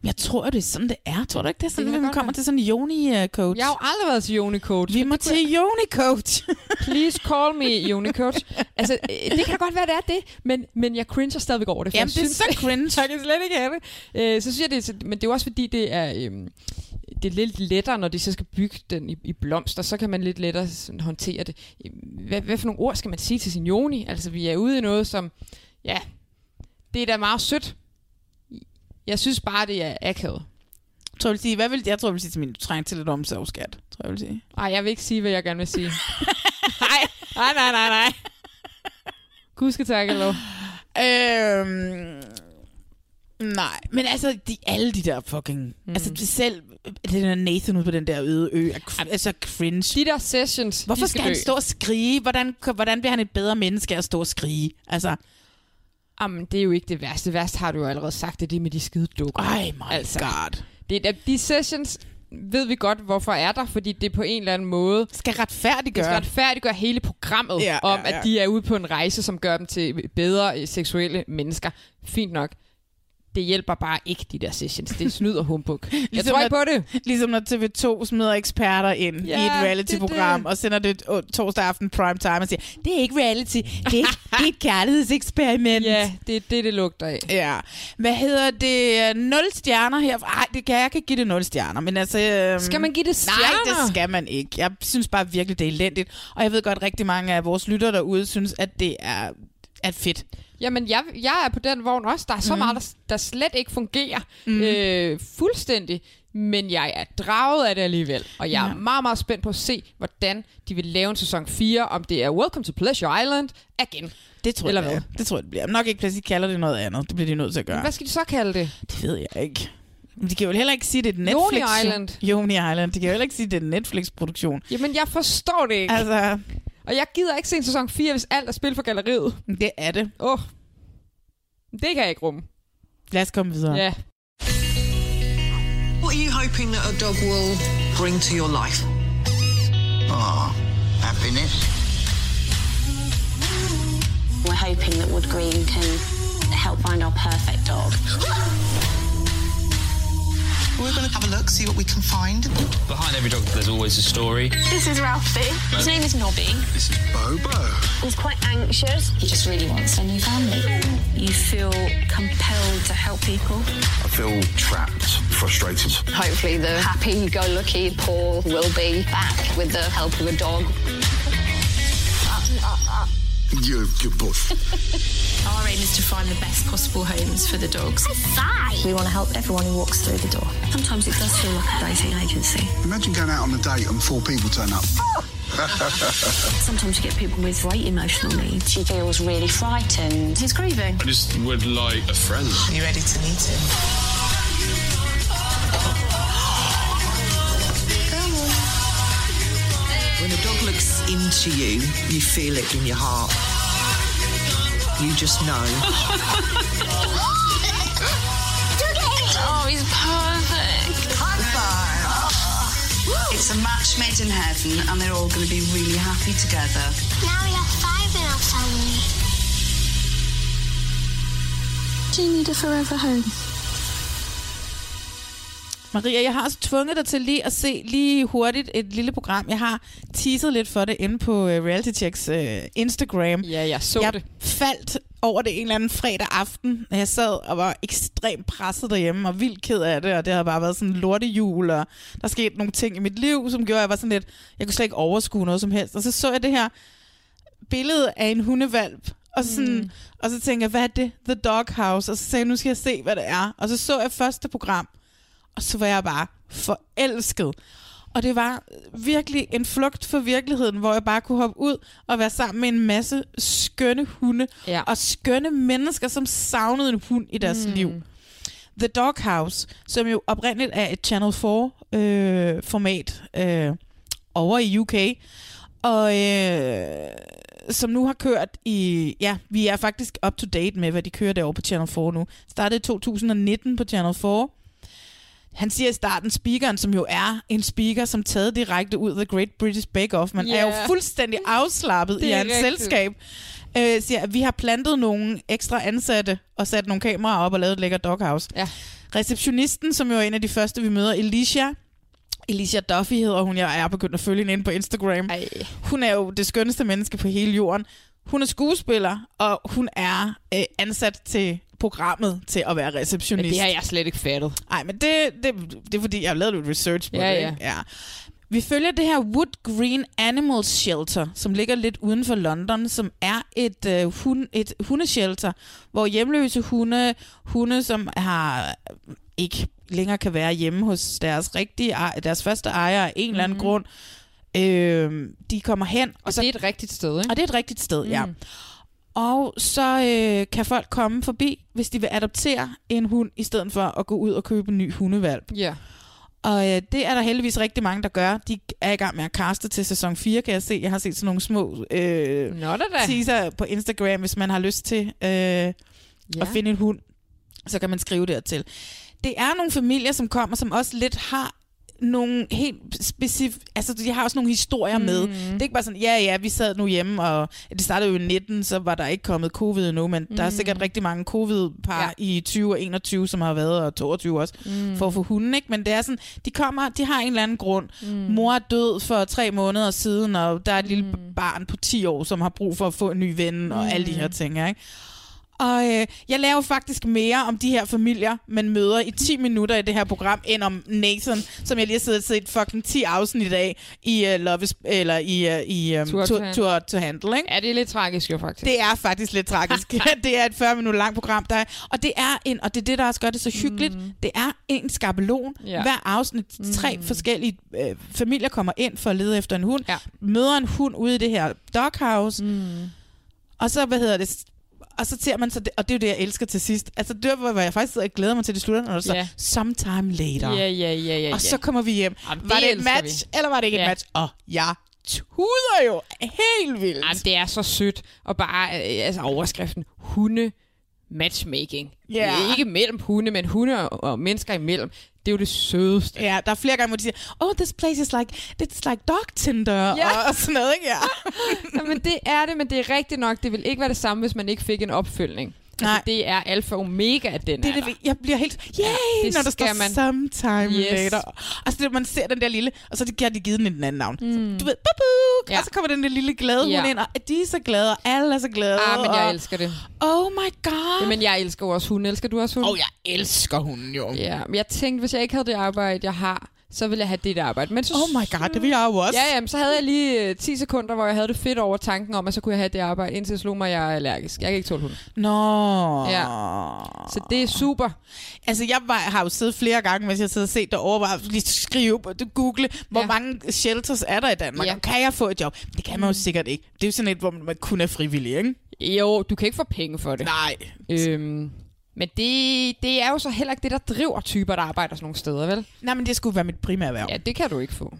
Men jeg tror, det er sådan, det er. Tror du ikke, det er sådan,
Det
det
kan
at man
godt
kommer
være.
til sådan en Joni-coach?
jeg har jo aldrig været til joni coach.
Vi må til Joni-coach.
Please call me joni coach. Altså, øh, det kan godt være, det er det, men, men jeg cringer stadigvæk over det. for
Jamen,
jeg
det er så cringe.
jeg kan slet ikke have det. Øh, så synes jeg, det er, så- men det er jo også fordi, det er... Øhm, det er lidt lettere, når de så skal bygge den i, i blomster, så kan man lidt lettere sådan, håndtere det. Øh, Hvad, hvad for nogle ord skal man sige til sin Joni? Altså, vi er ude i noget, som... Ja, det er da meget sødt. Jeg synes bare, det er akavet.
Tror jeg, vil sige, hvad vil, jeg tror, jeg vil sige til min, du trænger til lidt omsorgskat, tror jeg, jeg vil sige.
Nej, jeg vil ikke sige, hvad jeg gerne vil sige. nej, nej, nej, nej, nej. Gud skal takke lov.
Øhm, nej, men altså, de, alle de der fucking... Mm. Altså, det selv det der Nathan ude på den der øde ø, er cr- altså cringe.
De der sessions,
Hvorfor
de
skal,
skal
skal han
dø.
stå og skrige? Hvordan, hvordan bliver han et bedre menneske af at stå og skrige? Altså,
Jamen, det er jo ikke det værste. Det værste har du jo allerede sagt, det er det med de skide dukker.
Ej, my altså. god.
Det er, de sessions ved vi godt, hvorfor er der, fordi det på en eller anden måde...
Skal retfærdiggøre.
Det skal retfærdiggøre hele programmet
Ja,
ja, om,
ja, ja.
at de er ude på en rejse, som gør dem til bedre øh, seksuelle mennesker. Fint nok. Det hjælper bare ikke, de der sessions. Det er snyd og humbug. Jeg tror ikke på det.
Ligesom når TV2 smider eksperter ind ja,
Ja,
i
det er
et reality-program,
det.
og sender det øh, torsdag aften prime time og siger, det er ikke reality, det er, ikke, det er et kærlighedseksperiment.
Ja, det er det, det lugter af.
Ja. Hvad hedder det? Nul stjerner her. Ej, det kan jeg kan ikke give det nul stjerner, men altså... Øhm,
Skal man give det
Nej,
stjerner?
det skal man ikke. Jeg synes bare virkelig, det er elendigt. Og jeg ved godt, rigtig mange af vores lyttere derude synes, at det er, er fedt.
Jamen, jeg, jeg er på den vogn også. Der er så mm. meget, der, der slet ikke fungerer mm. øh, fuldstændig. Men jeg er draget af det alligevel. Og jeg er ja.
Ja.
meget, meget spændt på at se, hvordan de vil lave en sæson 4. Om det er Welcome to Pleasure Island igen.
Det tror
Eller
jeg,
hvad?
det er. Det tror jeg, det bliver. Nok ikke, hvis de kalder det noget andet. Det bliver de nødt til at gøre.
Hvad skal de så kalde det?
Det ved jeg ikke. Men de kan jo heller ikke sige, det er et
Lonely
Netflix.
Island.
Joni Island. De kan jo heller ikke sige, det er en Netflix-produktion.
Jamen, jeg forstår det ikke.
Altså,
Og jeg gider ikke se en sæson 4, hvis alt er spil for galleriet.
det er det.
Åh, oh, det kan jeg ikke rumme.
Lad os komme videre.
Ja.
What are you hoping that a dog will bring to your life?
Oh, happiness.
We're hoping that Wood Green can help find our perfect dog.
We're going to have a look, see what we can find.
Behind every dog, there's always a story.
This is Ralphie. His name is Nobby.
This is Bobo.
He's quite anxious. He just really wants a new family. You feel compelled to help people.
I feel trapped, frustrated.
Hopefully, the happy-go-lucky Paul will be back with the help of a dog.
You good boy.
Our aim is to find the best possible homes for the dogs. We want to help everyone who walks through the door. Sometimes it does feel like a dating agency.
Imagine going out on a date and four people turn up.
Sometimes you get people with great emotional needs. She feels really frightened. He's grieving.
I just would like a friend.
you ready to meet him?
When a dog looks into you, you feel it in your heart. You just know.
Oh, he's perfect.
It's a match made in heaven, and they're all going to be really happy together.
Now we have five in our family.
Do you need a forever home?
Maria, jeg har også tvunget dig til lige at se lige hurtigt et lille program. Jeg har teaset lidt for det inde på øh, Reality Checks øh, Instagram.
Ja, jeg så
jeg
det.
faldt over det en eller anden fredag aften, og jeg sad og var ekstremt presset derhjemme og vildt ked af det, og det havde bare været sådan en lortejul, og der skete nogle ting i mit liv, som gjorde, at jeg var sådan lidt, jeg kunne slet ikke overskue noget som helst. Og så så jeg det her billede af en hundevalp, og, sådan, mm. og så tænkte jeg, hvad er det? The Dog House. Og så sagde jeg, nu skal jeg se, hvad det er. Og så så jeg første program, og så var jeg bare forelsket. Og det var virkelig en flugt for virkeligheden, hvor jeg bare kunne hoppe ud og være sammen med en masse skønne hunde ja. og skønne mennesker, som savnede en hund i deres
Mm.
mm. liv. The Dog House, som jo oprindeligt er et Channel 4-format øh, format, øh, over i UK, og øh, som nu har kørt i... Ja, vi er faktisk up to date med, hvad de kører derovre på Channel 4 nu. Startede i 2019 på Channel 4. Han siger i starten, speakeren, som jo er en speaker, som taget direkte ud af The Great British Bake Off, men yeah. er jo
Ja.
fuldstændig afslappet
Det
i
er
hans
rigtigt.
selskab, øh, siger, at vi har plantet nogle ekstra ansatte og sat nogle kameraer op og lavet et lækkert doghouse.
Ja.
Receptionisten, som jo er en af de første, vi møder, Alicia, Alicia Duffy hedder hun, jeg er begyndt at følge hende inde på Instagram. Ej. Hun er jo det skønneste menneske på hele jorden. Hun er skuespiller, og hun er øh, ansat til programmet til at være receptionist.
Men det har jeg slet ikke fattet.
Nej, men det, det, det er fordi, jeg har lavet lidt research på
Ja,
det.
ja.
ikke? ja. Vi følger det her Wood Green Animal Shelter, som ligger lidt uden for London, som er et, øh, hun, et hundeshelter, hvor hjemløse hunde, hunde som har ikke længere kan være hjemme hos deres rigtige ej- deres første ejer af en eller anden
Mhm.
grund, øh, de kommer hen. Og, og så, det
er et rigtigt sted, ikke?
Og det er et rigtigt sted, mm. ja.
Mm.
Og så øh, kan folk komme forbi, hvis de vil adoptere en hund, i stedet for at gå ud og købe en ny hundevalp.
Ja.
Og øh, det er der heldigvis rigtig mange, der gør. De er i gang med at kaste til sæson 4, kan jeg se. Jeg har set sådan nogle små øh,
Nå da da.
teaser på Instagram, hvis man har lyst til øh, ja. at finde en hund. Så kan man skrive dertil. Det er nogle familier, som kommer, som også lidt har nogle helt specif... Altså, de har også nogle historier mm. med. Det er ikke bare sådan, ja, ja, vi sad nu hjemme, og det startede jo i 19, så var der ikke kommet covid endnu, men mm. der er
Mm.
sikkert rigtig mange covid-par ja. i 20 og 21, som har været, og 22 også,
Mm.
mm. for at få hunden, ikke? Men det er sådan, de kommer, de har en eller anden grund.
Mm.
Mm. Mor er død for tre måneder siden, og der er et lille barn på 10 år, som har brug for at få en ny ven, og mm. alle de her ting, ikke? Og øh, jeg laver faktisk mere om de her familier, man møder i 10 minutter i det her program, end om Nathan, som jeg lige har siddet og set fucking 10 afsnit af i uh, Love is, eller i, uh, i um,
Tour
tour,
to
to,
Handle.
tour to Handle, ikke?
Ja, det er lidt tragisk jo faktisk.
Det er faktisk lidt tragisk. det er et 40 minutter langt program, der er, og det er en, og det er det, der også gør det så hyggeligt. Mm. Det er en skabelon.
Ja.
Ja. Hver afsnit, tre mm. forskellige øh, familier kommer ind for at lede efter en hund.
Ja.
Møder en hund ude i det her doghouse. Mm. Og så, hvad hedder det, og så ser man så det, og det er jo det, jeg elsker til sidst. Altså, det var, hvor jeg faktisk sidder og glæder mig til det slutter, når der står,
Ja.
sometime later.
Ja, ja, ja, ja.
Og så kommer vi hjem.
Jamen,
var
det
det et
elsker
match,
vi.
eller var det ikke
Ja.
et match? Og jeg tuder jo helt vildt.
Jamen, det er så sødt. Og bare øh, altså overskriften, hunde matchmaking.
Ja.
Yeah. Ikke mellem hunde, men hunde og, og mennesker imellem. Det er jo det sødeste.
Ja, der er flere gange, hvor de siger, oh, this place is like, it's like dog Tinder,
Ja.
og, og sådan noget, ikke? Ja.
men det er det, men det er rigtigt nok. Det vil ikke være det samme, hvis man ikke fik en opfølgning. Nej. Altså, det er alfa og omega af den
Det, er det, jeg bliver helt, yay, ja,
det
når der
skal
står
man.
sometime
Yes.
yes. later. Og så det, man ser den der lille, og så har de givet den et andet navn. Mm. Du ved, babu, ja. og så kommer den der lille glade
Ja.
ja. hund ind, og de er så glade, og alle er så glade.
Ah, men jeg
og-
elsker det.
Oh my god.
Jamen, jeg elsker jo også hunde. Elsker du også hunde?
Åh, jeg elsker hunden jo.
Ja, men jeg tænkte, hvis jeg ikke havde det arbejde, jeg har, så ville jeg have dit arbejde. Men så,
Oh my god, det vil jeg jo også.
Ja, jamen, så havde jeg lige øh, 10 sekunder, hvor jeg havde det fedt over tanken om, at så kunne jeg have det arbejde, indtil jeg slog mig, at jeg er allergisk. Jeg kan ikke tåle hunde.
Nå.
Ja. Så det er super.
Altså, jeg var, har jo siddet flere gange, mens jeg sidder og set dig overveje, lige skrive, på- du google, hvor ja. mange shelters er der i Danmark,
Ja.
ja. Mm. og kan jeg få et job? Det kan man jo sikkert ikke. Det er jo sådan et, hvor man kun er frivillig, ikke?
Jo, du kan ikke få penge for det.
Nej.
Øhm, men det, det er jo så heller ikke det, der driver typer, der arbejder sådan nogle steder, vel?
Nej, men det skulle være mit primære erhverv.
Ja, det kan du ikke få.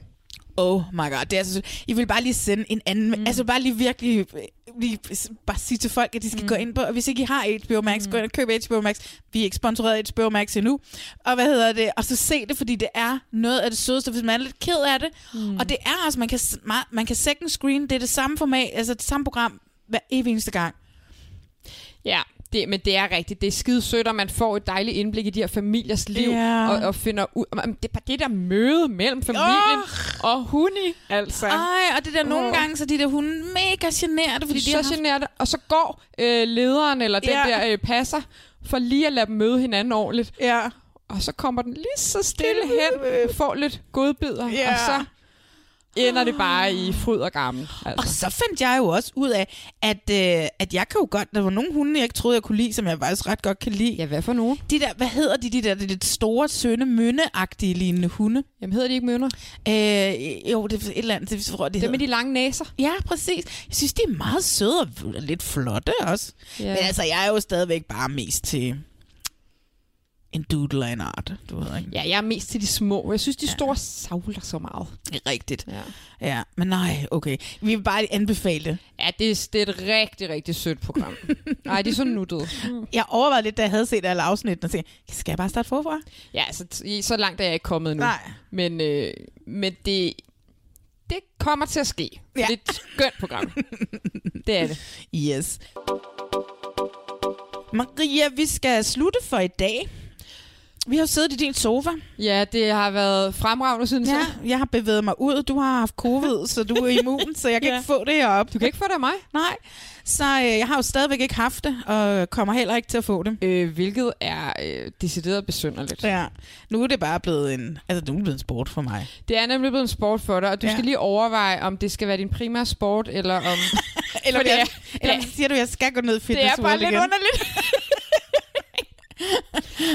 Oh my god, det er altså, I vil bare lige sende en anden, mm. altså bare lige virkelig, øh, lige, s- bare sige til folk, at de skal mm. gå ind på, og hvis ikke I har HBO Max, mm. gå ind og køb HBO Max, vi er ikke sponsoreret af HBO Max endnu, og hvad hedder det, og så se det, fordi det er noget af det sødeste, hvis man er lidt ked af det, mm. og det er altså, man kan, s- meget- man kan second screen, det er det samme format, altså det samme program, hver evig eneste gang.
Ja, det, men det er rigtigt. Det er skide sødt, og man får et dejligt indblik i de her familiers liv,
Ja.
og, og finder ud... Jamen, Det er bare det der møde mellem familien og hunde, altså.
Ej, og det der nogle
Åh.
gange, så de der hunde mega generede, fordi de
så
har
de
haft-
generer det, og så går øh, lederen eller den
Ja.
der øh, passer for lige at lade dem møde hinanden ordentligt.
Ja.
Og så kommer den lige så stille hen, øh, får lidt godbidder,
Ja.
og så ender det bare i fryd og gammel.
Og
Altså.
så fandt jeg jo også ud af, at, øh, at jeg kan jo godt, der var nogle hunde, jeg ikke troede, jeg kunne lide, som jeg faktisk ret godt kan lide. Ja,
hvad for nogle?
De der, hvad hedder de, de der de lidt store, sønde, mønneagtige lignende hunde?
Jamen hedder de ikke mønner?
Øh, jo, det er et eller andet, det tror jeg, de
Dem med de lange næser?
Ja, præcis. Jeg synes, de er meget søde og v- lidt flotte også.
Ja.
Ja. Men altså, jeg er jo stadigvæk bare mest til en doodle og en art, du ved ikke?
Ja, jeg er mest til de små. Jeg synes, de store savler så meget.
Rigtigt.
Ja.
Ja, men nej, okay. Vi vil bare anbefale det.
Ja, det er, det er et rigtig, rigtig sødt program. Nej, de er så nuttede.
Jeg overvejede lidt, da jeg havde set alle afsnittene, og tænkte, skal jeg bare starte forfra?
Ja, altså, t- i- så langt er jeg ikke kommet nu.
Nej.
Men, øh, men det, det kommer til at ske. Ja. Det er et skønt program. det er det.
Yes. Maria, vi skal slutte for i dag. Vi har jo siddet i din sofa.
Ja, det har været fremragende, synes
ja, jeg. jeg har bevæget mig ud. Du har haft covid, så du er immun, så jeg kan
Ja.
ja. ikke få det heroppe.
Du kan ikke få det af mig?
Nej. Så øh, jeg har jo stadigvæk ikke haft det, og kommer heller ikke til at få det.
Øh, hvilket er øh, decideret besynderligt.
Ja. Nu er det bare blevet en, altså, nu er det blevet en sport for mig.
Det er nemlig blevet en sport for dig, og du ja.
Ja.
skal lige overveje, om det skal være din primære sport, eller om...
Eller,
Fordi-
jeg, eller siger du, at jeg skal gå ned i
det
fitness
er bare lidt
igen.
underligt.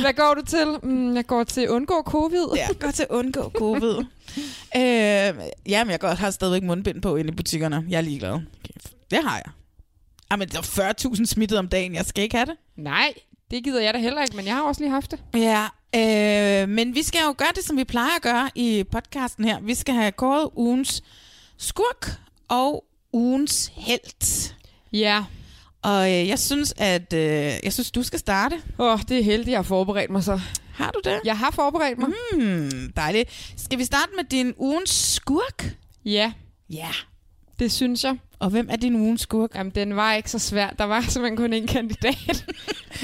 Hvad går du til? Mm, jeg går til at undgå covid.
Ja, går til at undgå covid. øh, jamen, jeg godt har stadigvæk mundbind på inde i butikkerne. Jeg er ligeglad. Okay, Det har jeg. Jamen, der er 40.000 smittet om dagen. Jeg skal ikke have det.
Nej, det gider jeg da heller ikke, men jeg har også lige haft det.
Ja, øh, men vi skal jo gøre det, som vi plejer at gøre i podcasten her. Vi skal have kåret ugens skurk og ugens helt.
Ja.
Og øh, jeg synes, at øh, jeg synes, du skal starte.
Åh, oh, det er heldigt, jeg har forberedt mig så.
Har du det?
Jeg har forberedt mig.
Mm, dejligt. Skal vi starte med din ugens skurk?
Ja,
Ja.
det synes jeg.
Og hvem er din ugens skurk?
Jamen, den var ikke så svær. Der var simpelthen kun én kandidat.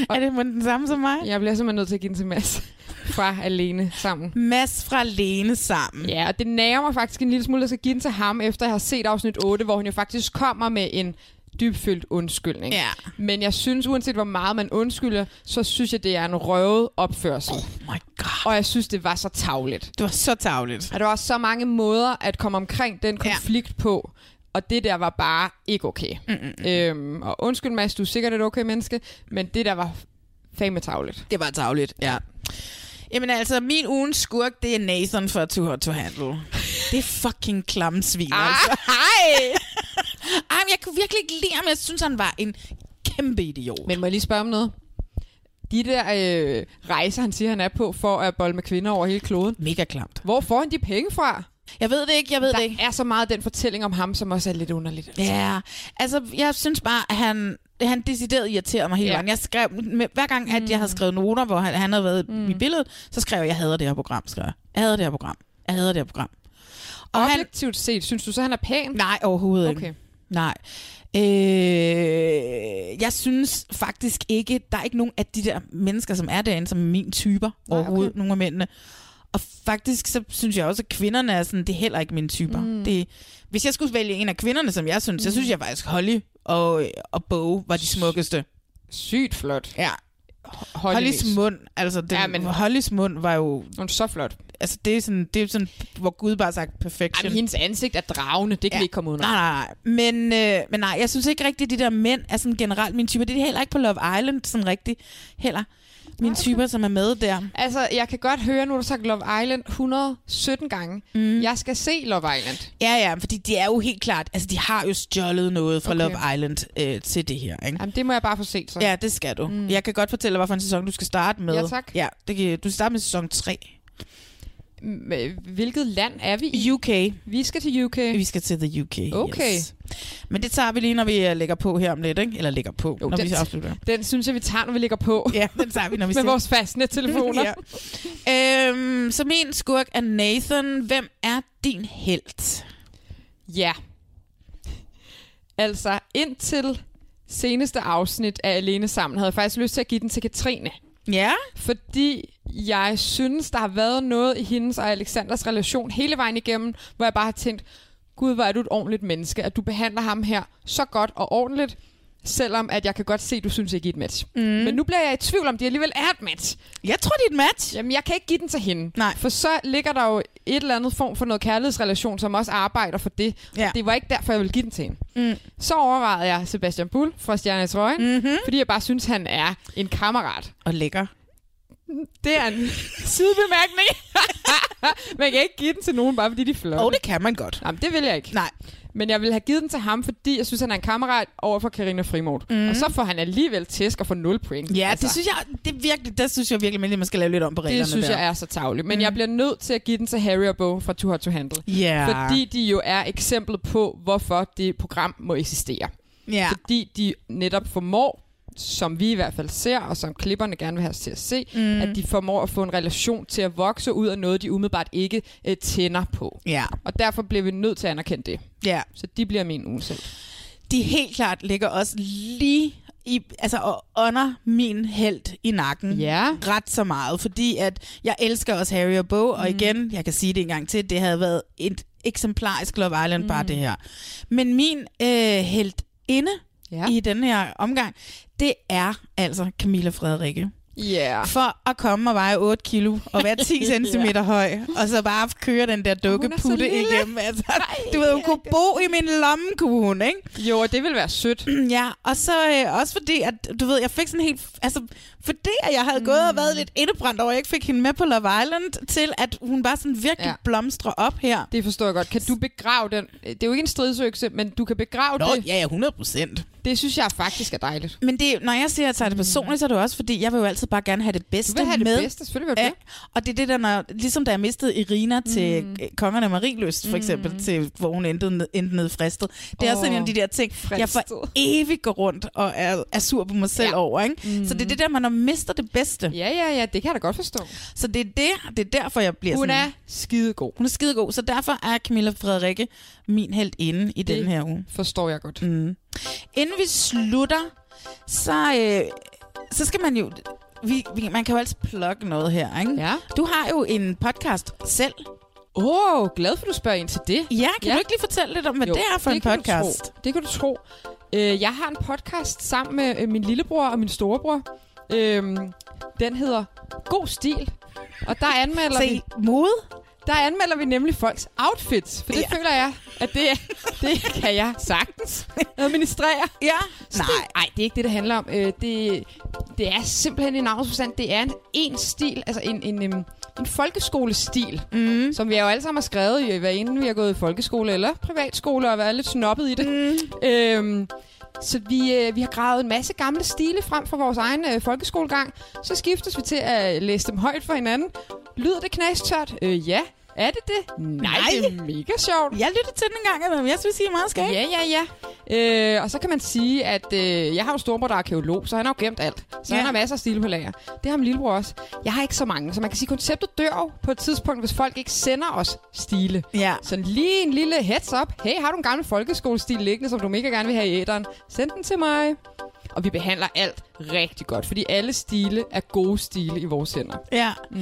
Er det den samme som mig?
Jeg bliver simpelthen nødt til at give den til Mads fra Alene Sammen.
Mads fra Lene sammen.
Ja, og det nærer mig faktisk en lille smule, at jeg skal give den til ham, efter jeg har set afsnit 8, hvor hun jo faktisk kommer med en dybfølt undskyldning.
Ja.
Men jeg synes, uanset hvor meget man undskylder, så synes jeg, det er en røvet opførsel.
Oh my god.
Og jeg synes, det var så tavligt.
Det var så tavligt.
Og der var så mange måder at komme omkring den konflikt ja. på, og det der var bare ikke okay.
Mm,
Mm-mm. Øhm, og undskyld Mads, du er sikkert et okay menneske, men det der var fame tavligt.
Det var tavligt, ja. Jamen altså, min ugens skurk, det er Nathan fra Too Hot To Handle. Det er fucking klamme svin, ah, altså.
Hej!
Ej, men jeg kunne virkelig ikke lide ham. Jeg synes, han var en kæmpe idiot.
Men må jeg lige spørge om noget? De der øh, rejser, han siger, han er på for at bolle med kvinder over hele kloden.
Mega klamt.
Hvor får han de penge fra?
Jeg ved det ikke, jeg ved
der
det ikke.
Der er så meget den fortælling om ham, som også er lidt underligt. altså.
Ja, altså jeg synes bare, at han, han decideret irriterer mig hele
Ja.
ja. gangen. Jeg skrev, med- hver gang, at jeg havde skrevet noter, hvor han, han havde været mm. i billedet, så skrev jeg, jeg hader det her program, skrev jeg. Jeg hader det her program. Jeg hader det her program. Og
Objektivt han, set, synes du så, han er pæn?
Nej, overhovedet okay.
Okay.
ikke. Nej. Øh, jeg synes faktisk ikke, der er ikke nogen af de der mennesker, som er derinde, som er min typer Nej, overhovedet, okay. nogle af mændene. Og faktisk så synes jeg også, at kvinderne er sådan, det er heller ikke mine typer.
Mm.
Mm. Det, hvis jeg skulle vælge en af kvinderne, som jeg synes, mm. så synes jeg faktisk Holly og, og Bo var de smukkeste.
Sygt flot.
Ja.
Holly
Hollys
mest.
mund, altså den,
Ja,
ja,
men-
men... Hollys mund var jo...
Hun er så flot.
Altså det er sådan, det er sådan hvor Gud bare har sagt perfection.
Jamen, hendes ansigt er dragende, det kan ja. vi ikke komme ud
Nej, nej, nej. Men, øh, men nej, jeg synes ikke rigtigt, at de der mænd er sådan generelt min type. Det er de heller ikke på Love Island sådan rigtigt heller. Mine typer, som er med der.
Altså, jeg kan godt høre, nu har du sagt Love Island 117 gange. Mm. Jeg skal se Love Island.
Ja, ja, fordi de er jo helt klart, altså de har jo stjålet noget fra okay. Love Island øh, til det her, ikke?
Jamen, det må jeg bare få set så.
Ja, det skal du. Mm. Jeg kan godt fortælle dig, hvorfor en sæson du skal starte med.
Ja, tak.
Ja, det kan, du starter med sæson 3.
M- øh, Hvilket land er vi i?
UK.
Vi skal til UK.
Vi skal til the UK,
Okay.
Yes. Men det tager vi lige, når vi øh, lægger på her om lidt, ikke? Eller lægger på, jo, når
den-
vi afslutter.
Den synes jeg, vi tager, når vi ligger på.
Ja, den tager vi, når vi
Med
ser-
vores fastnettelefoner.
ja. øhm, så min skurk er Nathan. Hvem er din helt?
Ja. Altså, indtil seneste afsnit af Alene Sammen, havde jeg faktisk lyst til at give den til Katrine.
Ja?
Fordi jeg synes, der har været noget i hendes og Alexanders relation hele vejen igennem, hvor jeg bare har tænkt, Gud, hvor er du et ordentligt menneske, at du behandler ham her så godt og ordentligt, selvom at jeg kan godt se, at du synes ikke, I er et match. Mm. Men nu bliver jeg i tvivl om, de alligevel er et match.
Jeg tror, det er et match.
Jamen, jeg kan ikke give den til hende.
Nej.
For så ligger der jo et eller andet form for noget kærlighedsrelation, som også arbejder for det.
Ja.
Og det var ikke derfor, jeg ville give den til hende.
Mm.
Så overvejede jeg Sebastian Bull fra Stjernes Røgen, mm-hmm. fordi jeg bare synes, han er en kammerat.
Og lækker.
Det er en sidebemærkning. man kan ikke give den til nogen, bare fordi de er flotte.
Og det kan man godt.
Jamen, det vil jeg ikke.
Nej.
Men jeg ville have givet den til ham, fordi jeg synes, han er en kammerat over for Karina Frimort. Mm. Og så får han alligevel tæsk og får 0 point.
Ja, altså. det synes jeg, det er virkelig, der synes jeg virkelig, at man skal lave lidt om på reglerne
Det synes
der.
jeg er så tavligt. Men mm. jeg bliver nødt til at give den til Harry og Bo fra Too Hot to Handle.
Ja.
Fordi de jo er eksemplet på, hvorfor det program må eksistere.
Ja.
Fordi de netop formår, som vi i hvert fald ser, og som klipperne gerne vil have os til at se, mm. at de formår at få en relation til at vokse ud af noget, de umiddelbart ikke øh, tænder på.
Ja.
Og derfor bliver vi nødt til at anerkende det.
Ja.
Så de bliver min ugen selv.
De helt klart ligger også lige i, altså og under min held i nakken
Ja.
ret så meget, fordi at jeg elsker også Harry og Bo,
Mm.
og igen, jeg kan sige det en gang til, det havde været et eksemplarisk Love Island, mm. bare det her. Men min øh, helt inde
ja.
i den her omgang, det er altså Camilla Frederikke.
Ja. Yeah.
For at komme og veje 8 kilo og være 10 cm høj, og så bare køre den der dukkeputte
lille.
igennem. Altså, du ved, hun kunne bo i min lomme, kunne hun, ikke?
Jo, og det vil være sødt.
Ja, og så øh, også fordi, at du ved, jeg fik sådan helt... Altså, fordi at jeg havde mm. gået og været lidt indebrændt over, at jeg ikke fik hende med på Love Island, til at hun bare sådan virkelig
Ja.
ja. blomstrer op her.
Det forstår jeg godt. Kan du begrave den? Øh, Det er jo ikke en stridsøkse, men du kan begrave
Nå,
det.
ja, ja, 100 procent.
Det synes jeg faktisk er dejligt.
Men det, når jeg siger, at jeg tager det personligt, så er det jo også, fordi jeg vil jo altid bare gerne have det bedste
Mm. Du vil have det
med.
bedste, selvfølgelig vil du
Ja,
det.
og det er det der, når, ligesom da jeg mistede Irina til
Mm.
mm. Kongerne Marieløst, for eksempel, mm. til, hvor hun endte, ned- endte nede fristet. Det er
Åh,
også en af de der ting, jeg for
fristet.
evigt går rundt og er, er sur på mig selv
Ja.
ja. over. Ikke? Mm. Så det er det der, man når man mister det bedste.
Ja, ja, ja, det kan jeg da godt forstå.
Så det er, det, det er derfor, jeg bliver
Hun
sådan...
er skidegod.
Hun er skidegod, så derfor er Camilla Frederikke min helt inde i
Det
den her uge.
forstår jeg godt.
Mm. Inden vi slutter, så, øh, så skal man jo... Vi, vi, man kan jo altid plukke noget her, ikke?
Ja.
Du har jo en podcast selv.
Åh, oh, glad for, du spørger ind til det.
Ja, kan
Ja.
ja. du ikke lige fortælle lidt om, hvad
Jo,
jo, det er for en
kan du
podcast?
tro. Det kan du tro. Øh, jeg har en podcast sammen med øh, min lillebror og min storebror. Øhm, den hedder God Stil. Og der anmelder
Se,
vi...
mode?
Der anmelder vi nemlig folks outfits. For det ja. føler jeg, at det, det kan jeg sagtens administrere.
Ja.
Nej. Nej, det er ikke det, det handler om. Øh, det, det er simpelthen i navnets forstand. Det er en, en stil, altså en, en, en, en folkeskolestil, mm. som vi jo alle sammen har skrevet i, hvad enten vi har gået i folkeskole eller privatskole og været lidt snobbet i det. Mm. Øhm, så vi, øh, vi har gravet en masse gamle stile frem fra vores egen øh, folkeskolegang. Så skiftes vi til at læse dem højt for hinanden. Lyder det knastørt? Øh, ja. Er det det? Nej,
Nej.
det er mega sjovt.
Jeg lytter til den en gang imellem. Jeg synes, I er meget skægt.
Ja, ja, ja. Øh, og så kan man sige, at øh, jeg har jo en storbror, der er arkeolog, så han har jo gemt alt. Så
Ja.
han har masser af stile på lager. Det har min lillebror også. Jeg har ikke så mange, så man kan sige, at konceptet dør jo på et tidspunkt, hvis folk ikke sender os stile.
Ja.
Så lige en lille heads up. Hey, har du en gammel folkeskolestil liggende, som du mega gerne vil have i æderen? Send den til mig. Og vi behandler alt rigtig godt, fordi alle stile er gode stile i vores hænder.
Ja. Mm.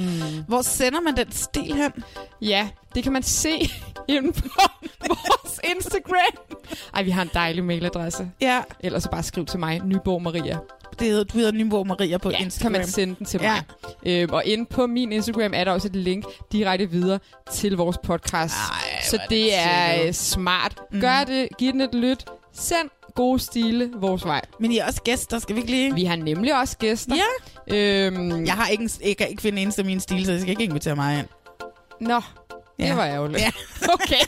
Hvor sender man den stil hen?
Ja, det kan man se inde på vores Instagram. Ej, vi har en dejlig mailadresse.
Ja.
Ellers så bare skriv til mig, Nyborg Maria.
Det hedder, du hedder Nyborg Maria på
ja,
Instagram.
kan man sende den til
Ja.
ja. mig. Øhm, og inde på min Instagram er der også et link direkte videre til vores podcast. Ej, så det, det er øh, smart. Mm. Gør det, giv den et lyt. Send gode stile vores vej.
Men I er også gæster, skal vi ikke lige?
Vi har nemlig også gæster.
Ja.
Øhm,
Jeg har ikke, en, jeg kan ikke finde en eneste af mine stil, så jeg skal ikke invitere mig ind.
Nå, det
Ja.
var ærgerligt.
Ja.
okay.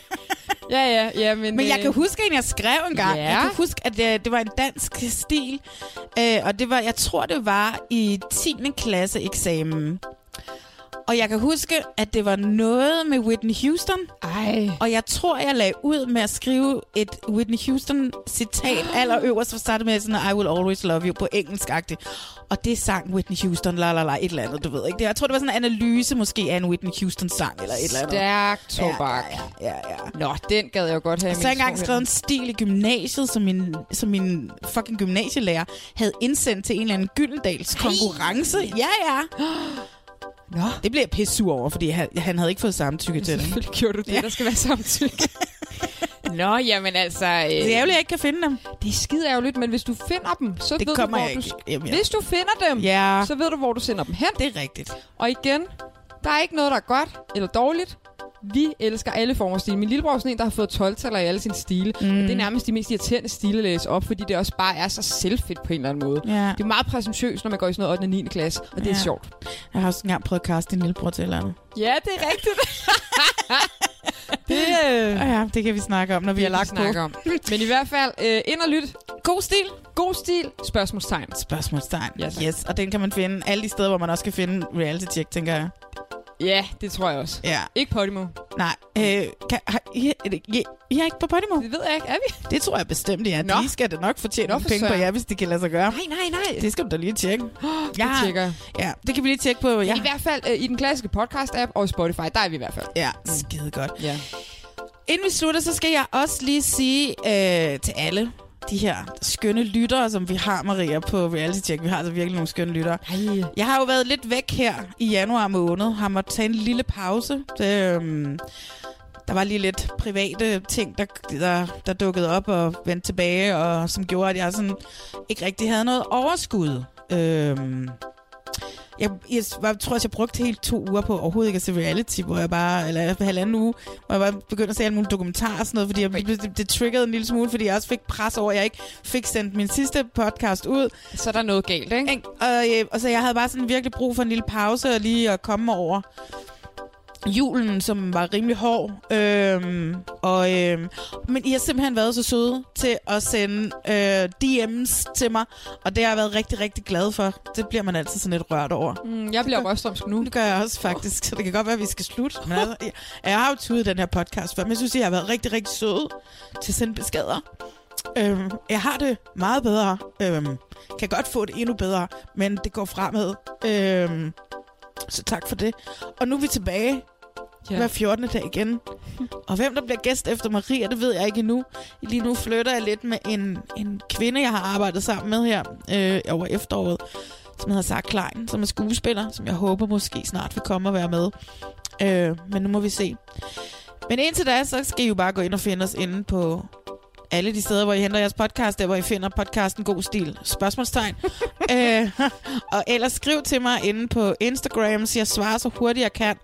Ja, ja, ja, men...
Men jeg
øh,
kan huske en, jeg skrev en gang.
Ja.
Jeg kan huske, at øh, det, det var en dansk stil. Øh, og det var, jeg tror, det var i 10. klasse eksamen. Og jeg kan huske, at det var noget med Whitney Houston.
Ej.
Og jeg tror, jeg lagde ud med at skrive et Whitney Houston-citat allerøverst, for startede med sådan, I will always love you på engelsk-agtigt. Og det sang Whitney Houston, la la la, et eller andet, du ved ikke. Det- Jeg tror, det var sådan en analyse måske af en Whitney Houston-sang, eller et eller andet.
Stærk
Ja,
tobak. Ja,
ja, ja, ja.
Nå, den gad jeg godt have. i
Og så har jeg
min
engang
skole.
skrevet en stil i gymnasiet, som min, som min fucking gymnasielærer havde indsendt til en eller anden Gyldendals konkurrence. Ja, ja.
Nå.
Det blev jeg pissur over, fordi han, han havde ikke fået samtykke til det.
Selvfølgelig gjorde du det. Der skal være samtykke. Nå, jamen altså... Øh,
Det er ærgerligt, jeg ikke kan finde dem.
Det er skide ærgerligt, men hvis du finder dem, så
Det
ved du,
kommer
hvor
jeg
du...
ikke hjem, ja.
Hvis du finder dem,
Ja.
så ved du, hvor du sender dem hen.
Det er rigtigt.
Og igen, der er ikke noget, der er godt eller dårligt. Vi elsker alle former for stil. Min lillebror er sådan en, der har fået 12-taller i alle sine stile. Mm. Og det er nærmest de mest irriterende stile at læse op, fordi det også bare er så selvfedt på en eller anden måde.
Ja.
Det er meget præsentøst, når man går i sådan noget 8. og 9. klasse, og det er
Ja.
sjovt.
Jeg har også engang prøvet at kaste din lillebror til et eller andet.
Ja, det er rigtigt. det, øh,
Og ja, det kan vi snakke om, når vi har lagt
snakke
på.
om. Men i hvert fald, øh, ind og lyt.
God stil.
God stil. Spørgsmålstegn.
Spørgsmålstegn.
Ja,
Yes,
tak.
yes, og den kan man finde alle de steder, hvor man også kan finde reality check, tænker jeg.
Ja, det tror jeg også.
Ja.
Ikke Podimo.
Nej, øh, kan, har, I, er det, I, I, har ikke på Podimo?
Det ved jeg ikke. Er vi?
Det tror jeg bestemt, ja.
Nå.
De skal da nok fortjene
Nå,
nogle
for
penge på
søren.
jer, hvis det kan lade sig gøre.
Nej, nej, nej.
Det skal du da lige tjekke.
Åh, det
Jeg-
tjekker jeg.
Ja, det kan vi lige tjekke på. Ja.
I hvert fald øh, i den klassiske podcast-app og Spotify, der er vi i hvert fald.
Ja, skide godt.
Ja.
Inden vi slutter, så skal jeg også lige sige øh, til alle de her skønne lyttere, som vi har, Maria, på Reality Check. Vi har altså virkelig nogle skønne lyttere.
Ej.
Jeg har jo været lidt væk her i januar måned. Har måttet tage en lille pause. Det, øhm, der var lige lidt private ting, der, der, der dukkede op og vendte tilbage, og som gjorde, at jeg sådan ikke rigtig havde noget overskud. Øhm, jeg, jeg, var, tror også, jeg brugte helt to uger på overhovedet ikke at se reality, hvor jeg bare, eller en halvanden uge, hvor jeg bare begyndte at se alle mulige dokumentarer og sådan noget, fordi jeg, det, det triggede en lille smule, fordi jeg også fik pres over, at jeg ikke fik sendt min sidste podcast ud.
Så er der noget galt, ikke?
Ikke? Og, øh, og så jeg havde bare sådan virkelig brug for en lille pause og lige at komme over julen, som var rimelig hård. Øhm, og, øhm, men I har simpelthen været så søde til at sende øh, DM's til mig, og det har jeg været rigtig, rigtig glad for. Det bliver man altid sådan lidt rørt over.
Mm, jeg bliver røstrømsk nu.
Det gør jeg også faktisk, så det kan godt være, at vi skal slutte. Men altså, jeg, jeg har jo tudet den her podcast før, men jeg synes, I har været rigtig, rigtig søde til at sende beskeder. Øhm, jeg har det meget bedre. Øhm, kan godt få det endnu bedre, men det går fremad. Øhm, så tak for det. Og nu er vi tilbage
Ja.
ja. hver 14. dag igen. Og hvem der bliver gæst efter Maria, det ved jeg ikke endnu. Lige nu flytter jeg lidt med en, en kvinde, jeg har arbejdet sammen med her øh, over efteråret, som hedder Sarah Klein, som er skuespiller, som jeg håber måske snart vil komme og være med. Øh, men nu må vi se. Men indtil da, så skal I jo bare gå ind og finde os inde på alle de steder, hvor I henter jeres podcast, der hvor I finder podcasten God Stil, spørgsmålstegn. øh, og ellers skriv til mig inde på Instagram, så jeg svarer så hurtigt jeg kan.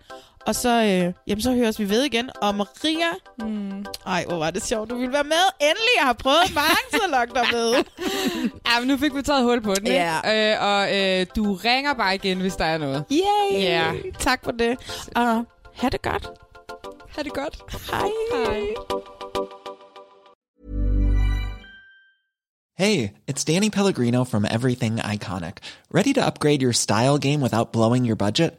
Og så, øh, jamen, så høres vi ved igen. Og Maria...
Mm.
Ej, hvor var det sjovt, du ville være med. Endelig, jeg har prøvet mange så lokke dig med.
Ja, men nu fik vi taget hul på den, ikke?
Ja.
Øh, og øh, du ringer bare igen, hvis der er noget.
Yay!
Ja.
Tak for det. Og ha' det godt.
Ha' det godt.
Hej.
Hej.
Hey, it's Danny Pellegrino from Everything Iconic. Ready to upgrade your style game without blowing your budget?